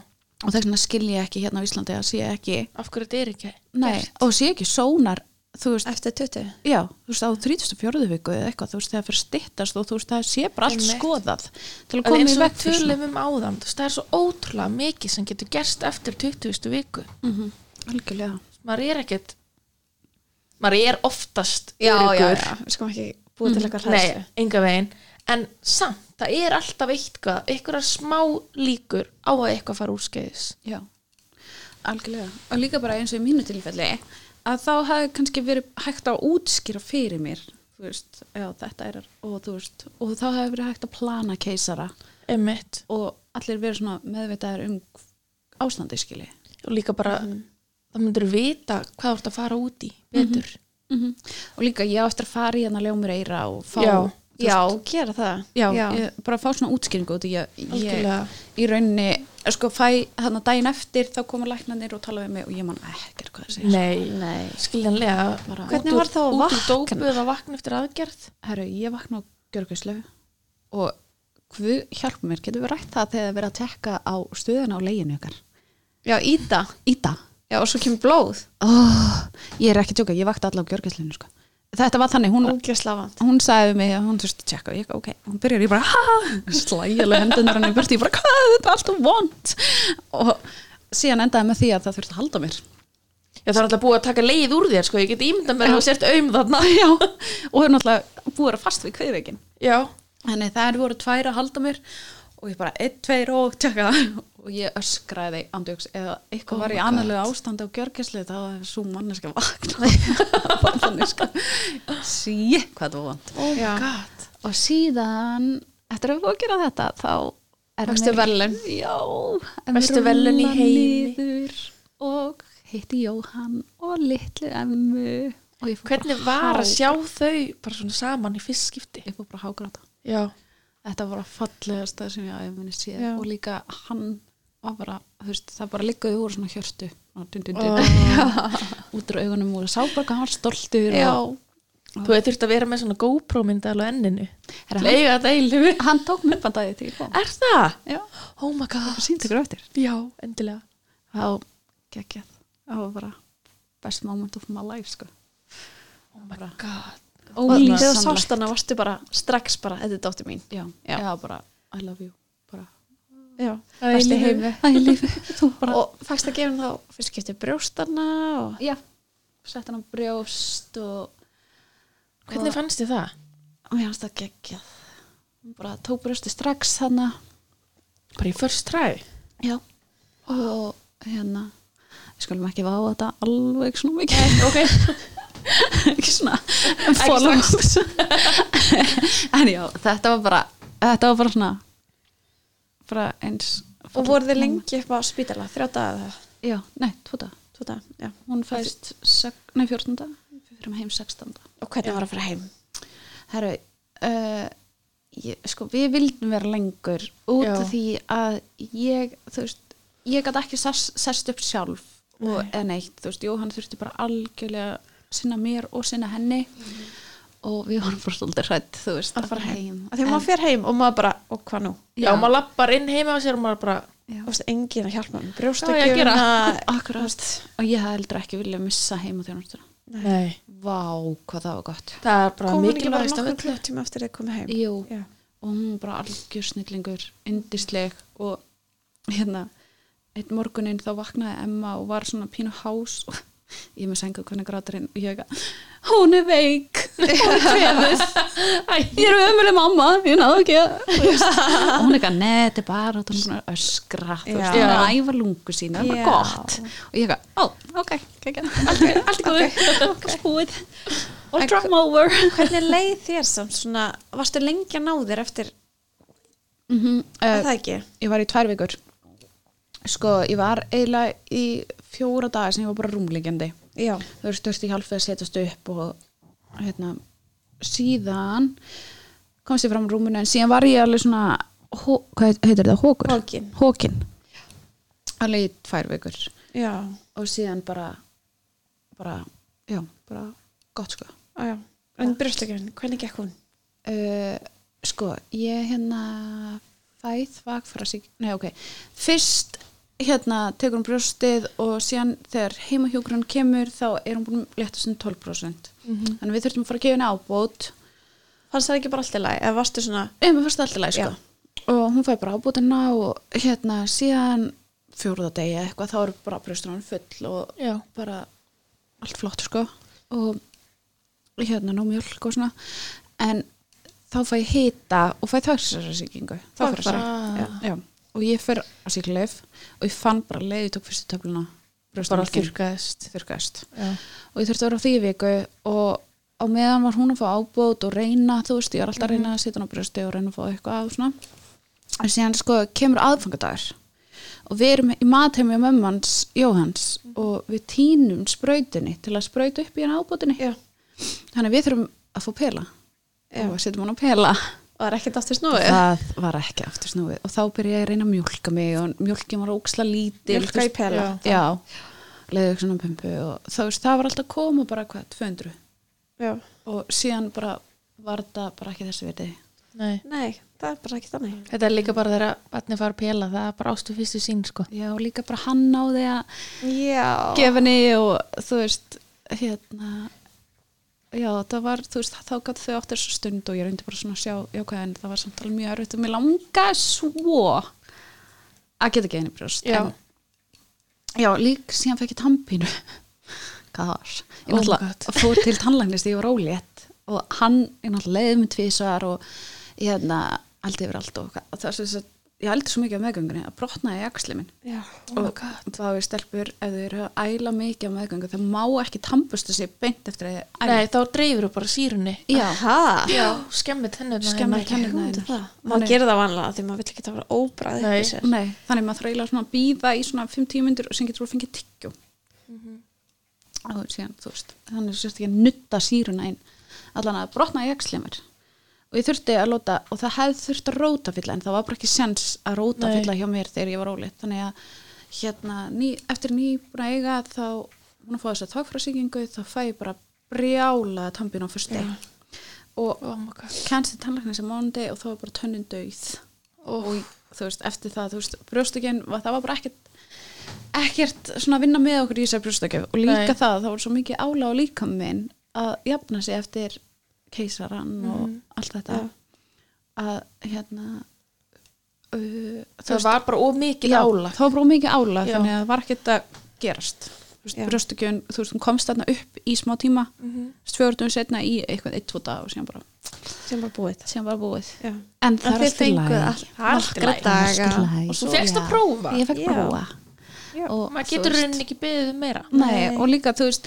[SPEAKER 3] og þess vegna skil ég ekki hérna á Íslandi að sé ekki
[SPEAKER 1] af hverju þetta er ekki
[SPEAKER 3] Nei,
[SPEAKER 1] gert?
[SPEAKER 3] og sé ekki sónar þú veist,
[SPEAKER 2] eftir 20
[SPEAKER 3] já, þú veist á 34. viku eða eitthvað, þú veist, það fyrir stittast og þú veist, það sé bara allt
[SPEAKER 1] Einmitt.
[SPEAKER 3] skoðað til að
[SPEAKER 1] En
[SPEAKER 3] koma
[SPEAKER 1] eins
[SPEAKER 3] í
[SPEAKER 1] og
[SPEAKER 3] vekk
[SPEAKER 1] við
[SPEAKER 3] fyrir svona.
[SPEAKER 1] tölum um áðan þú veist, það er svo ótrúlega mikið sem getur gerst eftir 20. viku
[SPEAKER 3] Algjörlega.
[SPEAKER 1] maður er ekkert maður er oftast öruggur. Mhm.
[SPEAKER 2] við skum ekki búið til eitthvað hræðslu
[SPEAKER 1] nei, enga veginn en samt, það er alltaf eitthvað einhverjar smá líkur á að eitthvað fara úr skeiðis
[SPEAKER 3] Já, algjörlega. Og líka bara eins og í mínu tilfelli að þá hafði kannski verið hægt að útskýra fyrir mér, þú veist, já, þetta er og þú veist, og þá hafði verið hægt að plana keisara
[SPEAKER 1] einmitt,
[SPEAKER 3] og allir verið svona meðvitaðir um ástandi skili.
[SPEAKER 1] og líka bara
[SPEAKER 2] Mhm.
[SPEAKER 1] það myndur vita hvað þú ert að fara út í betur,
[SPEAKER 3] Og líka ég á eftir að fara í hérna ljómur eira og fá
[SPEAKER 1] Mhm. Já.
[SPEAKER 2] já, gera það
[SPEAKER 3] já, Ég, bara fá svona útskýringu út í ég, ég
[SPEAKER 1] algjörlega
[SPEAKER 3] í rauninni eh, sko fæ þannig að daginn eftir þá koma læknarnir og tala við mig og ég man ekkert hvað það segir
[SPEAKER 1] nei,
[SPEAKER 2] nei
[SPEAKER 1] skiljanlega
[SPEAKER 3] Bara-
[SPEAKER 2] Hvernig
[SPEAKER 1] út úr-
[SPEAKER 2] var þá að
[SPEAKER 1] út úr dópu
[SPEAKER 2] vakna?
[SPEAKER 1] eða vakna eftir aðgerð
[SPEAKER 3] herru ég vakna á gjörgæslu og hvað hjálpa mér getur við rætt það þegar það verið að tekka á stöðuna á leginu ykkar
[SPEAKER 2] já, íta
[SPEAKER 3] Íta,
[SPEAKER 2] já, og svo kemur blóð
[SPEAKER 3] oh, ég er ekki að tjóka ég vakti allavega á gjörgæslinu sko þetta var þannig, hún,
[SPEAKER 2] ógjörslega vant
[SPEAKER 3] hún sagði við mig að hún þurfti að tjekka og ég, ok, hún byrjar ég bara ha, slægjalega hendunar hann í burti ég bara, hvað, þetta er alltaf vond og síðan endaði með því að það þurfti að halda mér
[SPEAKER 1] já, það er alltaf búið að taka leið úr þér sko, ég get ímyndan verið að þú sért aum þarna
[SPEAKER 3] já, og er náttúrulega búið að vera fast við kveðveikin
[SPEAKER 1] já,
[SPEAKER 3] þannig það er voru tvær að halda mér og ég bara, einn, tveir og tjekka og ég öskraði andjóks eða eitthvað
[SPEAKER 1] Oh
[SPEAKER 3] var í
[SPEAKER 1] my God.
[SPEAKER 3] annarlega ástandi á gjörgæslu þá er svo manneska vakna þannig sko sí, hvað það var vant
[SPEAKER 1] oh my
[SPEAKER 2] Já.
[SPEAKER 1] god
[SPEAKER 3] og síðan, eftir að við búið að gera þetta þá er
[SPEAKER 2] Fékkstu
[SPEAKER 3] mér-
[SPEAKER 2] verðlaun?
[SPEAKER 3] já, er
[SPEAKER 1] Bestu verðlaun í
[SPEAKER 3] rúllað
[SPEAKER 1] heimi.
[SPEAKER 3] niður og hitti Jóhann og litlu emmu og ég fór bara
[SPEAKER 1] hvernig var
[SPEAKER 3] há-
[SPEAKER 1] að sjá þau bara svona saman í fyrst skipti
[SPEAKER 3] ég fór bara að hágráta
[SPEAKER 1] já,
[SPEAKER 3] þetta var að fallegast það sem ég aðeins minni séð
[SPEAKER 2] Já.
[SPEAKER 3] og líka hann var bara, þú veist, það bara liggaði úr svona hjörtu og dun, dun, dun,
[SPEAKER 1] oh.
[SPEAKER 3] út úr augunum og sá bara hvað hann var stoltur
[SPEAKER 2] já,
[SPEAKER 3] og,
[SPEAKER 1] þú hefur þurft að vera með svona GoPro mynda alveg enninu
[SPEAKER 3] Herra, hann,
[SPEAKER 1] leiða þetta eilu
[SPEAKER 3] hann tók mér bandaði til ég kom
[SPEAKER 1] er það?
[SPEAKER 3] já,
[SPEAKER 1] oh my god
[SPEAKER 3] sínt ykkur eftir
[SPEAKER 1] já, endilega
[SPEAKER 3] þá geggjað, það var bara best moment of my life sko.
[SPEAKER 1] oh my god
[SPEAKER 2] og þegar þú
[SPEAKER 3] Ólýsanlegt.
[SPEAKER 2] sást hana varstu bara strax bara, þetta er dóttir mín
[SPEAKER 3] já,
[SPEAKER 2] Já.
[SPEAKER 3] eða bara I love you bara,
[SPEAKER 2] já,
[SPEAKER 1] Æ,
[SPEAKER 2] besti
[SPEAKER 1] lífið.
[SPEAKER 2] heimi
[SPEAKER 3] I love you þú bara,
[SPEAKER 2] og fækst að gefa hann þá fyrst skipti brjóstana og
[SPEAKER 3] já, sett hann á brjóst og
[SPEAKER 1] hvernig fannst þið það?
[SPEAKER 2] mér fannst það geggjað
[SPEAKER 3] bara tók brjósti strax þannig
[SPEAKER 1] bara í first try
[SPEAKER 3] Já og hérna við skulum ekki váða þetta alveg svona mikið
[SPEAKER 1] ok,
[SPEAKER 3] ekki svona follow-ups en já, þetta var bara þetta var bara svona bara eins
[SPEAKER 2] og voru þið lengi upp á spítala þrjá daga eða
[SPEAKER 3] Já, nei, tvo dag
[SPEAKER 2] tvo daga, já
[SPEAKER 3] hún fæðist, sek- nei, 14 dag við fyrir heim 16 dag
[SPEAKER 2] og hvernig var að fara heim
[SPEAKER 3] Herru, uh, ég, sko, við vildum vera lengur út af
[SPEAKER 1] Já.
[SPEAKER 3] því að ég, þú veist, ég gæti ekki sest, sest upp sjálf og, eða neitt, þú veist, Jóhann þurfti bara algjörlega sinna mér og sinna henni og við vorum bara svolítið hrætt, þú veist,
[SPEAKER 2] að fara heim að því
[SPEAKER 3] En,
[SPEAKER 2] maður fer heim og maður bara, og hvað nú
[SPEAKER 1] já,
[SPEAKER 3] Já.
[SPEAKER 1] maður lappar inn heima á sér og maður bara
[SPEAKER 3] já,
[SPEAKER 2] Þú veist, engin að hjálpa mér
[SPEAKER 1] Hvað á ég að gera?
[SPEAKER 2] brjóstakjöfuna
[SPEAKER 3] akkurat, og ég hafði heldur ekki viljað missa heim og þjónustuna.
[SPEAKER 1] nei,
[SPEAKER 3] Vá, hvað það var gott.
[SPEAKER 1] það er bara
[SPEAKER 2] komin ekki bara
[SPEAKER 1] mikilvægast af
[SPEAKER 2] nokkur
[SPEAKER 1] öllu
[SPEAKER 2] klukkutíma eftir að koma heim
[SPEAKER 3] Jú,
[SPEAKER 2] já.
[SPEAKER 3] og hún var bara algjör snillingur, yndisleg og hérna einn morguninn þá vaknaði Emma og var svona pínu hás og ég er með sengu hvernig gráturinn og ég ekki hún er veik, hún er kvefus ég er ömuleg mamma ég náðu ekki að þú veist. og hún er ekki að neða, þetta er bara hún er búin að öskra, þú veist,
[SPEAKER 2] Já.
[SPEAKER 3] hún er að æfa lungu sína það er
[SPEAKER 2] Já.
[SPEAKER 3] bara gott og ég ekki, ó, ok, ekki allt í- allt í góðu, okay. spúið all
[SPEAKER 2] En
[SPEAKER 3] drama over
[SPEAKER 2] hvernig leið þér samt svona varstu lengi að ná þér eftir
[SPEAKER 3] mm
[SPEAKER 2] er það ekki
[SPEAKER 3] ég var í tvær vikur sko, ég var eiginlega í fjóra daga sem ég var bara rúmliggjandi
[SPEAKER 2] já,
[SPEAKER 3] þú veist, þurfti hjálp við að setjast upp og hérna, síðan komst ég fram úr rúminu en síðan var ég alveg svona hó, hvað heitir þetta, hókur?
[SPEAKER 2] Hókinn.
[SPEAKER 3] Hókinn. alveg í tvær vikur
[SPEAKER 2] já,
[SPEAKER 3] og síðan bara bara, já, bara gott sko
[SPEAKER 2] á, já. en brjóstakjöfun, hvernig gekk hún
[SPEAKER 3] uh, sko, ég hérna fæð vakfara sík nei ok, fyrst hérna tekur hún brjóstið og síðan þegar heimahjókurinn kemur þá er hún búin að létta sem 12% þannig að við þurftum að fara að gefa henni ábót
[SPEAKER 2] fannst það ekki bara alltaf læg, eða varstu svona
[SPEAKER 3] eða mér fyrst alltaf læg sko og hún fæði bara ábótina og hérna síðan fjóruðadegi eitthvað þá er bara brjóstur hann full og
[SPEAKER 1] já,
[SPEAKER 3] bara allt flott sko og hérna ná mjölk og svona en þá fæ ég hita og fæ þvagsræðarsýkingu þá fyrir
[SPEAKER 1] Þvagsræ-
[SPEAKER 3] já, já. og ég fyrir að síkleif og ég fann bara leið ég tók fyrstu töfluna
[SPEAKER 1] bara þurrkaðist
[SPEAKER 3] þurrkast
[SPEAKER 1] já,
[SPEAKER 3] og ég þurfti að vera á því í viku og á meðan var hún að fá ábót og reyna þú veist, ég var alltaf að reyna að setja hún á brjósti og reyna að fá eitthvað að og svona en síðan sko kemur aðfangadagur og við erum í matheimi á mömmans Jóhans og við týnum sprautinni til að sprauta upp í hann ábótinni
[SPEAKER 2] já.
[SPEAKER 3] þannig að við þurfum að fá pela
[SPEAKER 2] Já.
[SPEAKER 3] og setjum hann á pela
[SPEAKER 2] og það er ekkert aftur snúið
[SPEAKER 3] það var ekki aftur snúið og þá byrja ég að reyna að mjólka mig og mjólkin var óksla lítil þú
[SPEAKER 2] mjölka í
[SPEAKER 3] veist,
[SPEAKER 2] pela
[SPEAKER 1] Já.
[SPEAKER 3] já, leiðu svona pumpu og þá veist, það var alltaf að koma bara hvað, 200
[SPEAKER 2] já.
[SPEAKER 3] og síðan bara var þetta bara ekki þessi viti
[SPEAKER 1] nei
[SPEAKER 2] nei, það er bara ekki þannig
[SPEAKER 1] Þetta er líka bara þegar að barni fara að pela, það er bara ástu fyrstu sín, sko.
[SPEAKER 3] já, og líka bara hann náði að
[SPEAKER 2] já,
[SPEAKER 3] gefa henni og þú veist hérna já, það var, þú veist, þá gæti þau áttir svo stund og ég reyndi bara svona að sjá já, hvað, en það var samt alveg mjög erfitt og mér langaði svo að geta gefið henni brjóst
[SPEAKER 1] Já.
[SPEAKER 3] en, já líka síðan fekk ég tampínu hvað það var ég
[SPEAKER 1] Oh my
[SPEAKER 3] náttúrulega fór til tannlæknist þegar ég var ólétt og hann, ég náttúrulega leiði mig tvísvar og ég hérna aldrei yfir allt og hvað- það er svo ég aldrei svo mikið af meðgöngunni að brotnaði í axli minn
[SPEAKER 2] já.
[SPEAKER 3] og þá er stelpur ef þau eru að æla mikið á meðgöngu það má ekki tampustu sig beint eftir að þau æla
[SPEAKER 1] Nei, þá dreifur þú bara sírunni.
[SPEAKER 3] já,
[SPEAKER 2] Aha.
[SPEAKER 1] Já, skemmir hérna. tennurna.
[SPEAKER 3] skemmar
[SPEAKER 2] Ég
[SPEAKER 3] kennurna
[SPEAKER 2] myndi
[SPEAKER 3] þínar.
[SPEAKER 2] um það. maður gerir það vanlega því maður vill ekki það vera óbræð
[SPEAKER 1] Nei.
[SPEAKER 3] Nei, þannig maður þræla svona að býða í svona 5-10 myndir og sem getur þú að fengja tyggjó og síðan, þú veist þannig sérst ekki að nutta síruna inn allan að brotna í jakslimur og ég þurfti að lóta, og það hefði þurft að róta fylla en það var bara ekki sens að róta
[SPEAKER 1] Nei.
[SPEAKER 3] fylla hjá mér þegar ég var óleitt þannig að hérna, ný, eftir nýbúna eiga þá, hún að fá þess að þagfrasíkingu þá fæ ég bara brjála tambin á fyrst deg og
[SPEAKER 1] Oh my god.
[SPEAKER 3] kænst til tannlæknis á mánundi og þá var bara tönnin döið og þú veist, eftir það, þú veist, brjóstökin það var bara ekkert ekkert svona að vinna með okkur í þessar brjóstökjöf og líka
[SPEAKER 1] Nei.
[SPEAKER 3] það, það voru svo mikið ála á líkam minn að jafna sig eftir keisaran og allt þetta
[SPEAKER 2] Já.
[SPEAKER 3] að hérna uh,
[SPEAKER 1] Það var bara ómikið
[SPEAKER 3] já,
[SPEAKER 1] ála.
[SPEAKER 3] það var bara of mikið ála
[SPEAKER 1] Já.
[SPEAKER 3] þannig að það var ekkert að gerast Þú veist,
[SPEAKER 2] Já.
[SPEAKER 3] brjóstugjöfun, þú veist, hún komst þarna upp í smá tíma,
[SPEAKER 1] mm -hmm.
[SPEAKER 3] þú veist, fjóruðum setna í eitthvað, eitt, tvo dag og síðan bara,
[SPEAKER 2] sem bara búið
[SPEAKER 3] síðan bara búið.
[SPEAKER 2] Já.
[SPEAKER 3] En það
[SPEAKER 2] En
[SPEAKER 3] er
[SPEAKER 2] þið
[SPEAKER 3] alltaf
[SPEAKER 2] fenguð
[SPEAKER 3] læg.
[SPEAKER 2] all- allra daga
[SPEAKER 1] og svo fegst að prófa
[SPEAKER 3] Ég fekk
[SPEAKER 2] Já.
[SPEAKER 3] prófa.
[SPEAKER 2] Já.
[SPEAKER 3] Og,
[SPEAKER 1] maður
[SPEAKER 3] þú
[SPEAKER 1] getur
[SPEAKER 3] veist,
[SPEAKER 1] rauninni ekki beðið um meira
[SPEAKER 3] Nei,
[SPEAKER 2] Nei.
[SPEAKER 3] og líka, þú veist,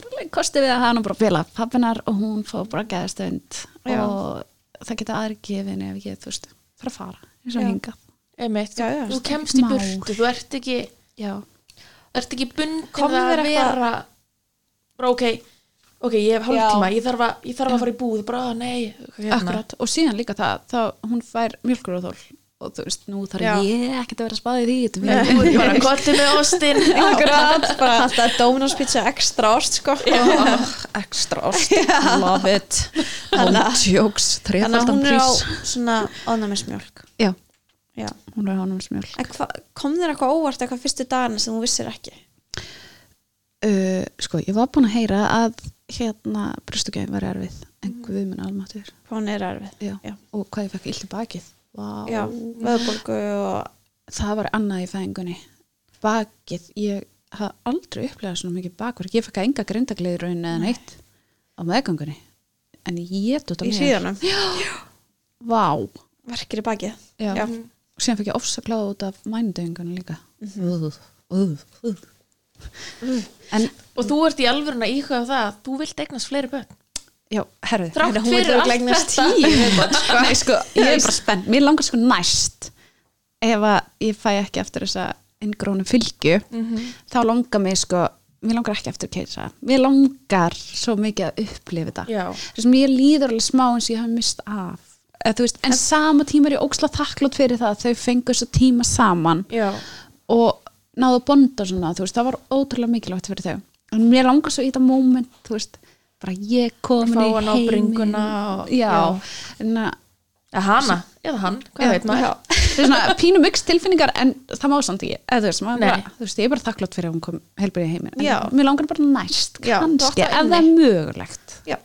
[SPEAKER 3] rúlega kosti við að hafa nú bara fela pappinar og hún fá bara geðastönd
[SPEAKER 2] Já.
[SPEAKER 3] og það geta aðri gefið henni ef ekki, þú veist, fara að fara, eins og
[SPEAKER 2] Já.
[SPEAKER 3] hingað.
[SPEAKER 1] Einmitt,
[SPEAKER 2] Já, já,
[SPEAKER 1] þú
[SPEAKER 2] stemmt
[SPEAKER 1] kemst í
[SPEAKER 3] mál.
[SPEAKER 1] burtu þú ert ekki,
[SPEAKER 3] Já,
[SPEAKER 1] ert ekki bundin
[SPEAKER 2] Kom
[SPEAKER 1] við að
[SPEAKER 2] þér eitthvað-
[SPEAKER 1] vera bara ok, ok, ég hef hálftíma ég þarf, að, ég þarf að fara í búð bara, "Ah, nei, hérna.
[SPEAKER 3] akkurat. Og síðan líka það, þá hún fær mjölkur og þól og þú veist, nú þarf
[SPEAKER 1] Já.
[SPEAKER 3] ég ekkert að vera að spáði því, þetta er
[SPEAKER 1] Þú ert bara kotti með ostin
[SPEAKER 2] Akkurat, bara alltaf Dominos pizza ekstra ást sko
[SPEAKER 3] Extra ost, love it Hún tjóks,
[SPEAKER 2] Þannig að
[SPEAKER 3] þrefaldan
[SPEAKER 2] hún er á
[SPEAKER 3] prís
[SPEAKER 2] svona ónæmismjölk
[SPEAKER 3] Já,
[SPEAKER 2] Já.
[SPEAKER 3] hún er á honum smjölk
[SPEAKER 2] En hva, kom þér eitthvað óvart eitthvað fyrstu dagana sem þú vissir ekki?
[SPEAKER 3] uh, Sko, ég var búin að heyra að hérna brjóstugjöfum var erfið en guð minn almáttur
[SPEAKER 2] Hvað hún er erfið?
[SPEAKER 3] Já.
[SPEAKER 2] Já.
[SPEAKER 3] og hvað ég fekk illt í bakið Vá.
[SPEAKER 2] Já, vöðbólgu og
[SPEAKER 3] það var annað í fæðingunni bakið, ég haf aldrei upplegað svona mikið bakverk, ég fekk enga grindagliðrun eða neitt á meðgangunni en ég tótt að
[SPEAKER 2] í hríðanum
[SPEAKER 3] vá,
[SPEAKER 2] verkir í bakið
[SPEAKER 3] já,
[SPEAKER 2] Já.
[SPEAKER 3] og síðan fekk ég ofsakláð út af mænudöfingunni líka uh, uh, uh. Mhm. en
[SPEAKER 1] og þú ert í alvöruna íhuga það að þú vilt eignast fleiri börn
[SPEAKER 3] já, hérna, herðu
[SPEAKER 1] Þrátt
[SPEAKER 2] Þannig að hún
[SPEAKER 1] fyrir
[SPEAKER 2] vildi
[SPEAKER 1] allt
[SPEAKER 2] eignast
[SPEAKER 1] þetta.
[SPEAKER 2] tíu í viðbót, sko.
[SPEAKER 3] Nei, sko, ég er bara spennt. Mér langar sko næst ef að ég fæ ekki eftir þessa inngrónu fylgju þá langar mér sko mér langar ekki eftir keisa. Mér langar svo mikið að upplifa þetta.
[SPEAKER 1] Já.
[SPEAKER 3] Þess að mér líður alveg smá eins og ég hafi mist af. Eð, veist, en sama tíma er ég óksla þakklót fyrir það að þau fengu svo tíma saman
[SPEAKER 1] já,
[SPEAKER 3] og náðu að bonda svona, þú veist, það var ótrúlega mikilvægt fyrir þau. En mér langar svo í þetta moment, þú veist, bara ég komin
[SPEAKER 1] Fá
[SPEAKER 3] í
[SPEAKER 1] hana á
[SPEAKER 3] heiminn.
[SPEAKER 1] bringuna og-
[SPEAKER 3] já,
[SPEAKER 1] já.
[SPEAKER 3] en að
[SPEAKER 1] eða hana, eða hann hvað veit maður,
[SPEAKER 3] það er svona pínu mix tilfinningar en það má samt ekki eða, þú, veist, maður
[SPEAKER 1] Nei.
[SPEAKER 3] bara, þú veist, ég er bara þakklátt fyrir að hún kom helbriði heiminn, en
[SPEAKER 2] Já.
[SPEAKER 3] mér langar bara
[SPEAKER 2] Já,
[SPEAKER 3] næst
[SPEAKER 2] þú átt
[SPEAKER 3] kannski,
[SPEAKER 2] það
[SPEAKER 3] ef
[SPEAKER 2] inni.
[SPEAKER 3] það er mögulegt
[SPEAKER 2] Já,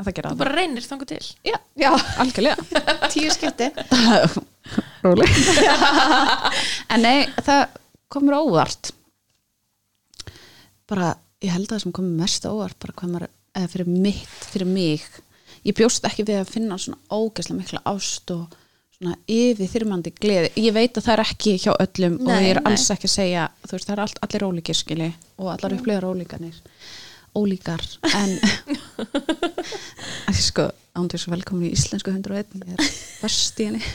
[SPEAKER 3] að það gera
[SPEAKER 1] þú
[SPEAKER 3] það
[SPEAKER 1] bara reynir þangu til
[SPEAKER 3] já,
[SPEAKER 2] já,
[SPEAKER 3] algjörlega
[SPEAKER 2] tíu skipti
[SPEAKER 3] Róli en nei, það komur óvart bara, ég held að það sem komur mest á óvart bara hvað maður, eða fyrir mitt fyrir mig, ég bjóst ekki við að finna svona ógeðslega mikla ást og svona yfir þyrmandi gleði ég veit að það er ekki hjá öllum og
[SPEAKER 2] Nei,
[SPEAKER 3] ég er
[SPEAKER 2] nei.
[SPEAKER 3] alls ekki að segja, þú veist, það er allt, allir ólíkir skili og allar upplýðar ólíkanir ólíkar, en en sko, ándur svo velkomin í íslensku 101 ég er best í henni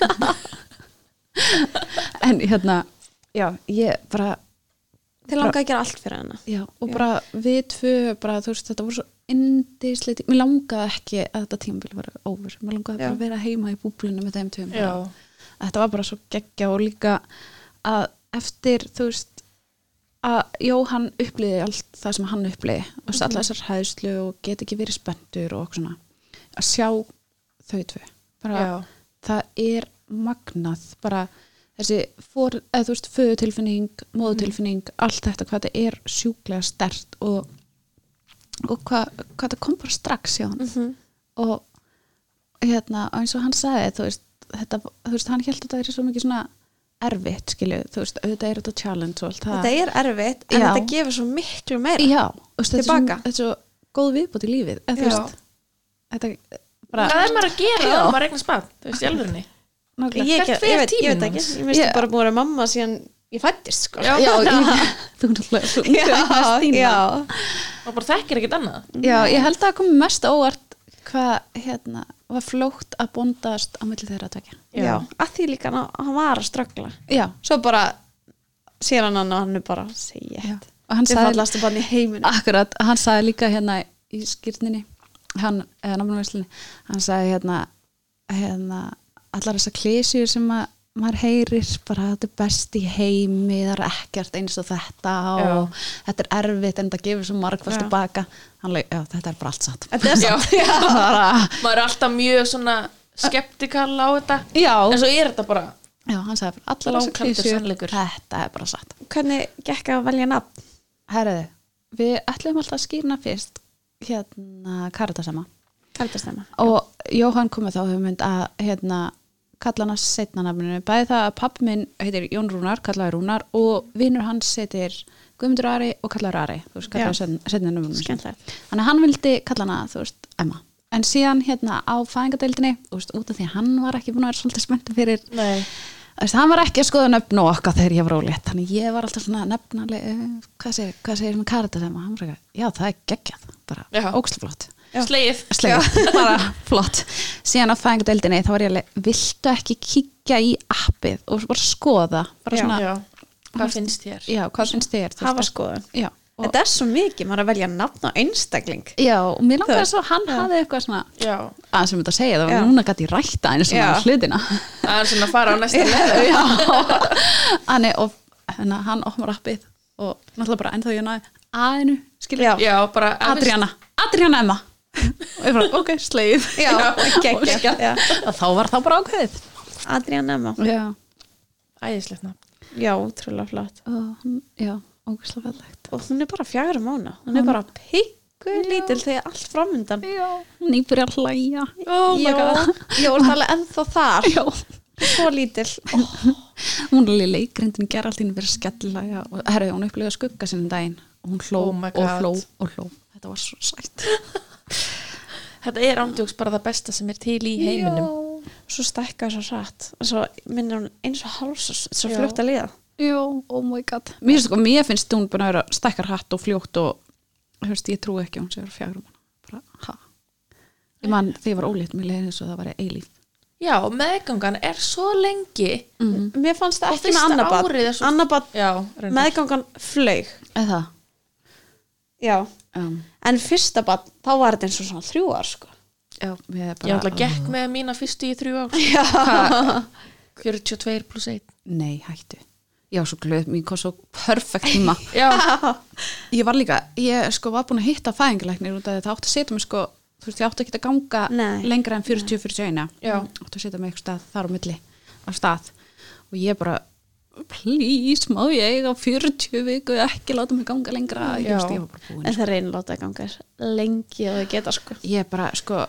[SPEAKER 3] en hérna já, ég bara
[SPEAKER 2] Þið langaði að gera allt fyrir hana
[SPEAKER 3] Já, og bara við tvö, bara, þú veist, þetta voru svo indisleiti, mér langaði ekki að þetta tímabil var over, mér langaði bara
[SPEAKER 2] Já.
[SPEAKER 3] að vera heima í búblunum með þeim tveim
[SPEAKER 1] Já.
[SPEAKER 3] bara. Að þetta var bara svo geggja og líka að eftir, þú veist að Jóhann uppliði allt það sem hann uppliði og mm -hmm. allar þessar hæðslu og get ekki verið spendur og okkur svona að sjá þau tvö bara,
[SPEAKER 1] Já.
[SPEAKER 3] það er magnað bara þessi for, eða, þú veist, föðutilfinning, móðutilfinning allt þetta, hvað þetta er sjúklega stert og, og hvað, hvað þetta kom bara strax hjá hann
[SPEAKER 2] Mhm.
[SPEAKER 3] og hérna, eins og hann sagði þú veist, þetta, þú veist, hann held að þetta er svo mikið svona erfitt, skilju, þú veist, auðvitað er þetta challenge og allt það
[SPEAKER 2] Þetta er erfitt, en
[SPEAKER 3] Já.
[SPEAKER 2] þetta gefur svo miklu meira
[SPEAKER 3] Já, þú veist, þetta er svo-
[SPEAKER 2] Tilbaka.
[SPEAKER 3] þetta er svo góð viðbútt í lífið eða, þú
[SPEAKER 1] Já.
[SPEAKER 3] veist, þetta
[SPEAKER 1] hvað
[SPEAKER 3] bara,
[SPEAKER 1] er maður að gera
[SPEAKER 3] Já.
[SPEAKER 1] ef maður eignast bad, þú veist, í alvörunni
[SPEAKER 2] Ég,
[SPEAKER 3] nákvæmlega.
[SPEAKER 2] ég,
[SPEAKER 1] Hvert
[SPEAKER 2] ég,
[SPEAKER 1] fer
[SPEAKER 2] veit, ég
[SPEAKER 1] tíminn
[SPEAKER 2] veit ekki,
[SPEAKER 1] hans?
[SPEAKER 2] ég minnst
[SPEAKER 3] Já.
[SPEAKER 2] yeah. bara búin að vera mamma síðan ég fættist sko
[SPEAKER 1] Já.
[SPEAKER 3] Já, ég, þú náttúrulega þú náttúrulega
[SPEAKER 2] já,
[SPEAKER 3] Stína.
[SPEAKER 2] já.
[SPEAKER 1] og bara þekkir ekkert annað
[SPEAKER 3] já, ég held að það kom mest á óvart hvað hérna var flókt að bondast á milli þeirra að tekja
[SPEAKER 1] Já.
[SPEAKER 2] Já. að því líka hann, hann var að ströggla
[SPEAKER 3] Já,
[SPEAKER 2] svo bara sér hann hann og hann er bara segja
[SPEAKER 3] Já.
[SPEAKER 2] þetta
[SPEAKER 3] Og hann
[SPEAKER 2] Þið
[SPEAKER 3] sagði- Ah.
[SPEAKER 2] fallastu bara í heiminu
[SPEAKER 3] akkurat, hann sagði líka hérna í skýrninni hann, eða námanvæslinni, hann sagði hérna hérna, allar þessar klísjur sem að maður heyrir bara þetta er best í heimi það er ekkert eins og þetta og þetta er erfitt en þetta gefur svo margfald
[SPEAKER 2] Já.
[SPEAKER 3] tilbaka hann leik, já, þetta er bara allt satt
[SPEAKER 2] þetta er satt já.
[SPEAKER 3] bara,
[SPEAKER 1] maður er alltaf mjög svona skeptikal á þetta
[SPEAKER 3] já,
[SPEAKER 1] en svo er þetta bara
[SPEAKER 3] Já, hann sagði bara allar þessar
[SPEAKER 1] Blákaldur
[SPEAKER 3] klisjur,
[SPEAKER 1] sannleikur.
[SPEAKER 3] Þetta er bara satt.
[SPEAKER 2] hvernig gekk að velja nafn
[SPEAKER 3] Herðu, við ætlum alltaf að skýrna fyrst hérna Karitasama
[SPEAKER 2] kardastemma
[SPEAKER 3] og Jóhann kom með þá hugmynd að hérna kalla hann að setna nafninu. Bæði það að pappi minn heitir Jón Rúnar, kallaði Rúnar og vinnur hans heitir Guðmundur Ari og kallar Ari þú veist, kallar
[SPEAKER 2] Já.
[SPEAKER 3] setninu numrum
[SPEAKER 2] skemmtilegt
[SPEAKER 3] þannig að hann vildi kalla hana, þú veist, Emma en síðan hérna á fæðingadeildinni þú veist, út af því að hann var ekki búin að vera svolítið spennt fyrir,
[SPEAKER 1] Nei.
[SPEAKER 3] þú veist, hann var ekki að skoða nöfn og okkar þegar ég var ólétt þannig ég var alltaf svona nefnaleg eh, hvað segir, hvað segir með Karitas Emma hann var ekki, já það er geggjað,
[SPEAKER 1] Já.
[SPEAKER 3] bara ógsluflott
[SPEAKER 2] Já.
[SPEAKER 1] Slegið.
[SPEAKER 3] slegið, bara flott síðan á fæðingadeildinni þá var ég alveg viltu ekki kíkja í appið og bara skoða bara
[SPEAKER 2] Já.
[SPEAKER 3] svona,
[SPEAKER 1] Já. Hvað finnst þér?
[SPEAKER 3] já, hvað finnst þér þú veist,
[SPEAKER 2] hafa skoðun
[SPEAKER 3] já, og,
[SPEAKER 2] þetta er svo mikið, maður er að velja nafn á einstakling
[SPEAKER 3] já, og mér langar
[SPEAKER 2] Það-
[SPEAKER 3] svo hann hafði eitthvað svona
[SPEAKER 1] Já.
[SPEAKER 3] að sem þetta segja, það var
[SPEAKER 2] Já.
[SPEAKER 3] núna gæti ég rækta einu svona
[SPEAKER 2] Já.
[SPEAKER 3] hlutina
[SPEAKER 1] Það er svona að fara á næsta level.
[SPEAKER 3] Já. Þannig, og hérna, hann opnar appið og náttúrulega bara ennþá ég náði aðinu, skilja,
[SPEAKER 2] Já.
[SPEAKER 1] Já, bara
[SPEAKER 3] Adriana Adriana Emma og ég bara, ok, sleið
[SPEAKER 2] já,
[SPEAKER 3] Óskar.
[SPEAKER 2] geggjað
[SPEAKER 3] og þá var það bara ákveðið
[SPEAKER 2] Adrian Emma,
[SPEAKER 3] Já,
[SPEAKER 1] Æðislegt nafn.
[SPEAKER 2] já, útrúlega flott
[SPEAKER 3] og hann, já, ógæslega fellegt.
[SPEAKER 2] og hún er bara fjagra mánu hún er bara pikku lítil þegar allt framundan
[SPEAKER 3] Já, hún íbyrja að hlæja.
[SPEAKER 2] oh
[SPEAKER 3] my god.
[SPEAKER 2] já, hún er alveg ennþá þar
[SPEAKER 3] Já,
[SPEAKER 2] svo lítil
[SPEAKER 3] hún er líka leikrindin gerði allt í henni verið skellilega og herri, hún upplýði að skugga sinni daginn og hún hló
[SPEAKER 1] Oh my
[SPEAKER 3] og
[SPEAKER 1] God.
[SPEAKER 3] hló og hló. Þetta var svo sætt.
[SPEAKER 1] Þetta er ándjóks bara það besta sem er til í heiminum.
[SPEAKER 2] svo stækka svo rætt og svo minnir hún eins og háls svo
[SPEAKER 1] Já.
[SPEAKER 2] fljótt að liða
[SPEAKER 3] Já, oh my god. Mér, sko, mér finnst hún búin að vera stakkar hatt og fljótt og hefst, ég trúi ekki að hún sé að vera fjagur um hana. Bara, ha. Ég man, þegar ég var ólétt mér leiðin eins og það var eilíf.
[SPEAKER 1] Já, meðgangan er svo lengi.
[SPEAKER 2] mér fannst það
[SPEAKER 1] Og
[SPEAKER 2] ekki með
[SPEAKER 1] fyrsta
[SPEAKER 2] annabat
[SPEAKER 1] árið er svo-
[SPEAKER 2] annabat
[SPEAKER 1] Já, reyndar.
[SPEAKER 2] meðgangan flaug
[SPEAKER 3] Eða?
[SPEAKER 2] já,
[SPEAKER 3] Um,
[SPEAKER 2] en fyrsta bat þá var þetta eins og svona þrjú ár sko
[SPEAKER 3] já, mér er
[SPEAKER 1] Ég
[SPEAKER 3] bara...
[SPEAKER 1] ætla að gekk með mína fyrstu í þrjú ár.
[SPEAKER 2] já,
[SPEAKER 1] Hva? 42 pluss 1.
[SPEAKER 3] Nei, hættu. Já, svo glöð, mér kom svo perfekt tíma.
[SPEAKER 1] Já,
[SPEAKER 3] Ég var líka, ég sko var búin að hitta fæðingalæknir út af því að það átti að setja mig sko, þú veist, ég átti ekki að ganga
[SPEAKER 2] Nei.
[SPEAKER 3] lengra en 40-41.
[SPEAKER 1] Já.
[SPEAKER 3] Átti að setja mig eitthvað stað þar á milli, á stað. Og ég bara, please, má ég á 40 viku ekki láta mig ganga lengra. Ég,
[SPEAKER 1] Já.
[SPEAKER 3] veist, ég var bara búin.
[SPEAKER 2] en það reynir láta að ganga þér lengi og það geta sko
[SPEAKER 3] Ég bara, sko,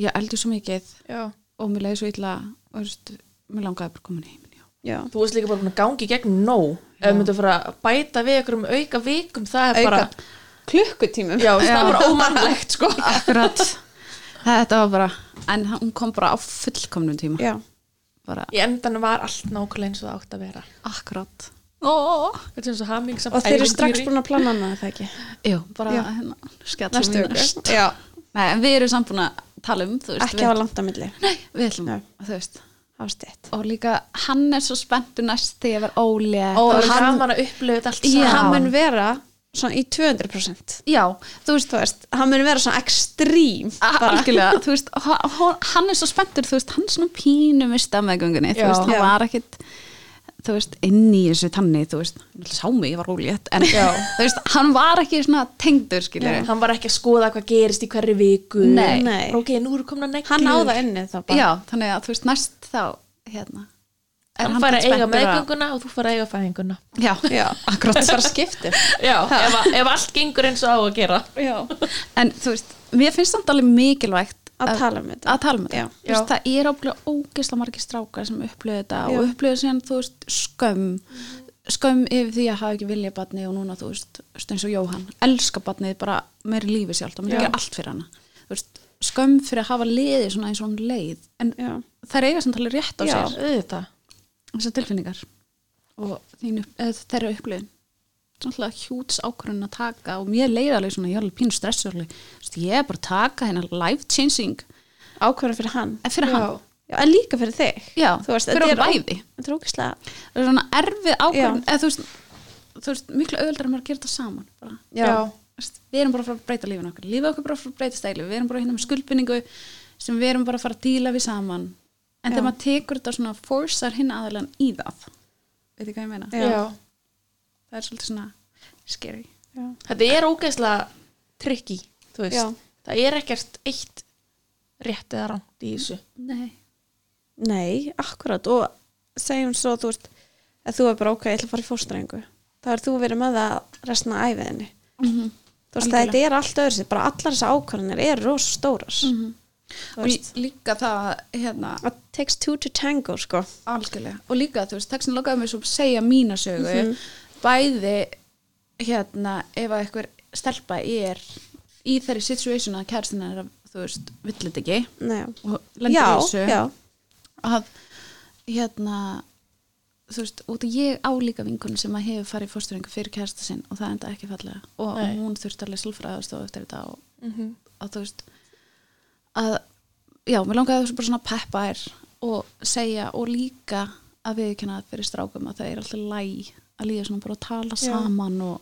[SPEAKER 3] ég eldi svo mikið
[SPEAKER 1] já.
[SPEAKER 3] og mér leiði svo illa og þú veist, mér langaði bara að koma heim. Já.
[SPEAKER 2] já,
[SPEAKER 1] Þú veist líka bara búin að gangi gegn nóg. Ef þú myndir að fara að bæta við ykkur um auka vikum, það er bara...
[SPEAKER 2] auka klukkutímum
[SPEAKER 1] Já, það er bara ómannlegt, sko.
[SPEAKER 3] Akkurat. Þetta var bara, en hún kom bara á fullkomnum tíma.
[SPEAKER 2] já.
[SPEAKER 3] Bara,
[SPEAKER 1] Í endan var allt nákvæmlega eins og það átt að vera.
[SPEAKER 3] akkurat. Ó,
[SPEAKER 1] Þetta er eins og hamingsamt
[SPEAKER 2] og þeir eru strax
[SPEAKER 1] ævintýri.
[SPEAKER 2] búin að plana annað er það ekki
[SPEAKER 3] Jú, bara
[SPEAKER 2] Já.
[SPEAKER 3] hérna, skjallum
[SPEAKER 2] næstu
[SPEAKER 3] í næst.
[SPEAKER 2] öku já,
[SPEAKER 3] Nei, en við erum samt búin að tala um, þú veist.
[SPEAKER 2] ekki
[SPEAKER 3] við,
[SPEAKER 2] hafa langt á milli
[SPEAKER 3] Nei, við ætlum,
[SPEAKER 2] Nei.
[SPEAKER 3] þú veist.
[SPEAKER 2] hafa stett
[SPEAKER 3] Og líka, hann er svo spenntu næst þegar ég verð ólega.
[SPEAKER 1] Það
[SPEAKER 3] Og
[SPEAKER 1] er
[SPEAKER 3] hann,
[SPEAKER 1] gaman að upplifa þetta allt
[SPEAKER 3] Já.
[SPEAKER 1] saman.
[SPEAKER 2] hann mun vera svona í 200%
[SPEAKER 3] já, þú veist,
[SPEAKER 2] þú veist, hann mun vera svona ekstrím
[SPEAKER 3] a- algjörlega, þú veist, ho- ho- hann er svo spenntur, þú veist, hann er svona pínu mista með göngunni, þú
[SPEAKER 1] Já.
[SPEAKER 3] veist, hann
[SPEAKER 2] Já.
[SPEAKER 3] var ekkit, þú veist, inn í þessu tanni, þú veist, hann náttúrulega sá mig, ég var ólétt, en
[SPEAKER 1] Já.
[SPEAKER 3] þú veist, hann var ekki svona tengdur, skiljur.
[SPEAKER 1] hann var ekki að skoða hvað gerist í hverri viku
[SPEAKER 3] Nei.
[SPEAKER 2] Nei.
[SPEAKER 1] Bara, ok, nú eru komin að neglu
[SPEAKER 2] hann á það inni þá bara
[SPEAKER 3] Já, þannig að þú veist næst þá hérna,
[SPEAKER 1] hann, hann fær að eiga
[SPEAKER 3] spenntur
[SPEAKER 1] meðgönguna og þú fær að eiga fæðinguna
[SPEAKER 3] Já,
[SPEAKER 2] já.
[SPEAKER 3] akkurat
[SPEAKER 2] það bara skiptir
[SPEAKER 1] já, ef, að- ef allt gengur eins og á að gera
[SPEAKER 2] já.
[SPEAKER 3] En þú veist, mér finnst samt alveg mikilvægt
[SPEAKER 2] að tala um þetta
[SPEAKER 3] að tala um
[SPEAKER 2] Já.
[SPEAKER 3] þetta Þú veist, Það er ábyggilega ógeðslega margir strákar sem upplöðu þetta
[SPEAKER 2] Já. Mhm.
[SPEAKER 3] og upplöðu síðan, þú veist, skömm skömm yfir því að hafa ekki vilja batni og núna, þú veist, eins og Jóhann elska batnið bara meiri lífi sjálft og mér
[SPEAKER 1] Já.
[SPEAKER 3] ekki allt fyrir hana Þú veist, skömm fyrir að hafa liðið svona eins og hún leið en
[SPEAKER 2] Já.
[SPEAKER 3] þær eiga samt alveg rétt á
[SPEAKER 1] já,
[SPEAKER 3] sér
[SPEAKER 1] auðvitað
[SPEAKER 3] þessar tilfinningar og þín, upp- eða þeirra upplifin náttúrulega hjúts ákvörðun að taka og mér leiði alveg svona, ég er alveg pínu stressur ég er bara að taka hennar life changing
[SPEAKER 2] ákvörðan fyrir hann
[SPEAKER 3] en fyrir
[SPEAKER 1] Já.
[SPEAKER 3] hann,
[SPEAKER 2] já, en líka fyrir þig
[SPEAKER 3] já,
[SPEAKER 2] þú veist,
[SPEAKER 3] fyrir hann
[SPEAKER 2] þetta er ó-
[SPEAKER 3] bæði
[SPEAKER 2] þetta er ógislega
[SPEAKER 3] það er svona erfið ákvörðun eða þú veist, þú veist, miklu auðveldar að maður gera þetta saman bara.
[SPEAKER 2] já.
[SPEAKER 3] Þú veist, við erum bara að fara að breyta lífin okkar lífið okkar bara að fara að breyta stæli, við erum bara hérna með skuldbinningu sem við erum bara að fara að díla við saman en þegar maður tekur þetta svona forsar hinn aðalega í það veit þið hvað ég meina?
[SPEAKER 1] Já.
[SPEAKER 2] Já.
[SPEAKER 3] það er svolítið svona scary
[SPEAKER 2] Já.
[SPEAKER 1] þetta er ógeðslega tricky þú veist,
[SPEAKER 2] Já.
[SPEAKER 1] það er ekkert eitt rétt eða rangt í þessu
[SPEAKER 3] Nei.
[SPEAKER 2] nei, akkurat og segjum svo þú veist að þú er bara ok, ég ætla að fara í fórstrengu þá er þú verið með það restina af æfiðinni Mhm. þú veist,
[SPEAKER 3] Algjörlega.
[SPEAKER 2] þetta er allt öðru sér bara allar þessar ákvörðanir eru rosa stórar
[SPEAKER 3] og lí- líka það hérna,
[SPEAKER 2] it takes two to tango sko Mhm.
[SPEAKER 3] algjörlega og líka þú veist, textin lokaði mig svo að segja mína sögu bæði hérna, ef að einhver stelpa er í þeirri situation að kæristin er að, þú veist, vill þetta ekki
[SPEAKER 2] Nei,
[SPEAKER 3] og
[SPEAKER 2] já.
[SPEAKER 3] lendir í þessu
[SPEAKER 2] já, já,
[SPEAKER 3] að, hérna þú veist, og ég álíka vingun sem að hefur farið fórstöringu fyrir kærasta sinn og það enda ekki fallega og
[SPEAKER 1] Nei.
[SPEAKER 3] hún þurfti alveg sálfræðast og eftir þetta og
[SPEAKER 1] mm -hmm.
[SPEAKER 3] að þú veist að, já, mér langaði þessu bara svona að peppa þær og segja og líka að viðkynna fyrir strákum að það er alltaf læg að líða svona bara að tala
[SPEAKER 2] Já.
[SPEAKER 3] saman og,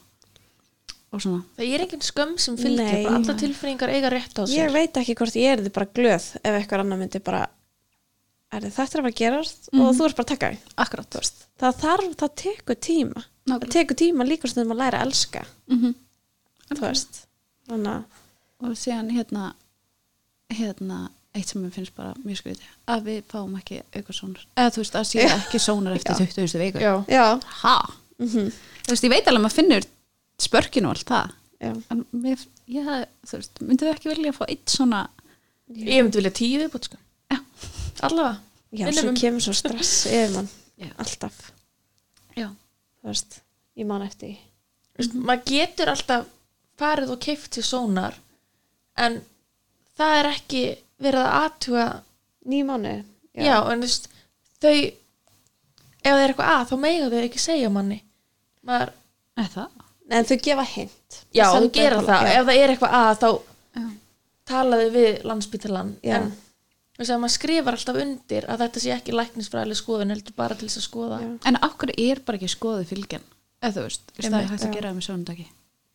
[SPEAKER 3] og svona
[SPEAKER 1] Það er engin skömm sem fylgir,
[SPEAKER 2] Nei.
[SPEAKER 1] bara alla tilfinningar eiga rétt á
[SPEAKER 2] ég
[SPEAKER 1] sér.
[SPEAKER 2] veit ekki hvort ég erði bara glöð ef eitthvað annar myndi bara er þetta er að fara að gerast og þú ert bara að taka því
[SPEAKER 3] akkurat, þú veist
[SPEAKER 2] það þarf, það tekur tíma það
[SPEAKER 3] Nákvæmlega.
[SPEAKER 2] tekur tíma líka stundum að læra að elska
[SPEAKER 3] mm -hmm.
[SPEAKER 2] þú veist þannig að
[SPEAKER 3] og síðan hérna hérna, eitt sem mér finnst bara mjög skriði að við fáum ekki auka sónar eða þú veist, að sé ekki sónar eftir 20. viku
[SPEAKER 1] Já.
[SPEAKER 2] já,
[SPEAKER 3] ha,
[SPEAKER 2] mm
[SPEAKER 3] þú veist, ég veit alveg að maður finnur spörkinu og allt það
[SPEAKER 2] já,
[SPEAKER 3] en mér, ég, hafði- þú veist, myndið ekki vilja að fá eitt svona
[SPEAKER 1] Ég myndi vilja tíu viðbútt, sko.
[SPEAKER 3] Já.
[SPEAKER 1] Allavega.
[SPEAKER 2] já
[SPEAKER 1] Finnum
[SPEAKER 2] svo
[SPEAKER 1] um.
[SPEAKER 2] kemur svo stress yfir mann
[SPEAKER 3] Já.
[SPEAKER 2] alltaf,
[SPEAKER 3] já,
[SPEAKER 2] þú veist ég man eftir því.
[SPEAKER 1] Veist, Maður getur alltaf farið og keift til sónar, en það er ekki verið að athuga,
[SPEAKER 2] níu mánu
[SPEAKER 1] já, en þú veist, þau, ef það er eitthvað að, þá mega þau ekki segja manni. Maður,
[SPEAKER 3] eða það
[SPEAKER 2] en þau gefa hint
[SPEAKER 1] já,
[SPEAKER 2] Þau
[SPEAKER 1] þú
[SPEAKER 2] senda
[SPEAKER 1] gera
[SPEAKER 2] eitthvað-
[SPEAKER 1] það.
[SPEAKER 2] já.
[SPEAKER 1] Ef það er eitthvað að, þá
[SPEAKER 3] já,
[SPEAKER 1] talaði við landsbytalan
[SPEAKER 2] Já.
[SPEAKER 1] en þú veist að maður skrifar alltaf undir að þetta sé ekki læknisfræðileg skoðun heldur bara til þess að skoða
[SPEAKER 2] Já.
[SPEAKER 3] En af hverju er bara ekki skoðið fylgjan? Eða þú veist, þú veist, það er
[SPEAKER 1] Einmitt,
[SPEAKER 3] hægt að
[SPEAKER 2] já.
[SPEAKER 3] gera það með sjónundagi.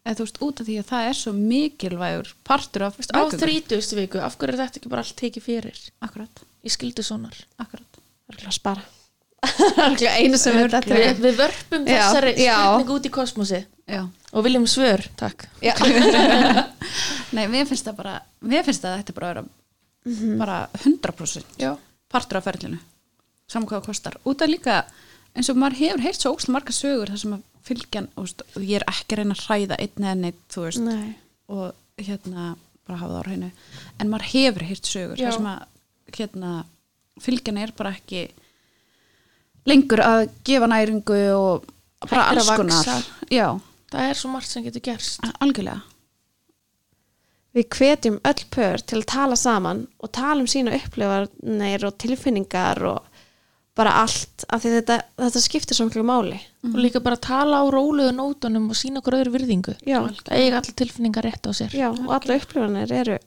[SPEAKER 3] Eða þú veist, út af því að það er svo mikilvægur partur af
[SPEAKER 1] Veist, á 30. viku, af hverju er þetta ekki bara allt tekið fyrir
[SPEAKER 3] Akkurat,
[SPEAKER 1] í skildusónar
[SPEAKER 3] akkurat.
[SPEAKER 2] Örugglega að spara Örugglega einu sem er þetta
[SPEAKER 1] við, við vörpum
[SPEAKER 2] Já,
[SPEAKER 1] þessari
[SPEAKER 2] já.
[SPEAKER 1] spurningu út í kosmosi
[SPEAKER 3] Já.
[SPEAKER 1] og viljum svör, takk
[SPEAKER 2] Já.
[SPEAKER 3] Nei, mér finnst það bara, mér finnst það að þetta bara vera bara 100%
[SPEAKER 1] já,
[SPEAKER 3] partur af ferlinu. Saman hvað það kostar. Út af líka, eins og maður hefur heyrt svo óslega marga sögur þar sem að fylgjan, og, þú veist, og ég er ekki að reyna að hræða einn eða neitt, þú veist,
[SPEAKER 2] Nei.
[SPEAKER 3] og hérna bara hafa það á hreinu en maður hefur hýrt sögur
[SPEAKER 1] Já.
[SPEAKER 3] þar sem að hérna fylgjan er bara ekki lengur að gefa næringu og bara
[SPEAKER 1] Hættir að
[SPEAKER 3] alls konar
[SPEAKER 1] vaxa.
[SPEAKER 3] já,
[SPEAKER 1] það er svo margt sem getur gerst
[SPEAKER 3] algjörlega
[SPEAKER 2] Við hvetjum öll pör til að tala saman og tala um sína upplifanir og tilfinningar og bara allt af því þetta, þetta skiptir svo miklu máli.
[SPEAKER 1] og líka bara tala á róluðu nótunum og sína okkur öðru virðingu
[SPEAKER 2] Já.
[SPEAKER 1] það eiga allir tilfinningar rétt á sér
[SPEAKER 2] Já, og alla upplifanir eru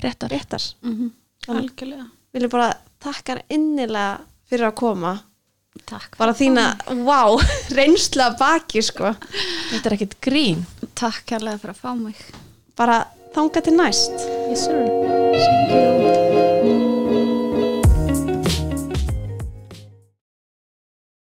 [SPEAKER 1] réttar,
[SPEAKER 2] réttar.
[SPEAKER 1] Mhm.
[SPEAKER 2] Þannig-
[SPEAKER 3] algjörlega
[SPEAKER 2] Við viljum bara þakka þér innilega fyrir að koma.
[SPEAKER 3] takk,
[SPEAKER 2] Bara þína, wow, reynsla að baki sko.
[SPEAKER 1] þetta er ekkit grín
[SPEAKER 3] takk kærlega fyrir að fá mig
[SPEAKER 2] Bara þanga til næst.
[SPEAKER 1] yes sir
[SPEAKER 2] Thank you.